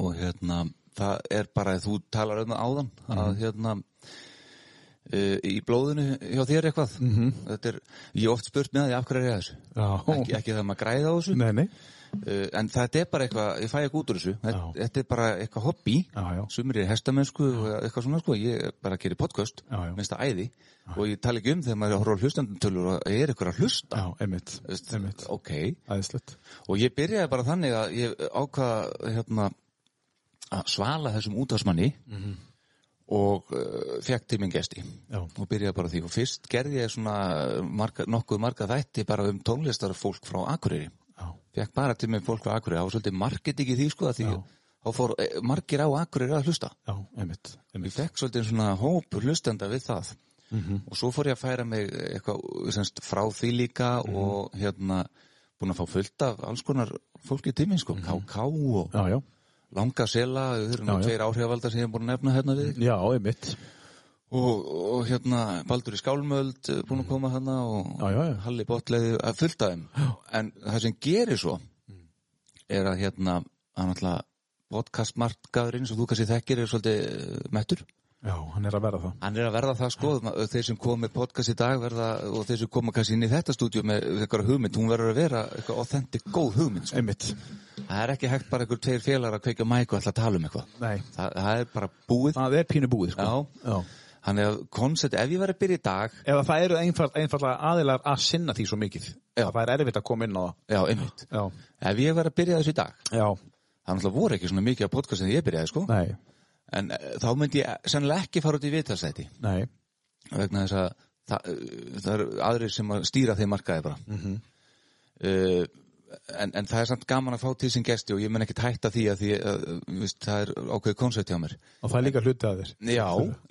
Speaker 2: og hérna það er bara að þú talar um það áðan
Speaker 1: Mhm.
Speaker 2: að hérna uh, í blóðinu hjá þér eitthvað
Speaker 1: Mhm.
Speaker 2: þetta er, ég hef oft spurt með því af hverju er ég að þessu
Speaker 1: já,
Speaker 2: ekki, ekki það maður græða á þessu
Speaker 1: nei, nei
Speaker 2: uh, en þetta er bara eitthvað, ég fæ ekki út úr þessu þetta,
Speaker 1: Já.
Speaker 2: þetta er bara eitthvað hobby
Speaker 1: Já, já.
Speaker 2: sumir er hestamennsku og eitthvað svona sko ég bara gerir podcast,
Speaker 1: Já, já.
Speaker 2: minnst það æði og ég tala ekki um þegar maður horfður hlustandantölur og er eitthvað að hlusta
Speaker 1: Já, einmitt,
Speaker 2: Veist,
Speaker 1: einmitt,
Speaker 2: ok,
Speaker 1: aðeinslegt
Speaker 2: og ég byrjaði bara þannig að ég ákvaða hérna, að svala þessum útvarsmanni og uh, fekk til minn gesti
Speaker 1: Já.
Speaker 2: og byrjaði bara á því og fyrst gerði ég svona marga, nokkuð marga þætti bara um tónlistarfólk frá Akureyri
Speaker 1: Já,
Speaker 2: fekk bara til minn fólk frá Akureyri það var svolítið marketing í því sko að því
Speaker 1: Já.
Speaker 2: þá fór eh, margir á Akureyri að hlusta
Speaker 1: já, einmitt,
Speaker 2: ég
Speaker 1: einmitt.
Speaker 2: fekk svolítið svona hóp hlustenda við það
Speaker 1: Mhm.
Speaker 2: og svo fór ég að færa mig eitthvað semst, frá því líka
Speaker 1: Mhm.
Speaker 2: og hérna búin að fá fullt af alls konar fólki tíminn sko, KK og
Speaker 1: Mhm. Já, já,
Speaker 2: langa sela, þau eru nú
Speaker 1: Já, Mhm. já.
Speaker 2: tveir áhrifavaldar sem ég er búin að nefna hérna við
Speaker 1: já, einmitt
Speaker 2: og, og hérna Baldur í Skálmöld eh, búin að koma hérna og
Speaker 1: Mhm. Já, já, já.
Speaker 2: Halli Bottleiði að fullt af þeim en það sem gerir svo
Speaker 1: Mhm.
Speaker 2: er að hérna hann alltaf podcastmarkaðurinn sem þú kannski þekkir er svolítið eh, mettur
Speaker 1: Já, hann er að verða það
Speaker 2: Hann er að verða það sko, ma- þeir sem kom með podcast í dag verða, og þeir sem koma kannski inn í þetta stúdíu með eitthvað hugmynd, hún verður að vera eitthvað authentic góð hugmynd. Sko.
Speaker 1: Einmitt,
Speaker 2: Það er ekki hægt bara einhver tveir félagar að kveika mæk og ætla að tala um eitthvað.
Speaker 1: nei,
Speaker 2: Það, það er bara búið.
Speaker 1: það er pínu búið sko.
Speaker 2: Já. Þannig að koncept, ef ég verið að byrja í dag,
Speaker 1: Eða það eru einfall, einfallega aðilar að sinna því svo mikið
Speaker 2: Já.
Speaker 1: Það er erfitt að koma inn á það
Speaker 2: já, einmitt,
Speaker 1: Já,
Speaker 2: ef ég verið að byrja þessu í dag,
Speaker 1: já,
Speaker 2: það er náttúrulega voru ekki svona mikið af podcast en ég byrjaði sko,
Speaker 1: nei,
Speaker 2: en eh, þá myndi ég sennilega ekki fara út í vitalsæti
Speaker 1: nei
Speaker 2: vegna þess að það, það eru aðrir sem að stýra þeim markaði bara
Speaker 1: Mhm.
Speaker 2: uh, en, en það er samt gaman að fá til sem gesti og ég menn ekki hætta því að því að, uh, veist, það er ákveðið koncept hjá mér
Speaker 1: Og það er líka hluti að þér
Speaker 2: Já,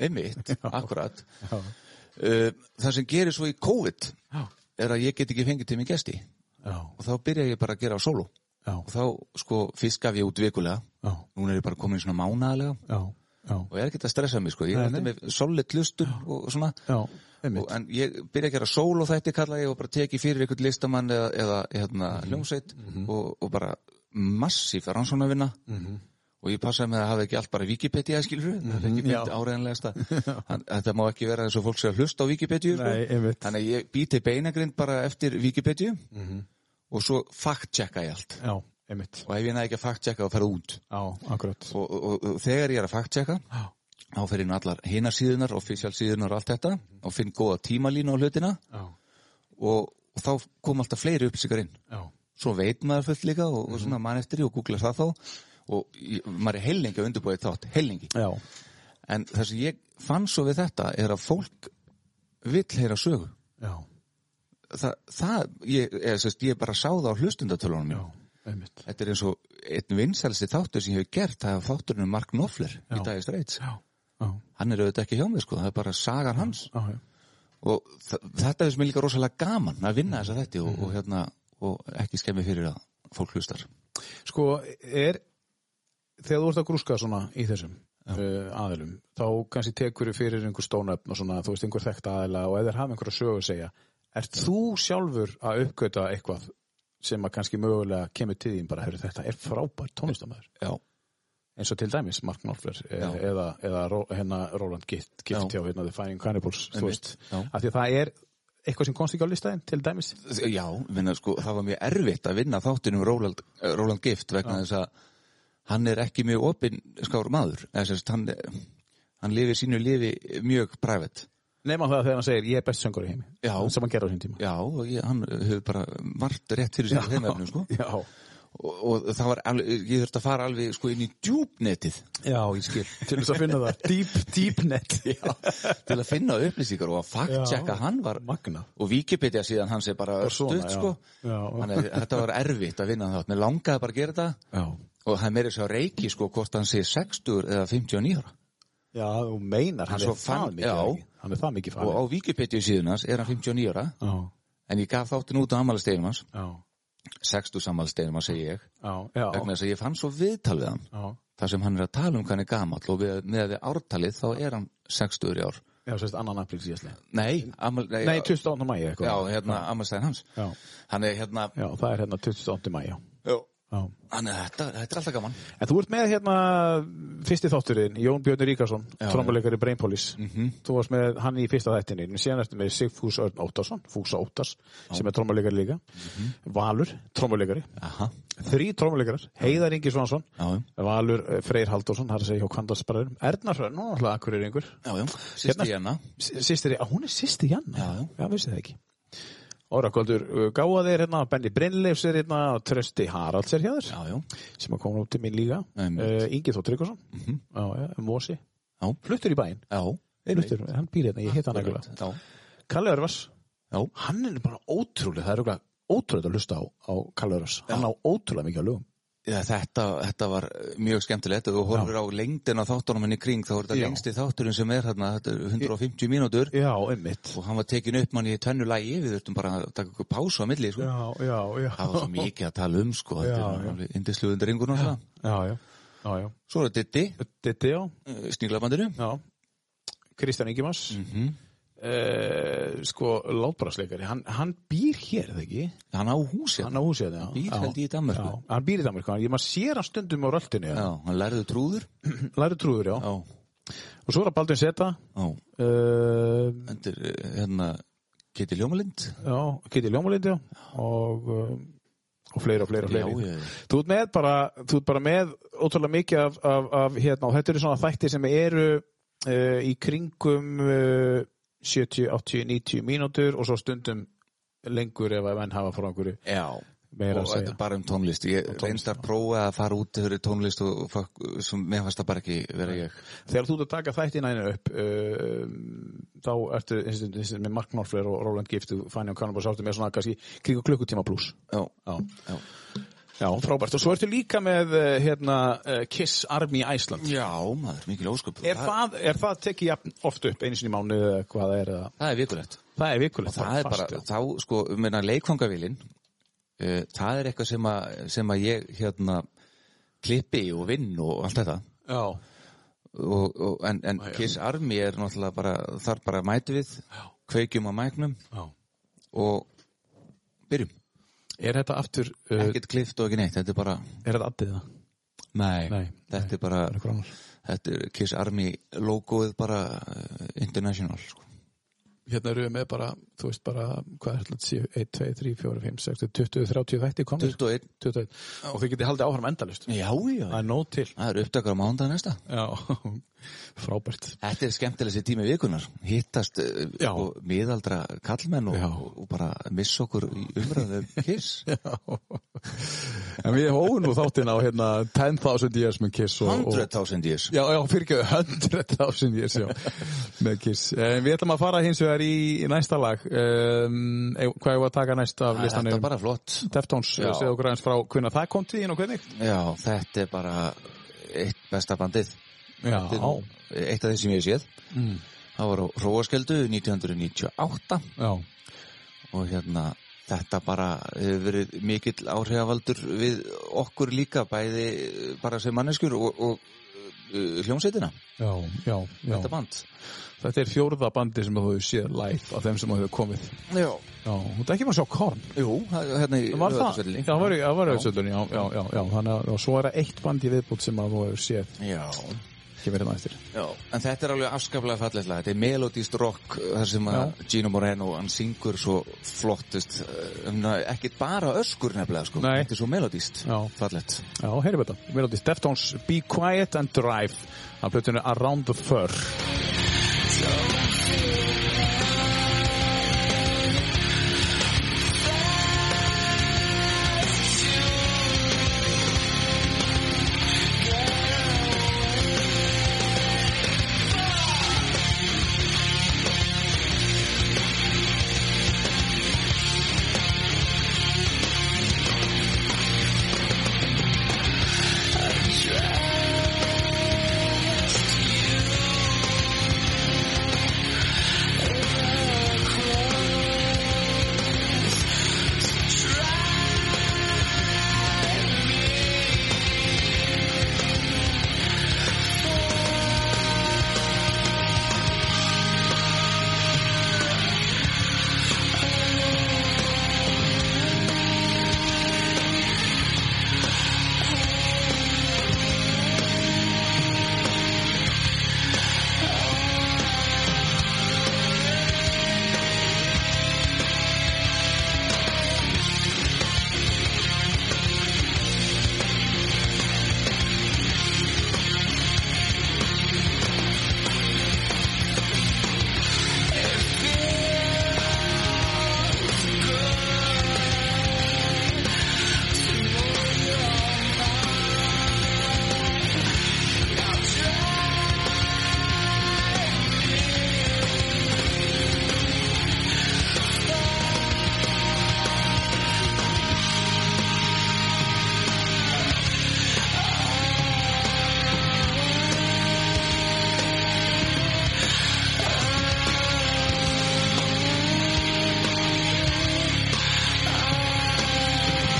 Speaker 2: einmitt, akkurat
Speaker 1: [LAUGHS] Já,
Speaker 2: uh, Það sem gerir svo í COVID
Speaker 1: Já.
Speaker 2: er að ég get ekki fengið til minn gesti
Speaker 1: já,
Speaker 2: og þá byrja ég bara að gera á solo
Speaker 1: já,
Speaker 2: og þá sko fiskaf ég út vikulega
Speaker 1: já,
Speaker 2: núna er ég bara komin svona mánaðalega
Speaker 1: já, já,
Speaker 2: og ég er ekki að stressa mig sko, ég
Speaker 1: Nei,
Speaker 2: er alltaf
Speaker 1: nei.
Speaker 2: með solid lustum og svona
Speaker 1: já,
Speaker 2: og,
Speaker 1: einmitt
Speaker 2: en ég byrja að gera sól og þetta kalla ég og bara teki fyrir einhvern listamann eða, eða hérna,
Speaker 1: Mhm.
Speaker 2: hljómsveit og, og bara massíf rannsónavinna
Speaker 1: Mhm.
Speaker 2: og ég passaði með að hafa ekki allt bara Wikipedia skilur, það er ekki mynd
Speaker 1: Já.
Speaker 2: áreðanlegasta
Speaker 1: [LAUGHS]
Speaker 2: Hann- þetta má ekki vera eins og fólk sé að hlusta á Wikipedia sko.
Speaker 1: Nei, einmitt.
Speaker 2: þannig að ég býti beinagrind bara eftir Wikipedia
Speaker 1: Mhm.
Speaker 2: og svo fact-checka ég allt
Speaker 1: Já, einmitt
Speaker 2: og ef ég næði ekki að fact-checka þá ferða út
Speaker 1: Já, akkurat
Speaker 2: og, og, og, og þegar ég er að fact-checka þá fer ég inn á allar hinar síðunar, official síðunar og allt þetta
Speaker 1: Mhm.
Speaker 2: og finn góða tímalínu á hlutina
Speaker 1: Já,
Speaker 2: og, og þá kom alltaf fleiri upplýsingar inn
Speaker 1: já,
Speaker 2: svo veit maður fullt líka og,
Speaker 1: Mhm.
Speaker 2: og svona mann eftir því og googlar það þá og ég, maður er hellingi að undirbúið þátt, hellingi
Speaker 1: já,
Speaker 2: en það sem ég fann svo við þetta er að fólk vill heyra sögu
Speaker 1: já,
Speaker 2: það, það ég, ég, sest, ég bara sá það á hlustundatölunum
Speaker 1: já,
Speaker 2: mínum.
Speaker 1: einmitt
Speaker 2: þetta er eins og einn vinsælsti þáttur sem ég hef gert það er þátturinn um Mark Knopfler
Speaker 1: Já.
Speaker 2: í dagist reits
Speaker 1: Já, já,
Speaker 2: hann er auðvitað ekki hjá mig sko, það er bara sagan hans
Speaker 1: já, já,
Speaker 2: og þa- þetta er sem er líka rosalega gaman að vinna þess að þetta og,
Speaker 1: Mhm.
Speaker 2: og, hérna, og ekki skemmi fyrir að fólk hlustar
Speaker 1: Sko, er þegar þú ert að grúska svona í þessum uh, aðilum, þá kannski tekur þú fyrir einhver stónöfn og svona, þú veist, einhver þekkt aðila og eða þeir hafa einhverja sögu að segja Ert þú sjálfur að uppgöta eitthvað sem að kannski mögulega kemur til þín bara, heyrðu, þetta er frábært tónlistamæður
Speaker 2: Já,
Speaker 1: eins og til dæmis Mark Knopfler eh,
Speaker 2: Já.
Speaker 1: eða, eða Ró- hérna Roland Gitt, Gitt hjá
Speaker 2: Já.
Speaker 1: hérna The Finding Cannibals, þú veist
Speaker 2: Einmitt, já.
Speaker 1: af því að það er eitthvað sem komst ekki á listaðin til dæmis
Speaker 2: já minna, sko, það var mjög erfitt að vinna þáttin um Róland, Róland Gift vegna þess að hann er ekki mjög opinn skár maður Eða, sérst, hann, hann lifir sínu lifi mjög private
Speaker 1: Nefna það þegar hann segir, ég er best söngur í heimi.
Speaker 2: Já.
Speaker 1: Sem hann gerði á sín tíma.
Speaker 2: Já, og ég, hann hefur bara margt rétt fyrir sér á þeim efnum, sko.
Speaker 1: Já.
Speaker 2: Og, og það var alveg, ég þurfti að fara alveg sko inn í djúpnetið
Speaker 1: Já, ég skil. Til þess að finna það. Deep, deep net.
Speaker 2: til að finna upplýsingar og að fact-checka
Speaker 1: Já.
Speaker 2: hann var,
Speaker 1: Magna.
Speaker 2: og Wikipedia síðan hans er bara
Speaker 1: Og svona,
Speaker 2: stutt,
Speaker 1: já.
Speaker 2: sko.
Speaker 1: Já.
Speaker 2: Þannig að þetta var erfitt að vinna þátt. Mér langaði bara að gera þetta
Speaker 1: Já.
Speaker 2: og hann meiri sér að reiki, sko, hvort hann sé 60 eða 59 ára.
Speaker 1: Já, þú meinar, hann,
Speaker 2: Hann
Speaker 1: er
Speaker 2: svo
Speaker 1: það
Speaker 2: fann-
Speaker 1: mikið.
Speaker 2: já.
Speaker 1: ekki? Hann er það mikið
Speaker 2: Og
Speaker 1: farið.
Speaker 2: á Wikipedia síðan hans er hann 59 ára,
Speaker 1: Já.
Speaker 2: en ég gaf þáttin út á ammælisteginum hans,
Speaker 1: Já.
Speaker 2: 60 sammælisteginum hans, segi ég,
Speaker 1: Já. Já.
Speaker 2: vegna þess að ég fann svo viðtal við hann.
Speaker 1: Já.
Speaker 2: þar sem hann er að tala um hvað hann er gamall og við, með við ártalið þá er hann 60 í ár.
Speaker 1: Já, sérst, annan apríl síðastlega.
Speaker 2: Nei, amal, nei,
Speaker 1: Nei, 28. mæi eitthvað.
Speaker 2: já, hérna, amalstæðin hans.
Speaker 1: Já.
Speaker 2: Hann er hérna,
Speaker 1: Já, það er hérna 28. mæi, já.
Speaker 2: já.
Speaker 1: Já.
Speaker 2: hann er þetta, þetta er alltaf gaman.
Speaker 1: En þú ert með hérna fyrsti þátturinn, Jón Björn Ríkarsson,
Speaker 2: Já, Mhm.
Speaker 1: trommuleikari Brainpolis. Þú varst með hann í fyrsta þættinni, en síðan ertu með Sigfús Örn Óttarsson, Fúsa Óttars, sem er trommuleikari líka.
Speaker 2: Mhm.
Speaker 1: Valur, trommuleikari.
Speaker 2: Aha,
Speaker 1: Þrý trommuleikarar, Heiðar Ingi Svansson,
Speaker 2: já, já,
Speaker 1: Valur eh, Freyr Halldórsson, það er að segja hjá Kvandarsbræður. Erna Hrönn, hún er alltaf akkurir yngur.
Speaker 2: já, já, sýsti hérna.
Speaker 1: Sýstir, ah, hún er sýsti Janna.
Speaker 2: Já, já.
Speaker 1: Já, vissi það ekki. Órakvöldur gáða þér hérna, Benny Brynleifs er hérna og Trösti Haralds er hjá þér
Speaker 2: Já, já,
Speaker 1: sem að koma út til mín líka
Speaker 2: Einmitt.
Speaker 1: uh, Ingi Þór Tryggvason Já, já, Mosi,
Speaker 2: Mhm. Já.
Speaker 1: fluttur í bæinn
Speaker 2: já.
Speaker 1: fluttur, hann býr hérna, ég heit hann ekkur
Speaker 2: Já,
Speaker 1: Kalli Örvars,
Speaker 2: já,
Speaker 1: hann er bara ótrúlega það er okkur ótrúlega að hlusta á, á Kalli Örvars hann á ótrúlega mikið á lögum
Speaker 2: Já, þetta, þetta var mjög skemmtilegt og þú horfir á lengdina þáttunum henni kring þá er þetta
Speaker 1: Já.
Speaker 2: lengsti þátturinn sem er hérna, þetta er 150 mínútur
Speaker 1: Já, einmitt
Speaker 2: og hann var tekin upp manni í tönnu lagi, við þurftum bara að taka okkur pásu á milli, sko.
Speaker 1: Já, já, já
Speaker 2: það var svo mikið að tala um sko,
Speaker 1: Já,
Speaker 2: þetta er
Speaker 1: já.
Speaker 2: alveg indisluðin drengur og það.
Speaker 1: Já, já, já, já
Speaker 2: Svo er það Diddi,
Speaker 1: Ditti, já,
Speaker 2: eh, sníglabandinu. Mhm.
Speaker 1: já Kristján Ingimars mm -hmm. sko, látbrásleikari hann, hann býr hér, er það ekki?
Speaker 2: Hann á húsið.
Speaker 1: Hann á húsið, hérna, já
Speaker 2: Býr,
Speaker 1: Já.
Speaker 2: held ég, í Danmörku.
Speaker 1: Já, hann býr í Danmarku, hann, ég maður sér hann stundum á röldinu
Speaker 2: Já, hann lærðu trúður.
Speaker 1: Læri trúður, já.
Speaker 2: Já,
Speaker 1: Og svo er það Baldur Seta,
Speaker 2: já.
Speaker 1: uh,
Speaker 2: Endur, eh, hérna, Kitty Ljómalind.
Speaker 1: já, Kitty Ljómalind, já, og, uh, og fleira og fleira og
Speaker 2: Já,
Speaker 1: fleira.
Speaker 2: ég,
Speaker 1: Þú ert með bara, þú ert bara með ótrúlega mikið af, af, af hérna, og þetta eru svona þættir sem eru uh, í kringum uh, 70, 80, 90 mínútur og svo stundum lengur ef að menn hafa frá einhverju
Speaker 2: já.
Speaker 1: meira
Speaker 2: og
Speaker 1: að
Speaker 2: þetta
Speaker 1: segja.
Speaker 2: er bara um tónlist. Ég
Speaker 1: tónlist,
Speaker 2: reynst að prófa að fara út fyrir tónlist og fólk sem mér fannst það bara ekki vera ég.
Speaker 1: Þegar þú ert að taka þættina einu upp uh, þá ertu eins og- eins og með Mark Norfler og Roland Gift og Fanny og Cannibals áttu með svona kannski kringu klukkutíma pluss.
Speaker 2: Já,
Speaker 1: Já.
Speaker 2: já.
Speaker 1: Já, frábært. Og svo ertu líka með eh, hérna, eh, Kiss Army Æsland.
Speaker 2: Já, maður, mikil ósköp.
Speaker 1: Er það, er það tekið jafn oft upp einu sinni í mánuði eða hvað það er? eða-
Speaker 2: það er vikulegt.
Speaker 1: Það er vikulegt.
Speaker 2: það er bara, þá sko, meina leikfangavílin uh, það er eitthvað sem að, sem að ég hérna klippi og vinn og allt þetta
Speaker 1: Já,
Speaker 2: og, og, en, en Kiss Army er náttúrulega bara, þar bara mætu við kveikjum á mæknum
Speaker 1: já.
Speaker 2: og byrjum
Speaker 1: Er þetta aftur, uh,
Speaker 2: ekkert klift og ekki neitt, þetta er bara
Speaker 1: er þetta addið það?
Speaker 2: nei,
Speaker 1: Nei,
Speaker 2: þetta er bara
Speaker 1: Er það gránar?
Speaker 2: þetta er Kiss Army logoið bara uh, international sko.
Speaker 1: Hérna eru við með bara, þú veist bara, hvað er þetta, 1, 2, 3, 4, 5, 6, 20, 30 þætti komnir.
Speaker 2: 21,
Speaker 1: 21. Og þau getið haldið áfram endalust.
Speaker 2: já
Speaker 1: Það
Speaker 2: já
Speaker 1: er nóg til.
Speaker 2: það er upptakar á mándag næsta
Speaker 1: Já, [LAUGHS] frábært.
Speaker 2: Þetta er skemmtilegsi tími vikunar, hittast eh,
Speaker 1: Já.
Speaker 2: sko, miðaldra kallmenn og,
Speaker 1: Já.
Speaker 2: og bara missa okkur í umræðum
Speaker 1: [LAUGHS]
Speaker 2: kiss.
Speaker 1: En við hóðum nú þáttinn á hérna 10.000 years með Kiss og... og-
Speaker 2: 100.000 years.
Speaker 1: Já, já, fyrirgjöðu, 100.000 years, já, með Kiss. Eh, við ætlum að fara hins vegar í, í næsta lag. Um, eh, hvað er að taka næst af
Speaker 2: Þetta
Speaker 1: listanum?
Speaker 2: er bara flott.
Speaker 1: Deftones,
Speaker 2: Já.
Speaker 1: segðu okkur aðeins frá hvernig það kom til þín og hvernig?
Speaker 2: Já, þetta er bara eitt besta bandið.
Speaker 1: Já.
Speaker 2: Þetta er nú Eitt af þeim sem ég hef séð. Það var á Róaskeldu 1998
Speaker 1: Já,
Speaker 2: og hérna þetta bara hefur verið mikill áhrifavaldur við okkur líka bæði eh, bara sem manneskjur og, og uh, hljómsveitina,
Speaker 1: já, já, já.
Speaker 2: þetta band.
Speaker 1: Þetta er fjórða bandi sem þú hefur séð live af þeim sem þú hefur komið.
Speaker 2: Já.
Speaker 1: Já, þú ert ekki bara að sjá Korn.
Speaker 2: Jú, það- hérna í
Speaker 1: Það var það,
Speaker 2: Laugardalsvellinni.
Speaker 1: það var, það var auðsöldunni, já, já, já, já, þannig að og svo er það eitt band í viðbútt sem að þú hefur séð,
Speaker 2: Já,
Speaker 1: ekki verið það eftir.
Speaker 2: já. En þetta er alveg afskaplega fallet lag. Þetta er melodíst rock uh, þar sem að Gino Moreno, hann syngur svo flottist. uh, um, na, Ekkit bara öskur nefnilega, sko.
Speaker 1: Nei.
Speaker 2: Þetta er svo melodíst.
Speaker 1: Já.
Speaker 2: Fallet.
Speaker 1: Já, heyrjum þetta. Melodist Deftones, Be Quiet and Drive, af plötunni Around the Fur.
Speaker 3: Don't feel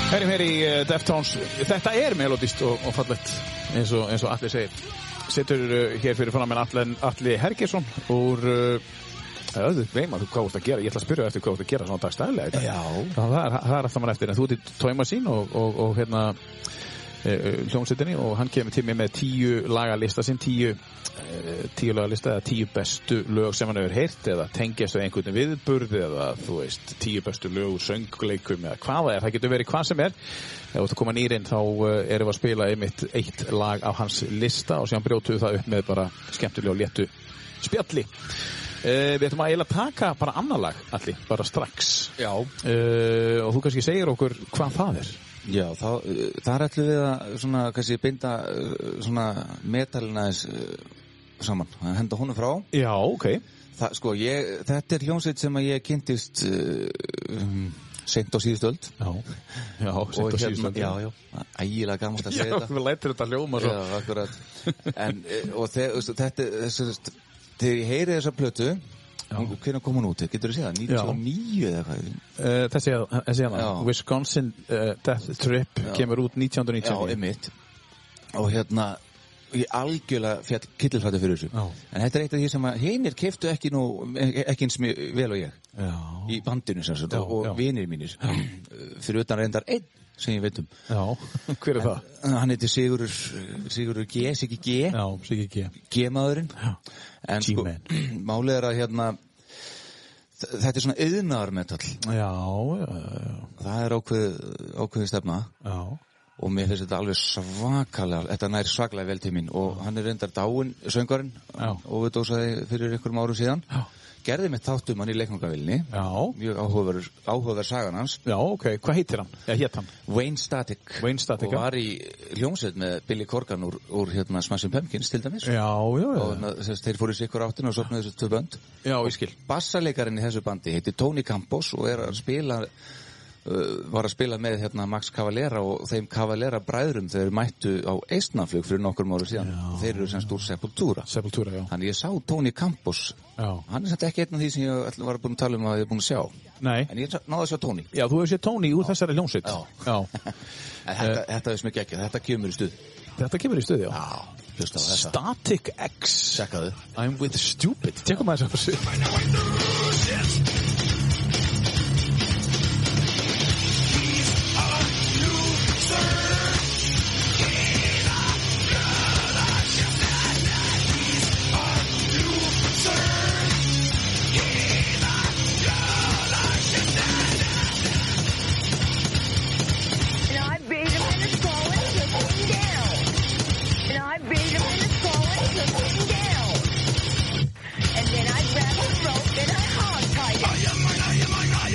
Speaker 1: Hverjum er í eh, Deftones? Þetta er melodist og, og fallett eins og, eins og Atli segir. Sittur uh, hér fyrir fannar minn Atli, Atli Hergesson úr uh, öðu veima, þú hvað þú ert að gera, ég ætla að spyrja eftir hvað þú ert að gera svona dagstæðlega í dag.
Speaker 2: Já.
Speaker 1: Það, það, er, það er alltaf mann eftir, en þú ert í tóima sín og, og, og hérna eh, hljómsveitinni og hann kemur til mig með tíu lagalista sinn, tíu, eh, tíu lagalista eða tíu bestu lög sem hann hefur heyrt eða tengjast við einhvern viðburði eða þú veist, tíu bestu lög úr söngleikum eða hvað það er, það getur verið hvað sem er ef þú ert að koma nýrinn þá eh, erum við að spila einmitt eitt lag af hans lista og síðan brjótu það upp með bara skemmtilegu og léttu spjalli uh, við ætlum að eiginlega taka bara annar lag allir, bara strax
Speaker 2: Já.
Speaker 1: uh, og þú kannski segir okkur hvað það er
Speaker 2: Já, þá, uh, þar ætlum við að svona, kannski, binda uh, svona metalina þess uh, saman, að henda honum frá.
Speaker 1: Já, ok
Speaker 2: Þa, sko, ég, þetta er hljómsveit sem að ég kynntist uh, um, seint á síðustöld.
Speaker 1: Já, já,
Speaker 2: Og
Speaker 1: sent og
Speaker 2: hérna-
Speaker 1: síðust
Speaker 2: Já, já, ægilega gaman að
Speaker 1: Já,
Speaker 2: segja þetta.
Speaker 1: við lætur þetta hljóma svo
Speaker 2: [LAUGHS] Já, akkurat en, eh, og þe veistu, þetta þessi, þessi, þegar ég heyri þessa plötu hún- hvenær kom hún út, getur þú séð það 99 eða hvað
Speaker 1: uh, Þessi að, þessi að
Speaker 2: Já.
Speaker 1: Wisconsin uh, Death Trip kemur út
Speaker 2: já,
Speaker 1: 1990
Speaker 2: einmitt og hérna, ég algjörlega fjall kittilfættu fyrir þessu
Speaker 1: Já.
Speaker 2: en þetta er eitt af því sem að hinir keiftu ekki nú ekki eins mjög vel og ég
Speaker 1: já,
Speaker 2: í bandinu sem sagt
Speaker 1: Já,
Speaker 2: og, og
Speaker 1: já.
Speaker 2: vinir mínir Eh, fyrir utan reyndar einn sem ég veit um
Speaker 1: já, hver er það?
Speaker 2: hann heiti Sigurur Sigurur G, Siggi G
Speaker 1: Já, sig ekki
Speaker 2: gemaðurinn en sko,
Speaker 1: G-man.
Speaker 2: málið er að hérna þ- þetta er svona yðnaðarmetall
Speaker 1: Já, já, já,
Speaker 2: það er ákveð, ákveðin stefna
Speaker 1: já
Speaker 2: og mér finnst þetta alveg svakalega þetta nær svakalega vel til mín og hann er reyndar dáin söngarinn
Speaker 1: Já.
Speaker 2: og við dósaði fyrir einhverjum árum síðan
Speaker 1: Já.
Speaker 2: gerði mér þáttum hann í leiknungavilni
Speaker 1: Já,
Speaker 2: mjög áhugaverð, áhugaverð sagan hans
Speaker 1: já, ok, hvað heitir hann? Já, hétt hann
Speaker 2: Wayne Static
Speaker 1: Wayne Static,
Speaker 2: og
Speaker 1: já.
Speaker 2: var í hljómsveit með Billy Corgan úr, úr hérna, Smashing Pumpkins til dæmis
Speaker 1: Já, já,
Speaker 2: og
Speaker 1: já,
Speaker 2: na, þess, þeir fóru sér ykkur áttin og sopnaði þessu tvö bönd
Speaker 1: já, ég skil
Speaker 2: bassalekarinn í þessu bandi heitir Tony Campos og er að spila uh, var að spila með hérna, Max Cavalera og þeim Cavalera bræðrum þeir mættu á eistnaflug fyrir nokkur ára síðan og þeir eru sem stúr sepultúra
Speaker 1: Sepultura, já,
Speaker 2: þannig ég sá Tony Campos
Speaker 1: já
Speaker 2: hann er þetta ekki einn af því sem ég ætla- var búin að tala um að ég er búin að sjá
Speaker 1: Nei,
Speaker 2: en ég sá- náði að sjá Tony
Speaker 1: já, þú hefur séð Tony úr þessari hljómsveit
Speaker 2: Já.
Speaker 1: já.
Speaker 2: en þetta, þetta er sem ekki ekki, þetta kemur í stuð
Speaker 1: Þetta kemur í stuði, já
Speaker 2: já, hlusta á þetta
Speaker 1: Static X
Speaker 2: Sjekkaðu.
Speaker 1: I'm with stupid Tjekkum maður þess að
Speaker 4: And I beat him in the skull and took him down. And I beat him in the skull and took him down. And then I grabbed his rope and I hogtied him.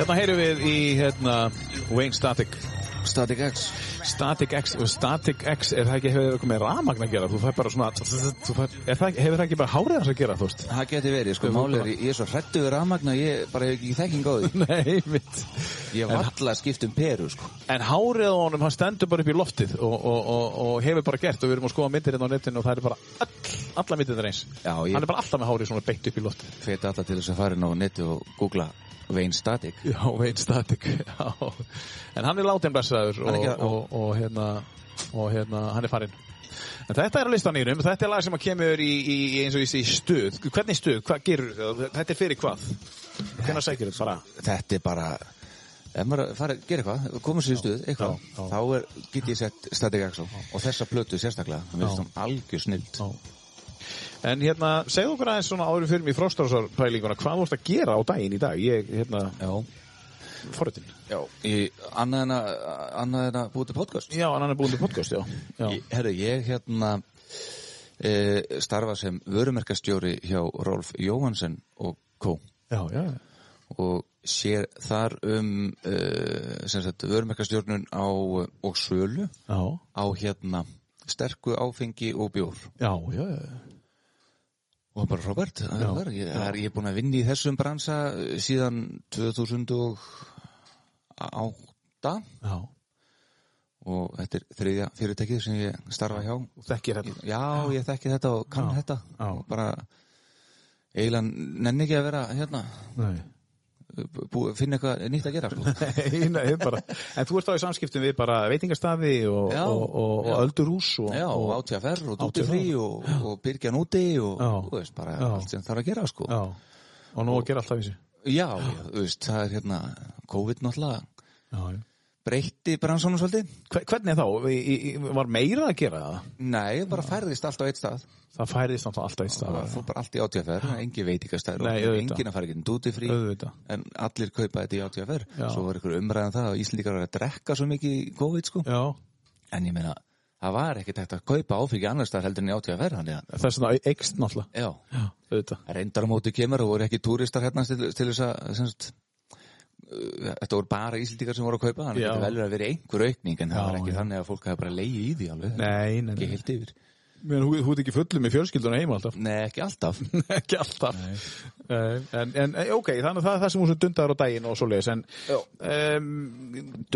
Speaker 1: Hérna heyrum við í hérna, Wayne Static
Speaker 2: Static X
Speaker 1: Static X og Static X er það ekki hefur eitthvað með ramagn að gera þú fær bara svona þú fær, er það, ekki- hefur það ekki bara hárið hans að gera þú veist [LAUGHS]
Speaker 2: það geti verið, sko, málið er ég er svo hrættu við rafmagna, ég bara hef ekki þekking á [LAUGHS] því
Speaker 1: Nei, mitt
Speaker 2: ég hef alla skipt um peru, sko
Speaker 1: En hárið á honum, hann stendur bara upp í loftið og, og, og, og hefur bara gert og við erum að skoða myndir hérna á netinu og það er bara all, alla myndir eins
Speaker 2: Já, ég-
Speaker 1: Hann er bara alltaf með hárið svona beitt upp í loftið
Speaker 2: feti alltaf til þess að fara inn á netu og googla Wayne Static
Speaker 1: Já, Wayne Static já. En hann er látið blessaður
Speaker 2: Hann
Speaker 1: og,
Speaker 2: er ekki-
Speaker 1: og, og, hérna, og hérna, hann er farinn En þetta er að listan írum, þetta er lag sem að kemur í, í í eins og ég sé í stuð Hvernig stuð, hvað gerur þau, þetta er fyrir hvað? Hvernig sækir þetta bara?
Speaker 2: þetta er bara ef maður er að fara að gera eitthvað, koma sér í stuð eitthvað,
Speaker 1: Já, já.
Speaker 2: þá er, get ég sett Static Axel og þessa plötu sérstaklega það er svona algjör snild
Speaker 1: En hérna, segðu okkur aðeins svona áður fyrir mig í fróstarásarpælinguna Hvað vorst að gera á daginn í dag? Ég, hérna,
Speaker 2: já,
Speaker 1: forritin
Speaker 2: já í, annað en að annað en að búið til podcast
Speaker 1: Já, en hann er búin til podcast, já, já.
Speaker 2: Ég- herru, ég hérna e, starfa sem vörumerkastjóri hjá Rolf Jóhansen og Kó
Speaker 1: Já, já,
Speaker 2: og sér þar um uh, sem sagt vörumekastjórnun á og sölu
Speaker 1: Já,
Speaker 2: á hérna sterku áfengi og bjór
Speaker 1: já, já, já.
Speaker 2: og bara Robert, það er, bara- ég, það er ég er búin að vinna í þessum bransa eh, síðan 2008
Speaker 1: já.
Speaker 2: og þetta er þriðja fyrirtækið sem ég starfa hjá
Speaker 1: Og þekkir hérna. þetta.
Speaker 2: Já, ég þekki þetta og kann þetta
Speaker 1: já.
Speaker 2: og bara eiginlega nenni ekki að vera hérna
Speaker 1: Nei.
Speaker 2: bú, finna eitthvað nýtt að gera sko.
Speaker 1: [LAUGHS] Nei, nei, bara, en þú ert þá í samskiptum við bara veitingastaði og,
Speaker 2: Já,
Speaker 1: og, og, og öldurús og,
Speaker 2: Já, og
Speaker 1: og,
Speaker 2: átjafær og dútifrí og, og byrgjan úti og
Speaker 1: Já.
Speaker 2: þú veist, bara
Speaker 1: Já.
Speaker 2: allt sem þarf að gera sko.
Speaker 1: já, og nú að gera alltaf í sig
Speaker 2: Já, þú veist, það er hérna COVID náttúrulega
Speaker 1: já, já.
Speaker 2: breytti bransunum svolítið
Speaker 1: Hve- Hvernig þá? Í- í- í- Var meira að gera það?
Speaker 2: Nei, bara færðist allt á eitt stað
Speaker 1: Það færðist náttúrulega alltaf eitt
Speaker 2: það
Speaker 1: stað
Speaker 2: fór bara allt í átjafær, engin veitingastæður
Speaker 1: Nei,
Speaker 2: og
Speaker 1: auðvitað.
Speaker 2: engin að fara ekki dútifrí
Speaker 1: Auðvitað
Speaker 2: en allir kaupa þetta í átjafær
Speaker 1: Já.
Speaker 2: svo var ykkur umræðan það að Íslendingar var að drekka svo mikið í COVID sko
Speaker 1: Já,
Speaker 2: En ég meina, það var ekkert hægt að kaupa áfengi annars staðar heldur en í átíð að verða hann eða.
Speaker 1: þess að það eikst náttúrulega
Speaker 2: Já,
Speaker 1: Já, auðvitað
Speaker 2: reyndar á móti kemur og voru ekki túristar hérna til, til þess að sem sagt, uh, þetta voru bara íslendingar sem voru að kaupa þannig
Speaker 1: Já.
Speaker 2: að þetta velur að vera einhver aukning en
Speaker 1: Já,
Speaker 2: það var ekki
Speaker 1: já.
Speaker 2: þannig að fólk hafi bara leiði í því alveg
Speaker 1: Nei, nei,
Speaker 2: ekki
Speaker 1: nei
Speaker 2: heilt yfir.
Speaker 1: Men hú, hú ert ekki fullum í fjölskylduna heima alltaf
Speaker 2: Nei, ekki alltaf.
Speaker 1: Ekki alltaf Nei. En, en eh, ok, þannig að það er það sem hún sem dundar á daginn og svoleiðis En um,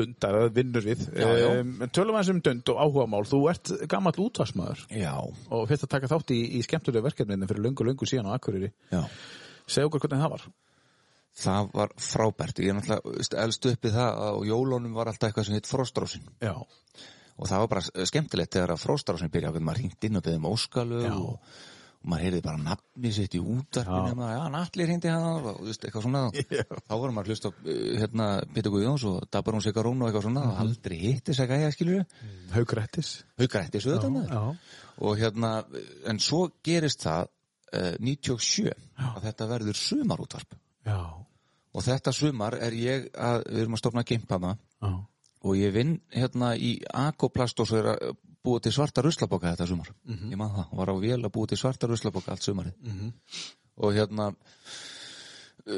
Speaker 1: dundar, það vinnur við
Speaker 2: Já, já.
Speaker 1: Em, En tölum aðeins um dund og áhugamál Þú ert gamall útvarsmaður
Speaker 2: Já,
Speaker 1: og fyrst að taka þátt í, í skemmtulega verkefninu fyrir löngu, löngu síðan á Akureyri
Speaker 2: já.
Speaker 1: segja okkur hvernig það var
Speaker 2: Það var frábært. Ég er náttúrulega elst upp í það að á jólunum var alltaf eitthvað sem hitt Frostrósin.
Speaker 1: já,
Speaker 2: og það var bara eh, skemmtilegt þegar að fróstrásin byrja hvernig maður hringt inn og beðið um óskalög
Speaker 1: Já.
Speaker 2: og, og maður heyrði bara nafni sitt í útvarpinu
Speaker 1: Já.
Speaker 2: og maður, já, Nallir hindi hann og þú veist, eitthvað
Speaker 1: [LAUGHS]
Speaker 2: svona þá vorum maður að hlusta á, eh, hérna, Pétur Guðjóns og Dabbar hún Sigarún og eitthvað
Speaker 1: Mhm.
Speaker 2: svona og aldrei hitti sig að ég skilur
Speaker 1: haugrættis
Speaker 2: hugrættis auðvitað maður
Speaker 1: já,
Speaker 2: og hérna, eh, en svo gerist það uh, 97 að þetta verður sumarútvarp
Speaker 1: já,
Speaker 2: og þetta sumar er ég að, við erum að stofna gimpana
Speaker 1: já,
Speaker 2: og ég vinn hérna í Akoplast og svo er að búa til svarta ruslaboka þetta sumar ég man það, var á vél að búa til svarta ruslaboka allt sumarið og hérna uh,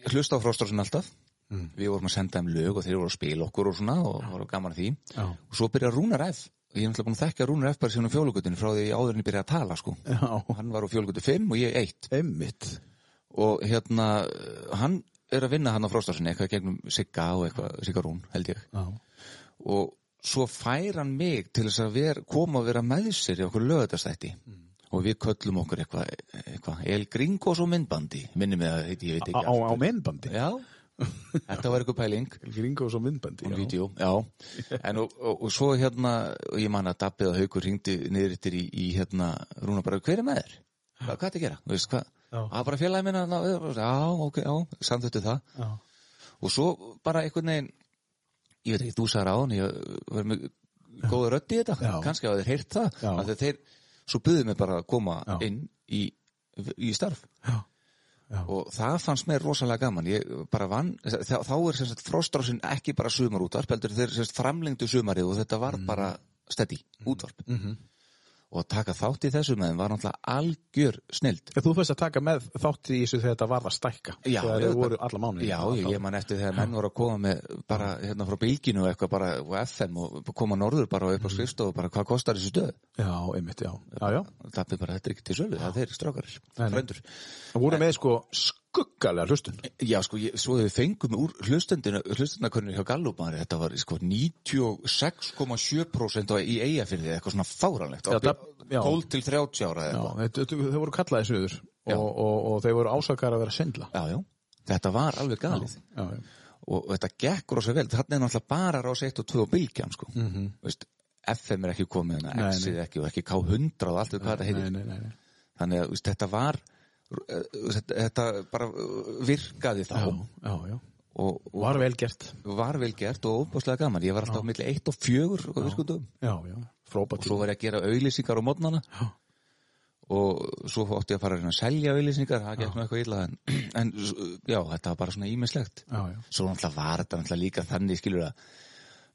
Speaker 2: ég hlusta á fróstarsin alltaf við vorum að senda þeim lög og þeir voru að spila okkur og svona og það var gaman að því
Speaker 1: Já.
Speaker 2: og svo byrja Rúnar F og ég er náttúrulega búin að þekka Rúnar F bara síðan á fjólugutinu frá því ég áður en ég byrja að tala sko
Speaker 1: já.
Speaker 2: hann var á fjólugutu 5 og ég 1
Speaker 1: einmitt
Speaker 2: og hérna uh, hann er að vinna hann á fróstarsinni eitthvað gegnum Sigga og eitthvað Sigga Rún held ég
Speaker 1: já,
Speaker 2: og svo fær hann mig til þess að ver, koma að vera með sér í okkur lögatastætti
Speaker 1: Mm.
Speaker 2: og við köllum okkur eitthvað eitthva, El Gringos og myndbandi minnum við að heiti, ég veit
Speaker 1: á,
Speaker 2: ekki
Speaker 1: á,
Speaker 2: allt.
Speaker 1: á minnbandi
Speaker 2: Já, þetta var eitthvað
Speaker 1: [LAUGHS]
Speaker 2: pæling
Speaker 1: gringos á minnbandi
Speaker 2: um
Speaker 1: já.
Speaker 2: vídeo, já en og, og, og svo hérna, og ég man að Dabbið að Haukur ringdi niður yttir í, í hérna, Rúna bara, hver er með þér? Hvað, hvað er að gera? Þú veist hvað?
Speaker 1: Já.
Speaker 2: Að bara félagi minna, ná, já, ok, já, samþöttu það
Speaker 1: Já.
Speaker 2: og svo bara einhvern veginn ég veit ekki, þú sagði ráðan ég var með góða rödd í þetta
Speaker 1: Já.
Speaker 2: kannski hafa þeir heyrt það
Speaker 1: Já.
Speaker 2: af því að þeir, svo buðu mig bara að koma
Speaker 1: Já.
Speaker 2: inn í, í starf
Speaker 1: Já. Já.
Speaker 2: og það fannst mér rosalega gaman ég bara vann, þá, þá er sem sagt frostrásin ekki bara sumar útvarp heldur þeir sem sagt framlengdu sumarið og þetta var
Speaker 1: Mm.
Speaker 2: bara stedi útvarp
Speaker 1: Mhm.
Speaker 2: og að taka þátt í þessu með þeim var náttúrulega algjör snild
Speaker 1: Þú fyrst að taka með þátt í þessu þegar þetta var að stækka
Speaker 2: Já,
Speaker 1: þegar
Speaker 2: auðvitað.
Speaker 1: þau voru alla mánu
Speaker 2: Já, ég, ég man eftir þegar menn voru að koma með bara hérna frá bylginu og eitthvað bara og FM og koma norður bara
Speaker 1: Mhm.
Speaker 2: upp á skrifstofu og bara hvað kostar þessi stöð?
Speaker 1: já, einmitt, já, já, já.
Speaker 2: Það er bara, þetta er ekki til sölu, það er strákarir,
Speaker 1: Nei, nei.
Speaker 2: fröndur.
Speaker 1: Það voru með sko skuggalega hlustun
Speaker 2: Já, sko, ég, svo þegar við fengum úr hlustendina, hlustendakönnur hjá Gallupari, þetta var sko 96,7% á- í eiga fyrir því, eitthvað svona fáranlegt,
Speaker 1: Já,
Speaker 2: á-
Speaker 1: það- já.
Speaker 2: 12 til 30 ára eða
Speaker 1: Já,
Speaker 2: eitthvað.
Speaker 1: þau þau voru kallaði suður
Speaker 2: Já.
Speaker 1: og, og, og þeir voru ásakar að vera svindla
Speaker 2: Já, já, þetta var alveg galið.
Speaker 1: Já, já,
Speaker 2: og og þetta gekk rosa vel þarna er náttúrulega bara rás 1 og 2 og bylgjan sko. mm Veist, FM er ekki
Speaker 1: Mhm.
Speaker 2: komið
Speaker 1: Nei,
Speaker 2: hana, X er ekki og ekki K100 og allt við hvað þetta heitir
Speaker 1: nei, nei, nei, nei.
Speaker 2: þannig að veist, þetta var eh, þetta, þetta bara eh, virkaði þá
Speaker 1: Já, já, já.
Speaker 2: og, og
Speaker 1: Var vel gert
Speaker 2: var vel gert og óbúslega gaman ég var alltaf á milli 1 og 4 og virkundum
Speaker 1: Já, já, frábært
Speaker 2: og svo var ég að gera auðlýsingar á mótnana
Speaker 1: Já.
Speaker 2: og svo átti ég að fara að reyna að selja auðlýsingar, það gekk nú eitthvað illa en, [CLEARS THROAT] en s- já, þetta var bara svona ímislegt
Speaker 1: Já, já,
Speaker 2: svo náttúrulega var þetta náttúrulega líka þannig skilur að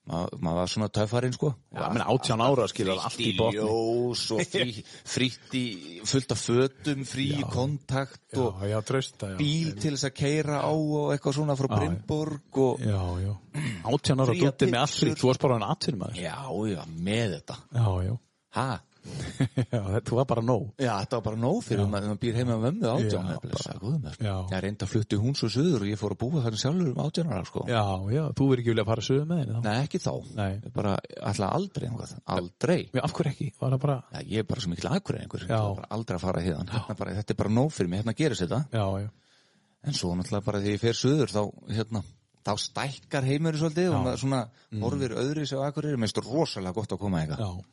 Speaker 2: Ma- maður var svona töffarinn sko
Speaker 1: Já, menn 18 ára skilur allt í botni.
Speaker 2: botni ljós og [LAUGHS] frí, frítt í fullt af fötum, frí í kontakt og
Speaker 1: Já, já, trausta, já.
Speaker 2: bíl til þess að keira á og eitthvað svona frá Brynborg og
Speaker 1: Já, já. 18 ára
Speaker 2: Fría
Speaker 1: dúttið með
Speaker 2: pylsur.
Speaker 1: allir, þú varst bara hann atvinnum maður.
Speaker 2: já, já, með þetta
Speaker 1: Já, já. [LAUGHS]
Speaker 2: ha?
Speaker 1: já þetta var bara nóg.
Speaker 2: Já, þetta var bara nóg fyrir um maður þegar maður býr heima með mömmu átján
Speaker 1: Já,
Speaker 2: já, blessa, góðum,
Speaker 1: Já.
Speaker 2: ég reyndi að flutti hún svo söður og ég fór að búa þarna sjálfur um átján ára sko.
Speaker 1: Já, já, þú verður ekki vilja að fara sögum með henni þá.
Speaker 2: Nei, ekki þá,
Speaker 1: Nei.
Speaker 2: Ég bara alltaf aldrei einhvað. aldrei
Speaker 1: Já, Af hverju ekki? Var það bara,
Speaker 2: Já, ég er bara sem mikil akureyringur, ég
Speaker 1: Já.
Speaker 2: ætla bara aldrei að fara hérðan, hérna bara, þetta er bara nóg fyrir mig, hérna gerist þetta,
Speaker 1: já, já.
Speaker 2: en svo náttúrulega bara þegar ég fer söður þá, hérna, þá stækkar heimurinn svolítið og maður svona horfir öðru sér á akureyri, mér finnst rosalega gott að koma eitthvað
Speaker 1: Mm. Já,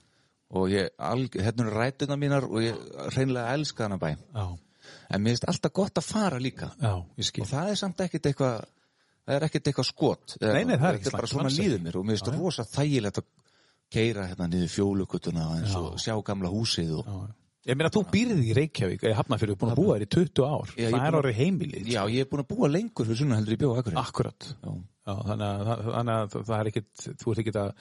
Speaker 2: og ég, alg, hérna eru rætuna mínar og ég reynilega elska hana bæ,
Speaker 1: já,
Speaker 2: en mér finnst alltaf gott að fara líka
Speaker 1: já, ég skil.
Speaker 2: og það er samt ekkit eitthvað, það er ekkit eitthvað skot, eða-
Speaker 1: Nei, nei, það er ekki
Speaker 2: þetta er bara
Speaker 1: slæmt,
Speaker 2: svona
Speaker 1: alls ekki.
Speaker 2: líður mér og mér finnst rosa þægilegt að keira hérna niður fjólugutuna eins og sjá gamla húsið og
Speaker 1: Ég meina, þú býrði í Reykjavík, ég hafna fyrir, búin að búa þér í 20 ár.
Speaker 2: Já,
Speaker 1: það
Speaker 2: ég búin
Speaker 1: er
Speaker 2: að-
Speaker 1: orðið heimilið.
Speaker 2: Já, ég er búin að búa lengur fyrir sunna heldur í bjóðu akkur
Speaker 1: Akkurat.
Speaker 2: Já.
Speaker 1: Já, þannig að, það- þannig að það er ekkit, þú ert ekkit að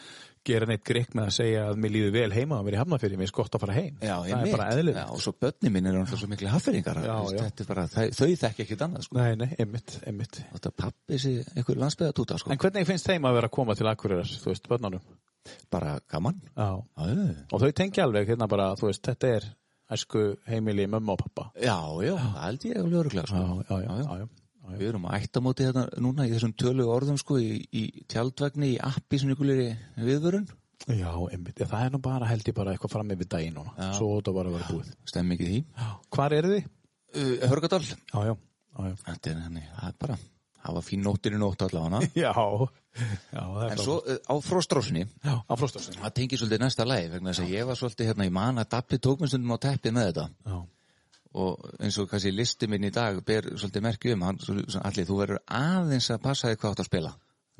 Speaker 1: gera neitt greik með að segja að mér líður vel heima að vera í hafna fyrir, mér er gott að fara heim.
Speaker 2: Já,
Speaker 1: það
Speaker 2: einmitt.
Speaker 1: er bara eðlilegt.
Speaker 2: Já, og svo börnin mín er náttúrulega svo miklu hafferingar.
Speaker 1: Já, já.
Speaker 2: Þetta er bara, þau, þau þekki ekkit annað, sko.
Speaker 1: Nei, nei, einmitt, einmitt.
Speaker 2: Þetta er pappi þessi einhver landsbyðatúta, sko.
Speaker 1: En hvernig finnst þeim að vera að koma til Akureyrar, þú veist, börnunum?
Speaker 2: Bara gaman.
Speaker 1: Já.
Speaker 2: Já, já,
Speaker 1: Og þau tengja alveg hérna bara, þú veist, þetta er æsku heimili mömmu og pappa.
Speaker 2: já, já, það held ég alveg öruglega, sko.
Speaker 1: já.
Speaker 2: Við erum að ætta móti þetta núna í þessum tölu orðum, sko, í, í tjaldvagni, í appi sem ykkur er viðvörun.
Speaker 1: Já, einmitt. Já, það er nú bara, held ég bara eitthvað fram yfir daginn núna.
Speaker 2: Já.
Speaker 1: Svo þetta bara að vera búið.
Speaker 2: Stemmi ekki því.
Speaker 1: Já. Hvar eru þið?
Speaker 2: Uh, Hörgadal.
Speaker 1: Já, já, já, já.
Speaker 2: Þetta er henni, það er bara, það var fín nóttin í nótt allavega.
Speaker 1: Já, já, það er
Speaker 2: En svo uh, á fróstrósinni,
Speaker 1: Já, á fróstarsin.
Speaker 2: Það tengir svolítið næsta lagi vegna þess að ég var svolítið hérna í man að Dabbi tók mér stundum á teppið með þetta
Speaker 1: Já,
Speaker 2: og eins og kannski listi minn í dag ber svolítið merki um hann, svolítið, allir þú verður aðeins að passa þig hvað átt að spila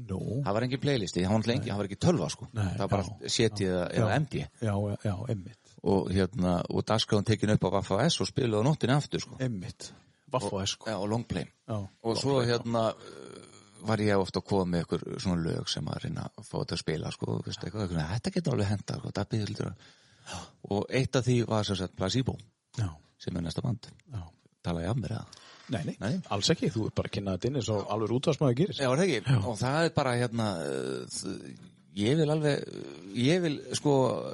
Speaker 1: nú.
Speaker 2: það var engin playlisti, hann var, engin, hann var ekki tölva sko
Speaker 1: Nei,
Speaker 2: það var bara
Speaker 1: já,
Speaker 2: setið eða- eða
Speaker 1: já.
Speaker 2: MD
Speaker 1: Já, já, einmitt.
Speaker 2: og hérna, og dagskráðan tekin upp á Vaffa S og spilaði á nóttinni aftur sko
Speaker 1: Einmitt. Vaff og
Speaker 2: Já,
Speaker 1: esku.
Speaker 2: og longplay
Speaker 1: sko. Já.
Speaker 2: og svo hérna uh, var ég ofta að koma með ykkur svona lög sem að reyna að fá þetta að spila sko, þú veist, eitthvað, eitthvað, þetta getur alveg henda sko, Dabbi heldur að og eitt af því var sem sagt Placebo
Speaker 1: Já,
Speaker 2: sem er næsta band
Speaker 1: já.
Speaker 2: tala ég af mér eða
Speaker 1: Nei, nei,
Speaker 2: Nei.
Speaker 1: alls ekki. Þú er bara að kynna þetta inn eins og alveg útvarsmaður gerir.
Speaker 2: Já, er það ekki? Og það er bara hérna uh, þ- ég vil alveg uh, ég vil sko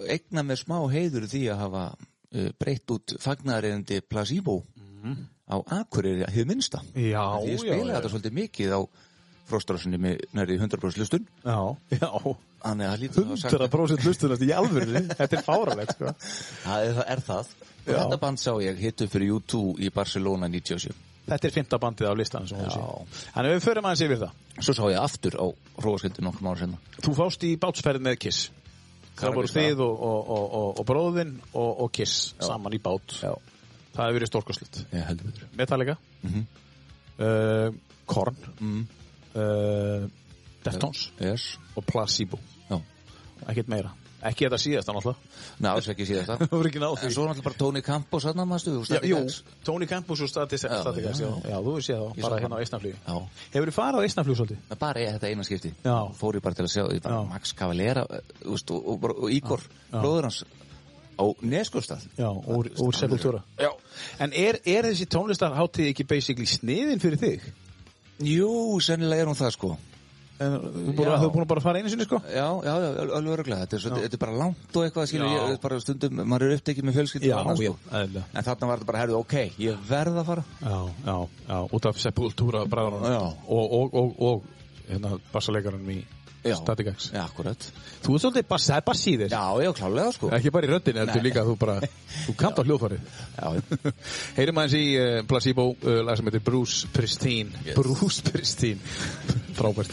Speaker 2: eigna mér smá heiður í því að hafa uh, breytt út fagnareyndi placebo á Akureyri að hefur minnsta
Speaker 1: Já,
Speaker 2: Því ég
Speaker 1: já,
Speaker 2: spilaði
Speaker 1: já.
Speaker 2: þetta svolítið mikið á fróstrásinni með nærið 100% hlustun
Speaker 1: Já, já.
Speaker 2: þannig að það lítur að hafa sagt
Speaker 1: 100% lustunast í alvörði. [LAUGHS] þetta er fáralegt, sko.
Speaker 2: það er, það er það og
Speaker 1: Já.
Speaker 2: þetta band sá ég hittu fyrir U2 í Barcelona 97
Speaker 1: Þetta er fymta bandið á listanum, sem hún sé.
Speaker 2: Já.
Speaker 1: Þannig að við förum aðeins yfir það.
Speaker 2: svo sá ég aftur á hrófaskildu nokkrum ára senna
Speaker 1: Þú fást í bátsferð með Kiss. Það voru þið og, og, og, og, og bróðinn og, og Kiss saman í bát.
Speaker 2: Já.
Speaker 1: Það hefur verið stórkoslut.
Speaker 2: Já, heldur
Speaker 1: Metallica,
Speaker 2: Mhm.
Speaker 1: uh, Korn, uh, Deftones
Speaker 2: Yes
Speaker 1: og Placebo.
Speaker 2: Já
Speaker 1: Ekkert meira. Ekki þetta síðasta náttúrulega. [LAUGHS]
Speaker 2: Ná, alls ekki síðast það
Speaker 1: Það [LAUGHS] voru ekki náð
Speaker 2: En
Speaker 1: því.
Speaker 2: svo er náttúrulega bara Tony Campos hann að maður
Speaker 1: Já,
Speaker 2: stuðu
Speaker 1: jú, Tony Campos og Statis
Speaker 2: Já,
Speaker 1: Statikas, já,
Speaker 2: já.
Speaker 1: já, þú séð það,
Speaker 2: Ég
Speaker 1: bara
Speaker 2: sá
Speaker 1: hérna á
Speaker 2: það.
Speaker 1: Eistnaflugi.
Speaker 2: Já,
Speaker 1: Hefur þið farið á Eistnaflug svolítið?
Speaker 2: það bara ég þetta eina skipti
Speaker 1: Já.
Speaker 2: Fór ég bara til að sjá ég bara,
Speaker 1: Já.
Speaker 2: Max Cavalera eh, þú veist, og, og, og, og Ígor, bróður hans á Neskustad
Speaker 1: Já, úr, úr Sepultura Já En er, er þessi tónlistarháttið ekki basically sniðin fyrir þig?
Speaker 2: Jú, sennilega er hún það sko
Speaker 1: En, uh, þú búin,
Speaker 2: Já.
Speaker 1: þú búin að bara fara einu sinni sko?
Speaker 2: Já, já, já, al- alveg öruglega þetta, er svo- þetta er bara langt og eitthvað skilur ég, er bara stundum, maður er upptekið með fjölskyldu og annað, sko.
Speaker 1: eðlilega
Speaker 2: En þarna var þetta bara, herðu, ok, ég verð að fara
Speaker 1: Já, já, já, út af Sepultura bræðanum
Speaker 2: Já.
Speaker 1: Og, og, og, og hérna, bassalegarunum í Static X
Speaker 2: Já, akkurat
Speaker 1: Þú ert svolítið bass, það er bass í þér
Speaker 2: Já, já, klálega sko
Speaker 1: Ekki bara í röddinni, heldur líka að þú [LAUGHS] bara Þú kant á [LAUGHS] hljóðfarið
Speaker 2: Já,
Speaker 1: Heyrim aðeins í uh, Placebo uh, lag sem heitir Bruce Pristine Bruce Pristine [LAUGHS] Frábært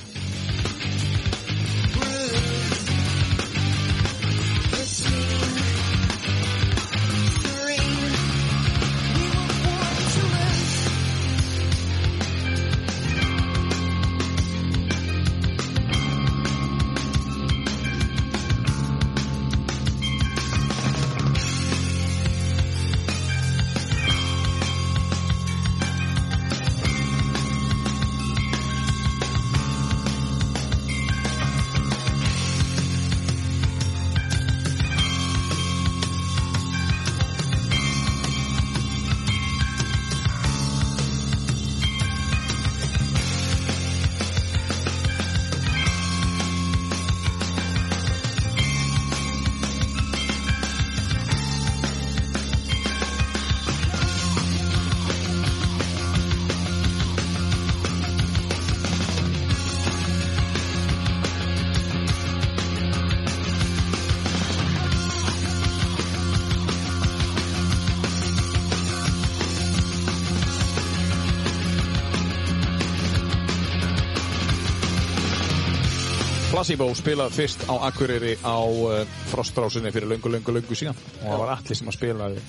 Speaker 5: Thank
Speaker 1: Placebo spilað fyrst á Akureyri á uh, frostrásinni fyrir löngu, löngu, löngu síðan og það var allir sem að spilaði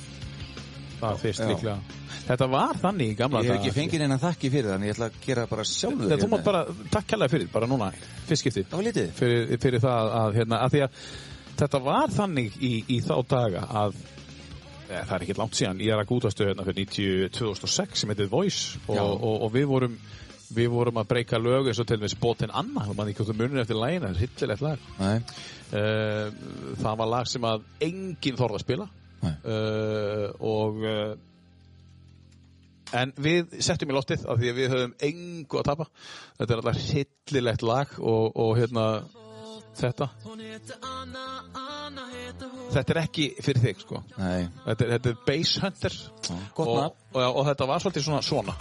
Speaker 1: það fyrst
Speaker 2: Já.
Speaker 1: líklega Þetta var þannig í gamla
Speaker 2: Ég hef
Speaker 1: daga,
Speaker 2: ekki fengið neina þakki fyrir þannig ég ætla að gera bara sjálfur
Speaker 1: Nei, þú
Speaker 2: hérna.
Speaker 1: mátt bara, takk kærlega fyrir, bara núna, fyrst skipti
Speaker 2: Það var lítið
Speaker 1: fyrir, fyrir það að, hérna, að því að þetta var þannig í, í þá daga að e, það er ekki langt síðan, ég er að gútastu hérna fyrir 90, 2006 sem heitir Voice og,
Speaker 2: Já.
Speaker 1: og, og, við vorum við vorum að breyka lög eins og til þess bótinn Anna, og mann ekki hvort þú munir eftir lægina, það er hillilegt lag
Speaker 2: Nei.
Speaker 1: Eh, það var lag sem að enginn þorði að spila
Speaker 2: Nei.
Speaker 1: uh, og uh, en við settum í loftið af því að við höfum engu að tapa þetta er alltaf hillilegt lag og, og hérna þetta þetta er ekki fyrir þig sko
Speaker 2: Nei.
Speaker 1: þetta er, þetta er Bass Hunter
Speaker 2: Gott
Speaker 1: og,
Speaker 2: nafn.
Speaker 1: og, og þetta var svolítið svona svona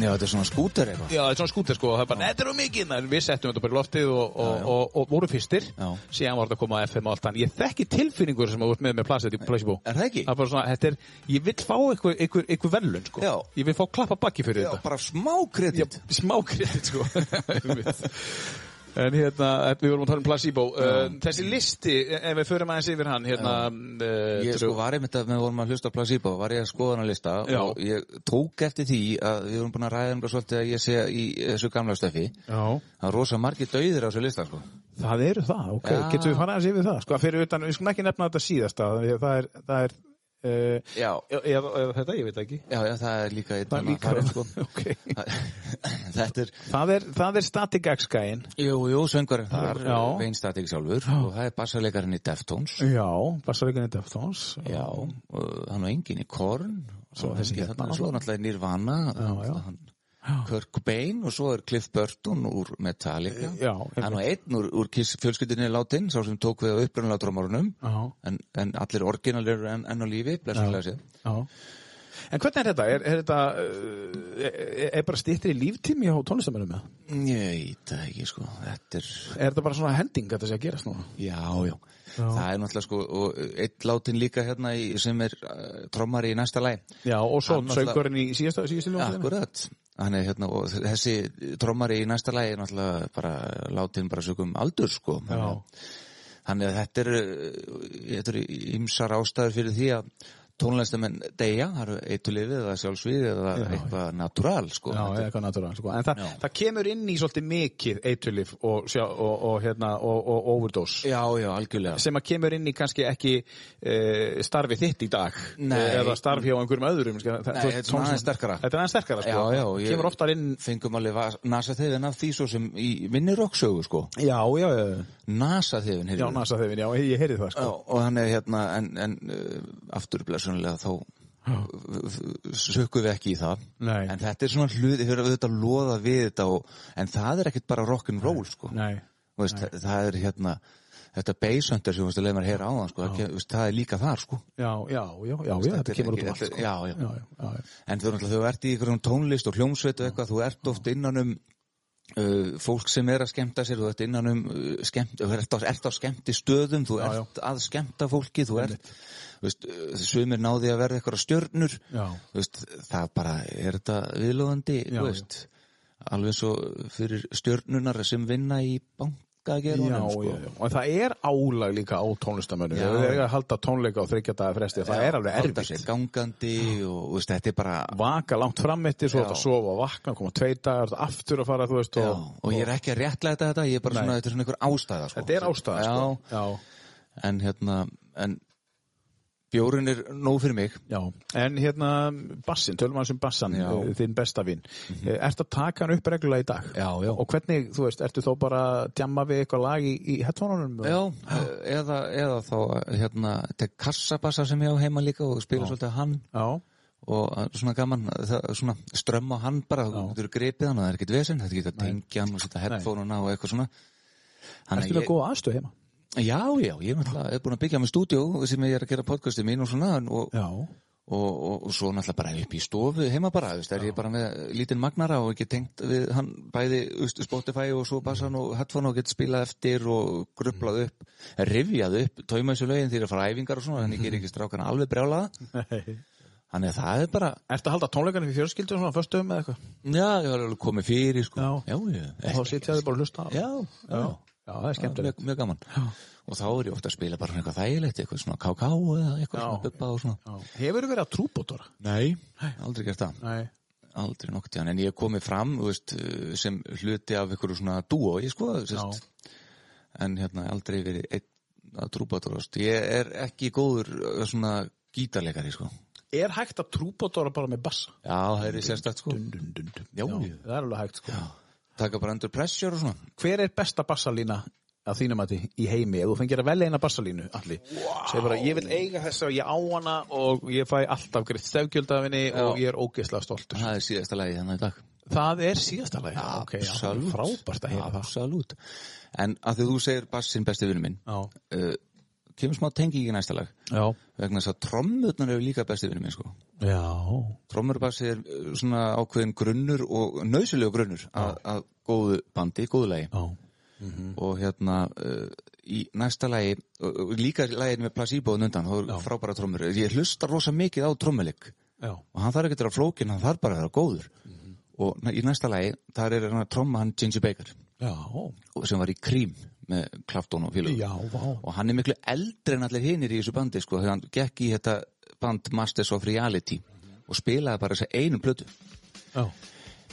Speaker 2: Já, þetta er svona skúter eitthvað
Speaker 1: Já, þetta er svona skútir sko, það er bara, þetta er um mikið en við settum þetta bara í loftið og, og, og, og vorum fyrstir,
Speaker 2: Já.
Speaker 1: síðan var þetta að koma að FM og allt hann, ég þekki tilfinningur sem að voru með með plasið í Placebo,
Speaker 2: Er það ekki?
Speaker 1: það er bara svona, þetta er ég vil fá einhver, einhver, einhver velun sko
Speaker 2: Já.
Speaker 1: ég vil fá klappa bakki fyrir
Speaker 2: Já,
Speaker 1: þetta
Speaker 2: bara smá kredit
Speaker 1: smá kredit sko [LAUGHS] Einmitt. En hérna, við vorum að tala um placebo uh, Þessi listi, e, ef við förum aðeins yfir hann hérna, uh,
Speaker 2: Ég sko var einmitt að við vorum að hlusta á Placebo var ég að skoða hana lista
Speaker 1: Já.
Speaker 2: og ég tók eftir því að við vorum búin að ræða um það svolítið að ég sé í þessu gamla stöfi
Speaker 1: Já,
Speaker 2: það er rosa margir dauðir á þessu lista sko.
Speaker 1: Það eru það, ok,
Speaker 2: Já.
Speaker 1: getum við farað aðeins yfir það sko, fyrir utan, við skulum ekki nefna þetta síðasta þannig að það er, það er uh,
Speaker 2: Já,
Speaker 1: eða, eða þetta, ég veit ekki
Speaker 2: já, já, það er líka einn
Speaker 1: það er
Speaker 2: annar
Speaker 1: líka,
Speaker 2: farinn,
Speaker 1: sko. [LAUGHS] ok
Speaker 2: Það- [LAUGHS] Þetta er,
Speaker 1: það er, það er Static X gæin
Speaker 2: jú, jú, söngvarinn þar
Speaker 1: Já.
Speaker 2: Veinstatik sjálfur og það er bassarleikarinn í Deftones
Speaker 1: já, bassarleikunni Deftones
Speaker 2: Já, og uh, hann var engin í Korn
Speaker 1: Svo
Speaker 2: svo,
Speaker 1: þessi
Speaker 2: þessi,
Speaker 1: hérna
Speaker 2: hérna,
Speaker 1: náttúrulega.
Speaker 2: svo er náttúrulega Nirvana
Speaker 1: Já, já.
Speaker 2: Hann, Kirk Cobain og svo er Cliff Burton úr Metallica
Speaker 1: Já,
Speaker 2: hann var einn úr, úr Kiss fjölskyldinni látin sá sem tók við á upprunnulega drómarunum
Speaker 1: já,
Speaker 2: en, en allir orginalir enn en á lífi blessunlega séð
Speaker 1: já en hvernig er þetta, er, er þetta uh, er, er bara stýttir í líftími á tónlistamennum með,
Speaker 2: Nei, það ekki sko, þetta er
Speaker 1: er þetta bara svona hending að þetta sé að gerast núna
Speaker 2: já, já, það er náttúrulega sko og einn látin líka hérna í, sem er uh, trommari í næsta læg
Speaker 1: já, og svo
Speaker 2: Hann náttúrulega-
Speaker 1: söngurinn í síðasta síðustu ljónstæðinu
Speaker 2: Akkurat Hann er hérna og þessi trommari í næsta lagi er náttúrulega bara látin bara sögum aldur sko
Speaker 1: Já.
Speaker 2: Þannig að þetta er uh, þetta er ymsar ástæður fyrir því að tónlistamenn deyja, það eru eitulifið eða sjálfsvið eða eitthvað natúral sko
Speaker 1: Já, eða eitthvað natúrál, sko. En það, það kemur inn í svolítið mikið eiturlif og, sjá- og, og, hérna, og, og overdose
Speaker 2: já, já, algjörlega
Speaker 1: sem sko, að kemur inn í kannski ekki e, starfi þitt í dag
Speaker 2: Nei.
Speaker 1: Eh, eða starfi hjá einhverjum öðrum Nei, það,
Speaker 2: Nei,
Speaker 1: þú-
Speaker 2: þetta er svona aðeins sterkara.
Speaker 1: Þetta er aðeins sterkara, sko.
Speaker 2: Já, já, og ég-
Speaker 1: Kemur oftar inn
Speaker 2: Fengum alveg nasa þeyfin af því svo sem í minni roksögu sko
Speaker 1: Já, já, já,
Speaker 2: Nasa þeyfin
Speaker 1: já, nasa þeim, já, ég heyrði það,
Speaker 2: Já,
Speaker 1: sko
Speaker 2: og hann er hérna en, en uh, aftur blessunlega þá sökkum við ekki í það
Speaker 1: Nei.
Speaker 2: en þetta er svona hluti, við höfum auðvitað loða við þetta og, en það er ekkit bara rock'n'roll sko,
Speaker 1: Nei,
Speaker 2: Þú veist, það, það er hérna þetta basshunter sem þú veist að leið mér heyra á það sko, það, kem- þú veist, það er líka þar sko
Speaker 1: já, já, já, já, já
Speaker 2: Þetta
Speaker 1: þetta
Speaker 2: er
Speaker 1: kemur út
Speaker 2: ekki-
Speaker 1: um allt,
Speaker 2: þetta-
Speaker 1: sko
Speaker 2: já, já.
Speaker 1: já, já, já.
Speaker 2: en þú, náttúrulega, þú ert í ykkur tónlist og hljómsveit og eitthvað, þú ert oft innan um Uh, fólk sem er að skemmta sér þú ert innan um uh, skemmt, þú ert á, ert á skemmti stöðum, þú
Speaker 1: já.
Speaker 2: ert að skemmta fólki, þú ert þú veist, uh, sumir náði að verða eitthvað stjörnur
Speaker 1: Já.
Speaker 2: Þú veist, það bara er þetta viðlóðandi
Speaker 1: Já,
Speaker 2: þú veist, alveg svo fyrir stjörnunar sem vinna í
Speaker 1: Já,
Speaker 2: bankagerunum sko.
Speaker 1: já, já, og það er álag líka á tónlistamönnum
Speaker 2: Já.
Speaker 1: Þegar þeir eiga að halda tónleika á þryggja daga fresti það er alveg
Speaker 2: Halda
Speaker 1: erfitt
Speaker 2: sér gangandi og þú veist, þetta er bara
Speaker 1: vaka langt fram eftir, svo
Speaker 2: Já.
Speaker 1: þetta sofa og vakna, koma tvei dagar, þetta aftur að fara, þú veist,
Speaker 2: Já,
Speaker 1: og,
Speaker 2: og ég er ekki að réttlega þetta ég er bara
Speaker 1: Nei.
Speaker 2: svona, þetta er svona einhver ástæða sko.
Speaker 1: þetta er ástæða,
Speaker 2: já,
Speaker 1: sko. Já,
Speaker 2: en hérna en bjórun er nóg fyrir mig
Speaker 1: já. En hérna, bassin, tölum aðeins um bassan,
Speaker 2: Já.
Speaker 1: eh, þinn besta vinn. Mm Ertu að taka hann upp reglulega í dag?
Speaker 2: Já, já.
Speaker 1: Og hvernig, þú veist, ertu þó bara að djamma við eitthvað lag í, í hettónunum?
Speaker 2: Já, eða, eða þá hérna, þetta er kassabassa sem ég á heima líka og spila svolítið hann
Speaker 1: Já,
Speaker 2: og að- svona gaman, það, svona strömm á hann bara, þú getur gripið hann og það er ekkert vesinn, þetta getur að tengja hann og setja headphone á og eitthvað svona Þannig
Speaker 1: ertu með
Speaker 2: ég,
Speaker 1: góða aðstöð heima?
Speaker 2: já, já, ég er náttúrulega er búin að byggja með stúdíó sem ég er að gera podcastið mín og svona en- og,
Speaker 1: Já.
Speaker 2: og, og, og svo náttúrulega bara upp í stofu heima bara, þú veist, er ég bara með lítinn magnara og ekki tengt við hann bæði þú veist, Spotify og svo bassan og headphone og getur spilað eftir og grublað upp rifjað upp, tauma þessu lögin þegar ég er að fara á æfingar og svona, þannig ger ekki strákan alveg brjálaða, þannig að það er bara
Speaker 1: Ertu að halda tónleikanum fyrir fjörskildur svona föstum eða eitthvað?
Speaker 2: Já, ég var alveg komið fyrir sko.
Speaker 1: Já.
Speaker 2: já, já.
Speaker 1: Og þá sitja þið bara að hlusta á.
Speaker 2: já, já.
Speaker 1: Já, það er skemmtilegt.
Speaker 2: mjög, mjög gaman og þá er ég ofta að spila bara svona eitthvað þægilegt eitthvað svona káká eða eitthvað
Speaker 1: Já.
Speaker 2: svona bubba og svona
Speaker 1: Hefur verið að trúbótora?
Speaker 2: nei, aldrei gert það
Speaker 1: Nei.
Speaker 2: aldrei nokkuð tíðan, en ég komi fram þú veist, eh, sem hluti af einhverju svona dúo, ég sko sest, en hérna aldrei verið einn að trúbátorast, ég er ekki góður eh, svona gítarleikari sko
Speaker 1: Er hægt að trúbótora bara með bassa?
Speaker 2: já, það er sérstætt sko
Speaker 1: Dun, dun, dun.
Speaker 2: Já.
Speaker 1: það er alveg hægt sko.
Speaker 2: taka bara under pressure og svona
Speaker 1: Hver er besta bassalína að þínum að í heimi? Ef þú fengir að velja eina bassalínu, allir. Wow. Segir bara, ég vil eiga þess að ég á hana og ég fæ alltaf greitt stefgjöldafinni og ég er ógeðslega stoltur.
Speaker 2: það er síðasta lagi þannig í dag
Speaker 1: Það er síðasta lagi. ok, já, það
Speaker 2: Ah, Absolutt.
Speaker 1: er frábært að heyra það.
Speaker 2: Absolutt. en að því þú segir bassin besti vinnu minn
Speaker 1: Já.
Speaker 2: uh, kemur smá tengingi í næsta lag
Speaker 1: Já.
Speaker 2: vegna þess að trommurnar eru líka besti vinnu minn sko
Speaker 1: Já.
Speaker 2: Trommurabassi er uh, svona ákveðin grunnur og nöðsilegu grunnur að, að góðu bandi, góðu lagi
Speaker 1: Já.
Speaker 2: og hérna uh, í næsta lagi, og- og líka lagin með placeboðun undan, þá eru frábæra trommur ég hlusta rosa mikið á trommuleik
Speaker 1: Já.
Speaker 2: og hann þarf ekki að vera flókin, hann þarf bara að vera góður og næ- í næsta lagi, þar er hann að tromma hann Ginger Baker
Speaker 1: Já.
Speaker 2: og- sem var í krím með Klaftón og félög
Speaker 1: Já, vá.
Speaker 2: og hann er miklu eldri en allir hinir í þessu bandi sko, þegar hann gekk í þetta band Masters of Reality og spilaði bara þessa einu plötu
Speaker 1: Já.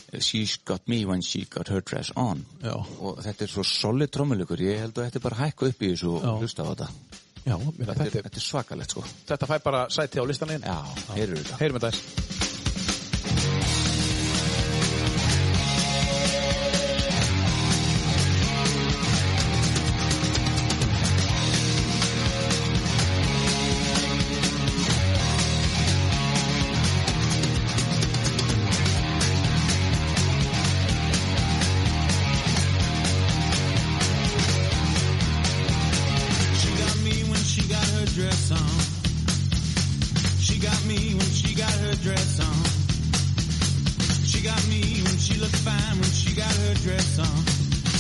Speaker 2: Eh, She's got me when she got her dress on
Speaker 1: Já.
Speaker 2: og þetta er svo solid trommuleikur ég held að þetta er bara að hækka upp í þessu og
Speaker 1: Já.
Speaker 2: hlusta á þetta
Speaker 1: Já, mér að
Speaker 2: þetta,
Speaker 1: þetta,
Speaker 2: er- þetta er svakalegt sko
Speaker 1: þetta fæ bara sæti á listaninn.
Speaker 2: já, heyrðu þetta
Speaker 1: Heyrum þetta.
Speaker 6: She got me when she got her dress on. She got me when she got her dress on. She got me when she looked fine when she got her dress on.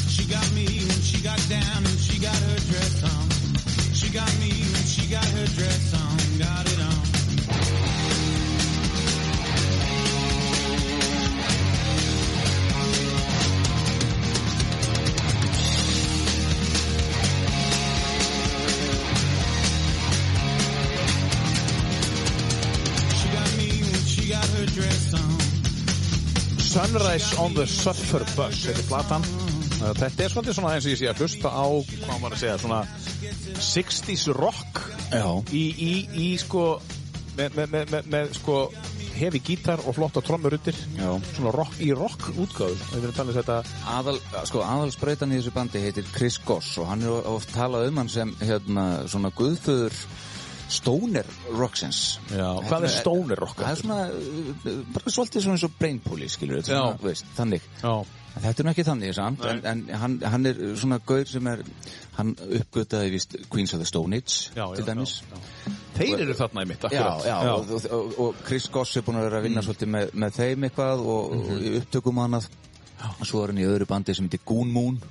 Speaker 6: She got me when she got down and she got her dress on. She got me when she got her dress on, got it on. She got me when she got her dress on.
Speaker 1: Sunrise on the Surfer Bus heitir platan Uh, Þetta er svolítið svona eins og ég sé að hlusta á hvað á maður að segja, svona 60s rock
Speaker 2: já,
Speaker 1: í, í, í sko með, með, með, með, með sko hefi gítar og flotta trommur undir
Speaker 2: já.
Speaker 1: svona rock í rock útgáðu við erum talað um þetta
Speaker 2: Aðal, sko, aðalsbreytan í þessu bandi heitir Chris Goss og hann er oft talað um hann sem hérna, svona guðföður Stoner Rocksins
Speaker 1: Já, hvað er stoner rock?
Speaker 2: það er svona, uh, bara svolítið svona eins og brainpulli skilur þetta,
Speaker 1: Já.
Speaker 2: svona, veist, þannig
Speaker 1: Já,
Speaker 2: En Þetta er nú ekki þannig samt, en, en hann, hann er svona gaur sem er, hann uppgötaði vist Queens of the Stone Age,
Speaker 1: Já, já,
Speaker 2: til dæmis.
Speaker 1: já, þeir eru þarna í mitt akkurat
Speaker 2: já, Og, og, og, og Chris Goss er búin að vera að vinna
Speaker 1: Mm.
Speaker 2: svolítið með, með þeim eitthvað og,
Speaker 1: Mhm.
Speaker 2: og í upptökum og annað. Svo er hann í öðru bandi sem heitir Goon Moon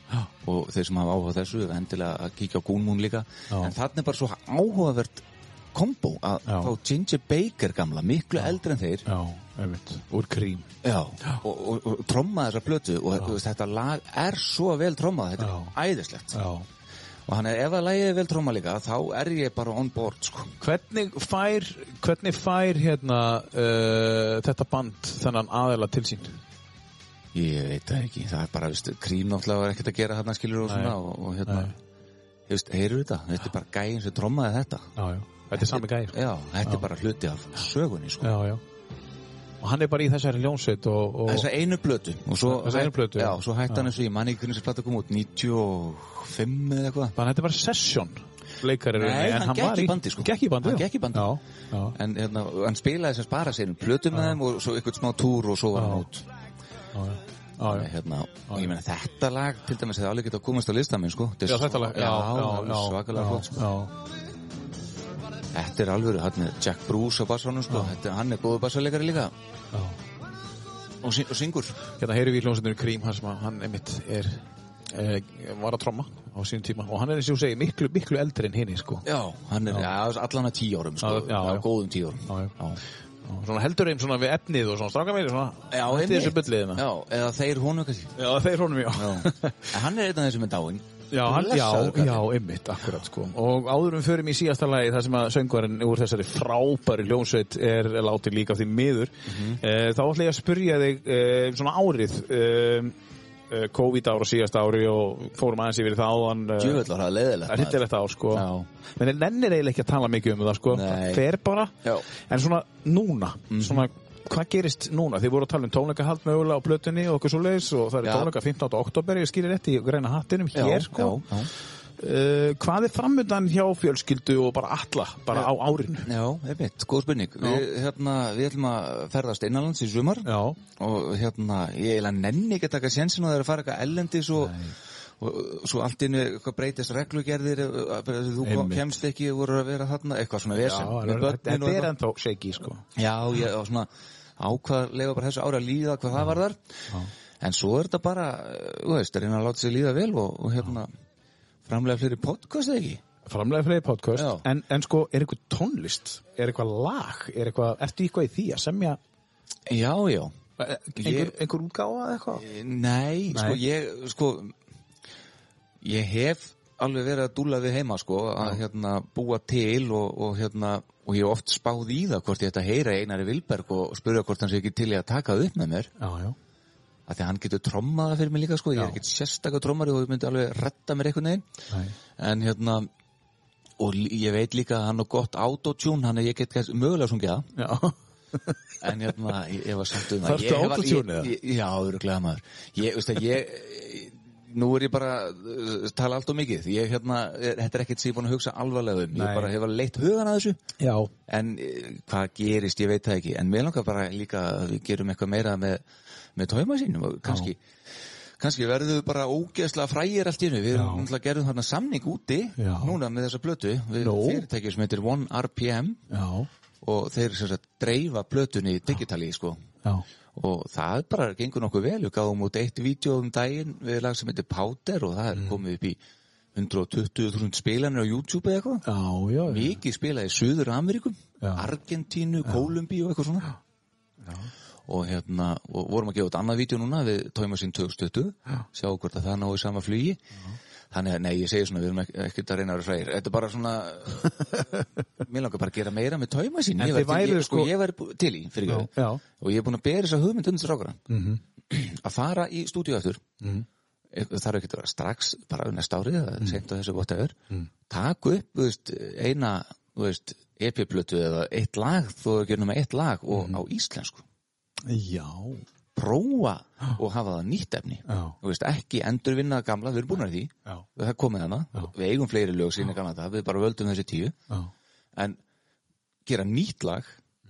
Speaker 2: og þeir sem hafa áhuga á þessu, endilega að kíkja á Goon Moon líka.
Speaker 1: Já.
Speaker 2: En þarna er bara svo áhugavert kombo að
Speaker 1: Já.
Speaker 2: fá Ginger Baker gamla, miklu eldri en þeir,
Speaker 1: já einmitt, úr krím
Speaker 2: Já, og, og, og tromma þessa plötu og þú veist, þetta lag er svo vel trommað þetta er æðislegt
Speaker 1: Já
Speaker 2: og hann er ef að lagið er vel trommað líka þá er ég bara on board sko.
Speaker 1: Hvernig fær, hvernig fær hérna uh, þetta band þennan aðela til sín?
Speaker 2: ég veit það ekki, það er bara veist, krím náttúrulega var ekkert að gera hérna skilur og svona og, og hérna,
Speaker 1: Nei.
Speaker 2: ég veist, heyrðu þetta þetta er bara gæinn sem trommaði þetta
Speaker 1: Já, já, þetta er sami gæðir
Speaker 2: Já, þetta er bara hluti af sögunni sko.
Speaker 1: já, já. og hann er bara í þessari ljónsveit og, og
Speaker 2: þessa einu plötu og svo,
Speaker 1: Þessa einu plötu,
Speaker 2: já,
Speaker 1: já.
Speaker 2: svo hætti hann eins og ég manni ekki hvernig þessi plata kom út 95 eða eitthvað
Speaker 1: þannig að þetta var session leikari í
Speaker 2: Nei,
Speaker 1: rauninni, en
Speaker 2: hann
Speaker 1: hann
Speaker 2: gekk
Speaker 1: var
Speaker 2: í bandi, sko.
Speaker 1: gekk í bandi,
Speaker 2: Hann
Speaker 1: já.
Speaker 2: gekk í bandi.
Speaker 1: já, já.
Speaker 2: en hérna, hann spilaði sem spara sér plötu með þeim og svo eitthvað smá túr og svo var hann
Speaker 1: Já.
Speaker 2: út
Speaker 1: Já, já.
Speaker 2: hérna, og ég meina þetta lag til dæmis hefði alveg getað komast á lista minn sko
Speaker 1: Já, þetta lag
Speaker 2: já, já, já svakalega flott sko.
Speaker 1: já,
Speaker 2: þetta er alvöru, hann er Jack Bruce á bassanum sko, þetta, er- hann er góðu bassalegari líka
Speaker 1: já.
Speaker 2: og, sy og syngur
Speaker 1: hérna heyrum við í hljónsveitinu Krím hann sem að hann einmitt er eh, var að tromma á sínum tíma og hann er eins og þú segir miklu, miklu eldri en hinni sko.
Speaker 2: já, hann er já. allan að tíu árum
Speaker 1: Já,
Speaker 2: sko,
Speaker 1: já, já.
Speaker 2: góðum tíu árum
Speaker 1: Já, já.
Speaker 2: já.
Speaker 1: Og svona heldur einn svona við efnið og svona stráka meiri svona
Speaker 2: Já,
Speaker 1: hætti þessu
Speaker 2: einmitt.
Speaker 1: bylliðina
Speaker 2: já, eða þeir honum kannski
Speaker 1: já, þeir honum já [LAUGHS]
Speaker 2: En hann er einn af þeir sem er dáinn
Speaker 1: Já, hann, já,
Speaker 2: Blessaður kallinn.
Speaker 1: já, ymmit, akkurat sko Og áðurum förum í síðasta lagi þar sem að söngvarinn úr þessari frábæri ljónsveit er látið líka af því miður eh, Þá ætla ég að spyrja þig eh, svona árið eh, eh, COVID ára síðasta ári og fórum aðeins yfir það áðan eh,
Speaker 2: Djöfull var það leiðilegt,
Speaker 1: Það er
Speaker 2: maður.
Speaker 1: hittilegt ár sko
Speaker 2: Já.
Speaker 1: Men ég nennir eiginlega ekki að tala mikið um það sko
Speaker 2: Nei.
Speaker 1: Það Fer bara
Speaker 2: Já.
Speaker 1: En svona núna, svona Hvað gerist núna? Þið voru að tala um tónleikahald mögulega á blötunni og okkur svo og það er
Speaker 2: Já.
Speaker 1: tónleika 15. oktober, ég skýri rétt í græna hattinum
Speaker 2: Já,
Speaker 1: hér sko.
Speaker 2: já, já.
Speaker 1: Uh, hvað er framöndan hjá fjölskyldu og bara alla, bara á árinu?
Speaker 2: Já, einmitt, góð spurning. Við, hérna, við ætlum að ferðast innanlands í sumar
Speaker 1: Já,
Speaker 2: og hérna, ég eiginlega nenni ekki að taka sénsinn á þeirra að fara eitthvað ellendis og, og, og svo allt innu eitthvað breytist reglugerðir, eh, bara þú kom,
Speaker 1: Einmitt.
Speaker 2: kemst ekki og voru að vera þarna, eitthvað svona
Speaker 1: já
Speaker 2: vesen.
Speaker 1: en
Speaker 2: Með börnin og
Speaker 1: þetta
Speaker 2: eitthvað.
Speaker 1: er ennþá shaky sko.
Speaker 2: Já, ég var svona ákvað að leifa bara þessu ári að líða hvað það var þar en svo er þetta bara, eh, þú veist, er einn að láta sig líða vel og, og hérna framlega fleiri podcast eða ekki
Speaker 1: Framlega fyrir podcast,
Speaker 2: Já.
Speaker 1: en, en sko, er eitthvað tónlist? Er eitthvað lag? Er eitthvað, ertu eitthvað í því að semja
Speaker 2: Já, já
Speaker 1: eh, einhver, einhver útgáfa eða eitthvað?
Speaker 2: Nei, sko, ég sko, ég hef alveg verið að dúla við heima sko, að hérna búa til og, og hérna og ég hef oft spáð í það hvort ég ætti að heyra í Einari Vilberg og spurja hvort hann sé ekki til í að taka það upp með mér
Speaker 1: Já, já.
Speaker 2: að því að hann getur trommaða fyrir mig líka sko, ég er
Speaker 1: Já.
Speaker 2: ekkert sérstakar trommari og ég myndi alveg retta mér einhvern veginn
Speaker 1: Nei.
Speaker 2: en hérna og lí- ég veit líka að hann er gott autotune hann er ég get kannski- mögulega sungið það
Speaker 1: Já,
Speaker 2: en hérna ég, ég var samt um
Speaker 1: Þarftu
Speaker 2: ég hef al-
Speaker 1: autotune
Speaker 2: ég-
Speaker 1: eða?
Speaker 2: ég- já, öruglega maður ég, veist að ég nú er ég bara uh, tala allt og mikið ég, hérna, er- þetta er ekkert sem ég er búin að hugsa alvarlega um
Speaker 1: Nei.
Speaker 2: ég bara hef alveg leitt hugan að þessu
Speaker 1: já.
Speaker 2: en eh, hvað gerist, ég veit það ekki en mér langar bara líka að við gerum eitthvað meira með, með tóma sínum og kannski, kannski verðum við bara ógeðslega frægir allt í hennu, við erum náttúrulega gerðum þarna samning úti,
Speaker 1: Já.
Speaker 2: núna með þessa plötu við
Speaker 1: Nú.
Speaker 2: fyrirtækjum sem heitir 1RPM
Speaker 1: Já,
Speaker 2: og þeir sem sagt dreifa plötunni digitali sko
Speaker 1: já.
Speaker 2: og það bara gengur nokkuð vel, við gáðum út eitt vídeo um daginn við lag sem heitir Powder og það er komið upp í 120.000 spilanir á YouTube eða eitthvað
Speaker 1: Já, já, já.
Speaker 2: mikið spilað í Suður Ameríkum
Speaker 1: Já.
Speaker 2: Argentínu, Kólumbíu og eitthvað svona og hérna og vorum að gefa út annað vídeo núna við tóma sín 2020, sjá hvort að það náu í sama flugi þannig að, nei, ég segi svona við erum ek- ekkert að reyna að vera frægir þetta er bara
Speaker 1: [LAUGHS]
Speaker 2: svona, mér langar bara að gera meira með tóma sín,
Speaker 1: En
Speaker 2: ég
Speaker 1: þið
Speaker 2: væri til-
Speaker 1: væruð
Speaker 2: ég- sko,
Speaker 1: sko-
Speaker 2: ég væri bú- til í fyrir
Speaker 1: Já, já. Mhm.
Speaker 2: og ég er búin að bera þessa hugmynd undir strákara [CLEARS THROAT] að fara í stúdíu aftur e- það þarf ekki að vera strax bara um næsta árið,
Speaker 1: Mhm.
Speaker 2: mm. seint á þessu whatever mm. taka upp, þú veist, eina þú veist, epiplötu eða eitt lag, þú er ekki nema eitt lag og
Speaker 1: Mhm.
Speaker 2: á íslensku,
Speaker 1: Já, [GASPS]
Speaker 2: prófa og hafa það nýtt efni,
Speaker 1: Já.
Speaker 2: þú veist, ekki endurvinna það gamla, við erum búin að því
Speaker 1: já,
Speaker 2: það er komið hana, við eigum fleiri lög sína gamla það, við bara völdum þessi tíu
Speaker 1: já,
Speaker 2: en gera nýtt lag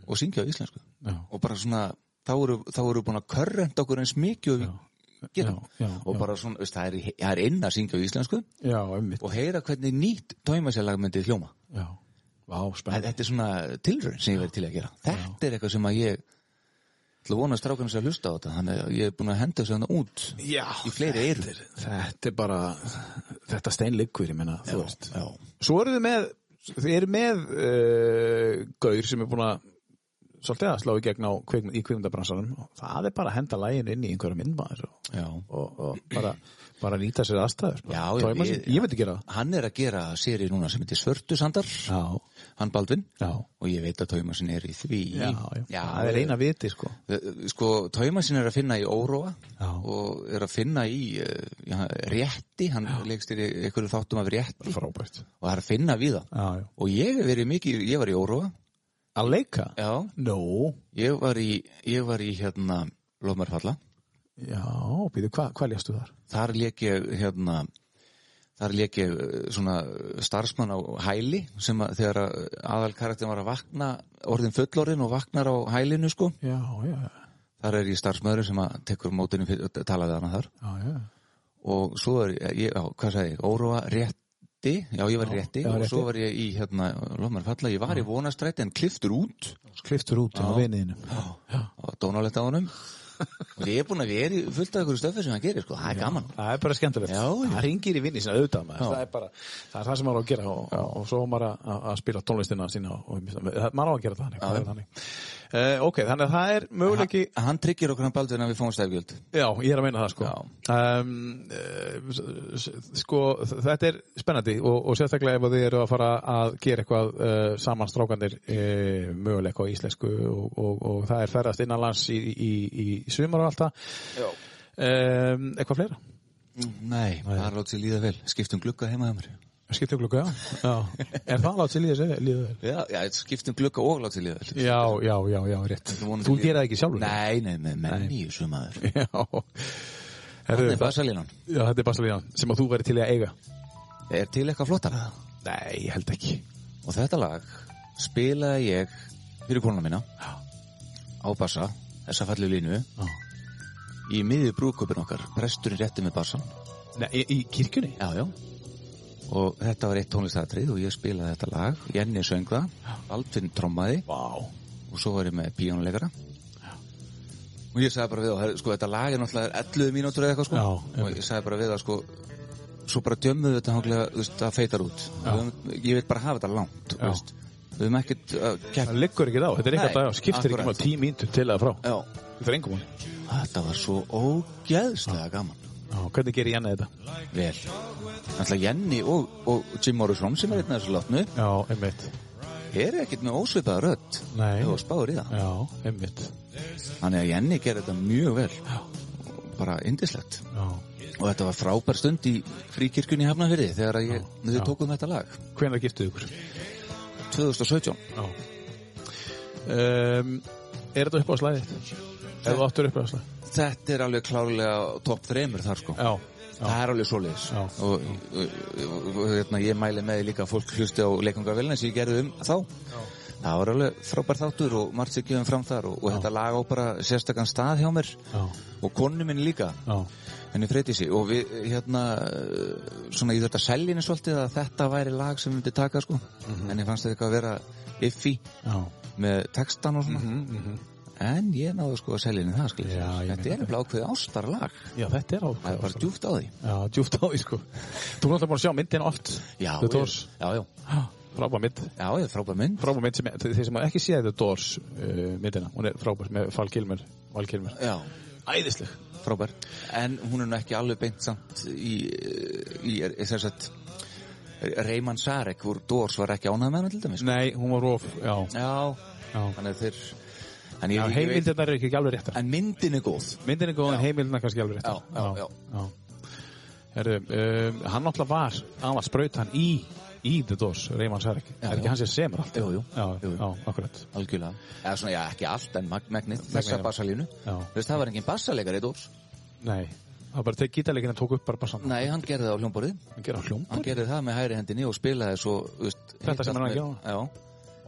Speaker 2: og syngja á íslensku
Speaker 1: já.
Speaker 2: og bara svona, þá eru, þá eru búin að körrenda okkur eins mikið og við getum
Speaker 1: Já, já,
Speaker 2: og
Speaker 1: já.
Speaker 2: bara svona, veist, það er, í- það er inn að syngja á íslensku
Speaker 1: Já, einmitt.
Speaker 2: og heyra hvernig nýtt tómasjálag myndið hljóma
Speaker 1: Já. Vá,
Speaker 2: Þetta
Speaker 1: spennandi.
Speaker 2: þetta er svona tilraun sem ég verið til í að gera Þetta er eitthvað sem að ég ætla að vona að strákan sér að hlusta á þetta þannig að ég er búin að henda þessu hana út
Speaker 1: Já,
Speaker 2: í fleiri eyru
Speaker 1: þetta er bara, þetta steinlikkur, ég menna, þú veist.
Speaker 2: Já,
Speaker 1: Svo eru þið með þið eru með uh, gaur sem er búin að svolítið að slá í gegn á kveik, í kvikmyndabransanum og það er bara að henda lægin inn í einhverja myndmaður og,
Speaker 2: já
Speaker 1: og, og bara, bara nýta sér aðstæður sko.
Speaker 2: Já,
Speaker 1: bara.
Speaker 2: já,
Speaker 1: Tómas, ég,
Speaker 2: ég-
Speaker 1: ég, veit ekki gera það
Speaker 2: Hann er að gera séri núna sem heitir Svörtu Sandar
Speaker 1: Já,
Speaker 2: hann Baldvin
Speaker 1: já,
Speaker 2: og ég veit að Tómasin er í því
Speaker 1: já, já, það er eina viti sko
Speaker 2: Sko, Tómasin er að finna í Óróa
Speaker 1: Já.
Speaker 2: og er að finna í eh, já, rétti, hann leikst í einhverju þáttum af rétti
Speaker 1: frábært já,
Speaker 2: og það er að finna við það
Speaker 1: já.
Speaker 2: og ég hef verið mikið, ég var í Óróa
Speaker 1: Að leika?
Speaker 2: Já,
Speaker 1: Nú,
Speaker 2: Ég var í, ég var í hérna Lofmarfalla,
Speaker 1: já, býðu, hva, hvað ljastu þar?
Speaker 2: þar leik ég hérna, þar leik ég eh, svona eh, starfsmann á hæli sem að þegar að aðalkaraktin var að vakna, orðin fullorðin og vaknar á hælinu sko,
Speaker 1: Já, já,
Speaker 2: þar er ég starfsmöður sem að tekur mótinu fyrir að tala við hana þar
Speaker 1: já, já,
Speaker 2: og svo er ég, já, hvað sagði ég, óróa rétti, já ég var í rétti
Speaker 1: já,
Speaker 2: og svo
Speaker 1: rétti.
Speaker 2: var ég í hérna Lofmarfalla, ég var í vonastræti en kliftur út
Speaker 1: kliftur út á viniðinu
Speaker 2: og dónalegt á honum og ég er búin að vera í fullt af ykkur stöfi sem hann gerir sko, það er gaman
Speaker 1: Það er bara skemmtilegt.
Speaker 2: Já, já.
Speaker 1: Það ringir í vinni sinna auðvitað maður. Það er bara, það er það sem maður á að gera og, og svo á maður að, að- að spila tónlistina sína og, og það- maður á að gera það þannig. Já, þannig. Eh, ok, þannig að það er möguleiki
Speaker 2: Ha- Hann tryggir okkur hann Baldvin að við fáum stefgjöld
Speaker 1: Já, ég er að meina það sko um, uh, Sko, þetta er spennandi og, og sérstaklega ef að þið eru að fara að gera eitthvað uh, saman strákanir uh, möguleika á íslensku og, og, og það er ferðast innanlands í, í, í sumar og allt það um, Eitthvað fleira?
Speaker 2: Nei, það er látt sér líða vel Skiptum glugga heima hjá mér
Speaker 1: Skiptum glugga, já, já. Er það látt sér líða sér? Líða þér?
Speaker 2: Já, já skiptum glugga og látt sér líða vel
Speaker 1: Já, já, já, já, rétt
Speaker 2: vonandi
Speaker 1: Þú
Speaker 2: líða-
Speaker 1: gera það ekki sjálfur?
Speaker 2: Nei, nei, með menn í þessu maður
Speaker 1: [LAUGHS] Já,
Speaker 2: Þannig
Speaker 1: Herðu,
Speaker 2: er basalínan
Speaker 1: já, þetta er Baslíðan sem að þú væri til í að eiga
Speaker 2: Er til eitthvað flottar það?
Speaker 1: Nei, ég held ekki
Speaker 2: Og þetta lag spilaði ég fyrir konuna mína á bassa, þessa fallu línu í miðju brúköpun okkar presturinn rétti með bassan
Speaker 1: Nei, í, í kirkjunni?
Speaker 2: já, já. og þetta var eitt tónlistatrið og ég spilaði þetta lag Jenny söng það, Alfinn trommaði
Speaker 1: Vá
Speaker 2: og svo var ég með píjónuleikara og ég sagði bara við og, sko, þetta lag er náttúrulega 11 mínútur eða eitthvað sko.
Speaker 1: Já,
Speaker 2: og ég sagði bara við að sko, svo bara djömmuðu þetta hanglega, þú veist, það feitar út Við, ég vil bara hafa þetta langt þú
Speaker 1: Já.
Speaker 2: veist. við höfum ekkert uh, að keppa
Speaker 1: Það liggur ekki þá, þetta er
Speaker 2: Nei,
Speaker 1: eitthvað dag, skiptir ekki
Speaker 2: akkurat.
Speaker 1: maður tíu mínútur til eða frá.
Speaker 2: Já.
Speaker 1: Þetta er engum mál.
Speaker 2: Þetta var svo ógeðslega gaman
Speaker 1: Já, hvernig gerir Janna þetta?
Speaker 2: Vel Þannig að Jenny og, og Jim Morrison sem er einn af þessu látnu
Speaker 1: Já, einmitt.
Speaker 2: er ekkert með ósvipaða rödd
Speaker 1: Nei.
Speaker 2: og spáður í það
Speaker 1: Já, einmitt.
Speaker 2: Þannig að Jenny gerði þetta mjög vel Og bara indislegt
Speaker 1: Já.
Speaker 2: og þetta var frábær stund í fríkirkjunni í Hafnafyrði þegar að ég, þau tókum þetta lag
Speaker 1: Hvenær giftuðu ykkur?
Speaker 2: 2017
Speaker 1: Já. Um, er þetta upp á slæðið? Er þetta aftur upp á slæðið?
Speaker 2: Þetta er alveg klárlega topp þremur þar sko
Speaker 1: Já.
Speaker 2: Það er alveg svoleiðis
Speaker 1: Já.
Speaker 2: og, og, og, og, hérna, ég mæli með því líka að fólk hlusti á leikungavelna sem ég gerði um þá það var alveg frábær þáttur og margt sér gefum fram þar og, og þetta lag á bara sérstakann stað hjá mér
Speaker 1: Já.
Speaker 2: og konu minn líka
Speaker 1: Já.
Speaker 2: henni freyti sig og við hérna eh, svona ég þurfti að selja henni svolítið að þetta væri lag sem myndi taka sko
Speaker 1: Mhm.
Speaker 2: en ég fannst þetta eitthvað að vera iffi
Speaker 1: Já.
Speaker 2: með textan og svona en ég náðu sko að selja henni það skil
Speaker 1: Mhm, Já, ég
Speaker 2: þetta
Speaker 1: meina
Speaker 2: er nefnilega ákveðið ástarlag
Speaker 1: Já, þetta er á.
Speaker 2: það er bara djúft á því
Speaker 1: Já, djúft á því, sko. Þú er náttúrulega búin að sjá myndin oft.
Speaker 2: Já,
Speaker 1: The
Speaker 2: ég-
Speaker 1: Doors.
Speaker 2: já, já,
Speaker 1: Frábær mynd.
Speaker 2: já, ég er frábær mynd
Speaker 1: Frábær mynd sem, þeir sem hafa ekki séð The Doors uh, myndina, hún er frábær með Fal Kilmer. Val Kilmer.
Speaker 2: Já,
Speaker 1: Æðisleg.
Speaker 2: frábær En hún er nú ekki alveg beint samt í, í, í sem sagt Reymann Sarek úr Dors var ekki ánæð með hana til dæmis sko.
Speaker 1: Nei, hún var of, já.
Speaker 2: Já,
Speaker 1: Já.
Speaker 2: þannig að þeir en ég,
Speaker 1: Já,
Speaker 2: ég veit,
Speaker 1: heimildirnar eru ekki alveg réttar.
Speaker 2: En myndin er góð
Speaker 1: Myndin er góð en heimilina kannski alveg rétt.
Speaker 2: Já, já, já.
Speaker 1: já. Herðu, um, hann náttúrulega var, hann var spraut hann í, í The Doors, Reymann Sarek.
Speaker 2: Já,
Speaker 1: er ekki
Speaker 2: já.
Speaker 1: hann sem semur allt?
Speaker 2: Jú, jú.
Speaker 1: Já,
Speaker 2: Jú, jú.
Speaker 1: já, akkurat.
Speaker 2: Algjörlega Eða svona, já, ekki allt en mag- megnið Þessa
Speaker 1: já.
Speaker 2: bassalínu
Speaker 1: Já.
Speaker 2: Þú veist, það var engin bassalegari Dors
Speaker 1: Nei, það var bara þegar gítarleikinu tók upp bara bara saman.
Speaker 2: Nei, hann gerði það á hljómborðið
Speaker 1: Hann gera
Speaker 2: Hann
Speaker 1: hljómbor.
Speaker 2: gerði það með hæri hendinni og spilaði svo þú veist,
Speaker 1: Þetta
Speaker 2: hitt
Speaker 1: sem hann
Speaker 2: allt
Speaker 1: er að
Speaker 2: með- Já,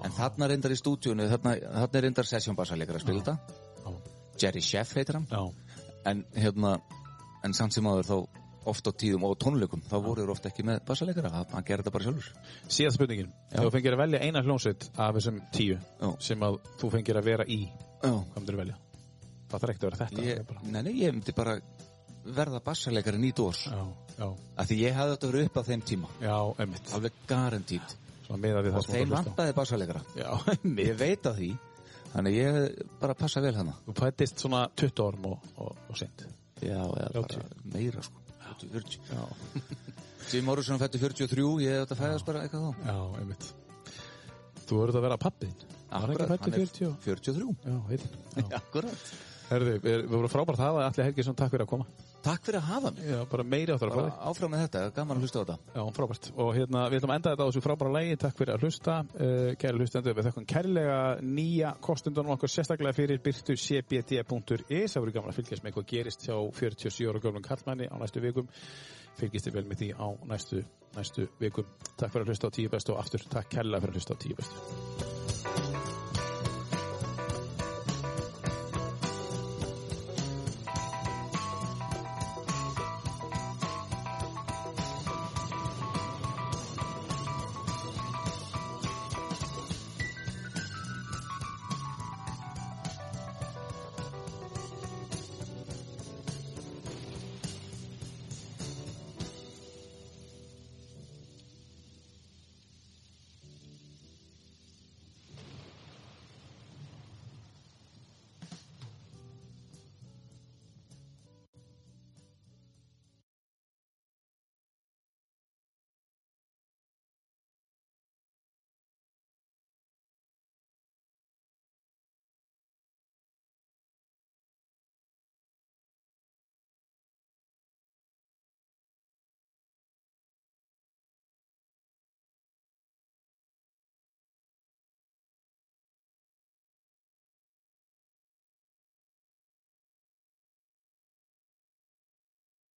Speaker 2: en þarna reyndar í stúdíunni þarna, þarna er reyndar sessjónbassarleikar að spila þetta
Speaker 1: Já.
Speaker 2: Jerry Sheff heitir hann
Speaker 1: Já,
Speaker 2: en, hérna, en samt sem aður þá oft á tíðum og tónleikum þá voru þeir oft ekki með bassarleikara hann, hann gerði þetta bara sjálfur
Speaker 1: síðan spurningin. Þú fengir að velja eina hljómsveit af þessum tíu
Speaker 2: Já.
Speaker 1: sem að þú fengir að vera í,
Speaker 2: Já.
Speaker 1: hvað myndir velja? Það þarf ekkert að vera þetta. það er
Speaker 2: ég,
Speaker 1: bara-
Speaker 2: nei, nei, ég myndi bara verða bassarleikari nýt ors
Speaker 1: Já, já,
Speaker 2: af því ég hafði þetta verið upp á þeim tíma
Speaker 1: já, emmitt.
Speaker 2: alveg garantít
Speaker 1: Svona miðað við það
Speaker 2: og
Speaker 1: sem þú ert að
Speaker 2: þeim
Speaker 1: hlusta á.
Speaker 2: vantaði bassarleikara
Speaker 1: Já,
Speaker 2: ég
Speaker 1: einmitt.
Speaker 2: veit að því þannig ég bara passa vel hana
Speaker 1: Þú fættist svona 20 orm og, og, og sent.
Speaker 2: Já, eða bara
Speaker 1: 30.
Speaker 2: meira sko 40. Jim Morrison fættu 43, ég átt að fæðast bara eitthvað þá
Speaker 1: Já, einmitt. Þú verður að vera pappiðin. Var ekki
Speaker 2: Akkurat,
Speaker 1: fættu
Speaker 2: hann er
Speaker 1: 40?
Speaker 2: 43,
Speaker 1: Já, heitinn. Já.
Speaker 2: akkurat
Speaker 1: Herðu, við við vorum frábært að hafa Alli Helgisson, takk fyrir að koma.
Speaker 2: Takk fyrir að hafa mig
Speaker 1: Já, bara meiri áttur að
Speaker 2: bara
Speaker 1: fara.
Speaker 2: Áfram með þetta, gaman að hlusta á þetta
Speaker 1: Já, frábært. Og hérna, við ætlum að enda þetta á þessu frábæra lægi. Takk fyrir að hlusta, uh, kæri hlustendur. Við þakkum kærlega nýja kostundunum okkar sérstaklega fyrir byrtucbd.is. Það verður gaman að fylgjast með hvað gerist hjá 47 ára gömlum kallmanni á næstu vikum. Fylgjast þið vel með því á næstu, næstu vikum. Takk fyrir að hlusta á tíu bestu og aftur. Takk kærlega fyrir að hlusta á tíu bestu.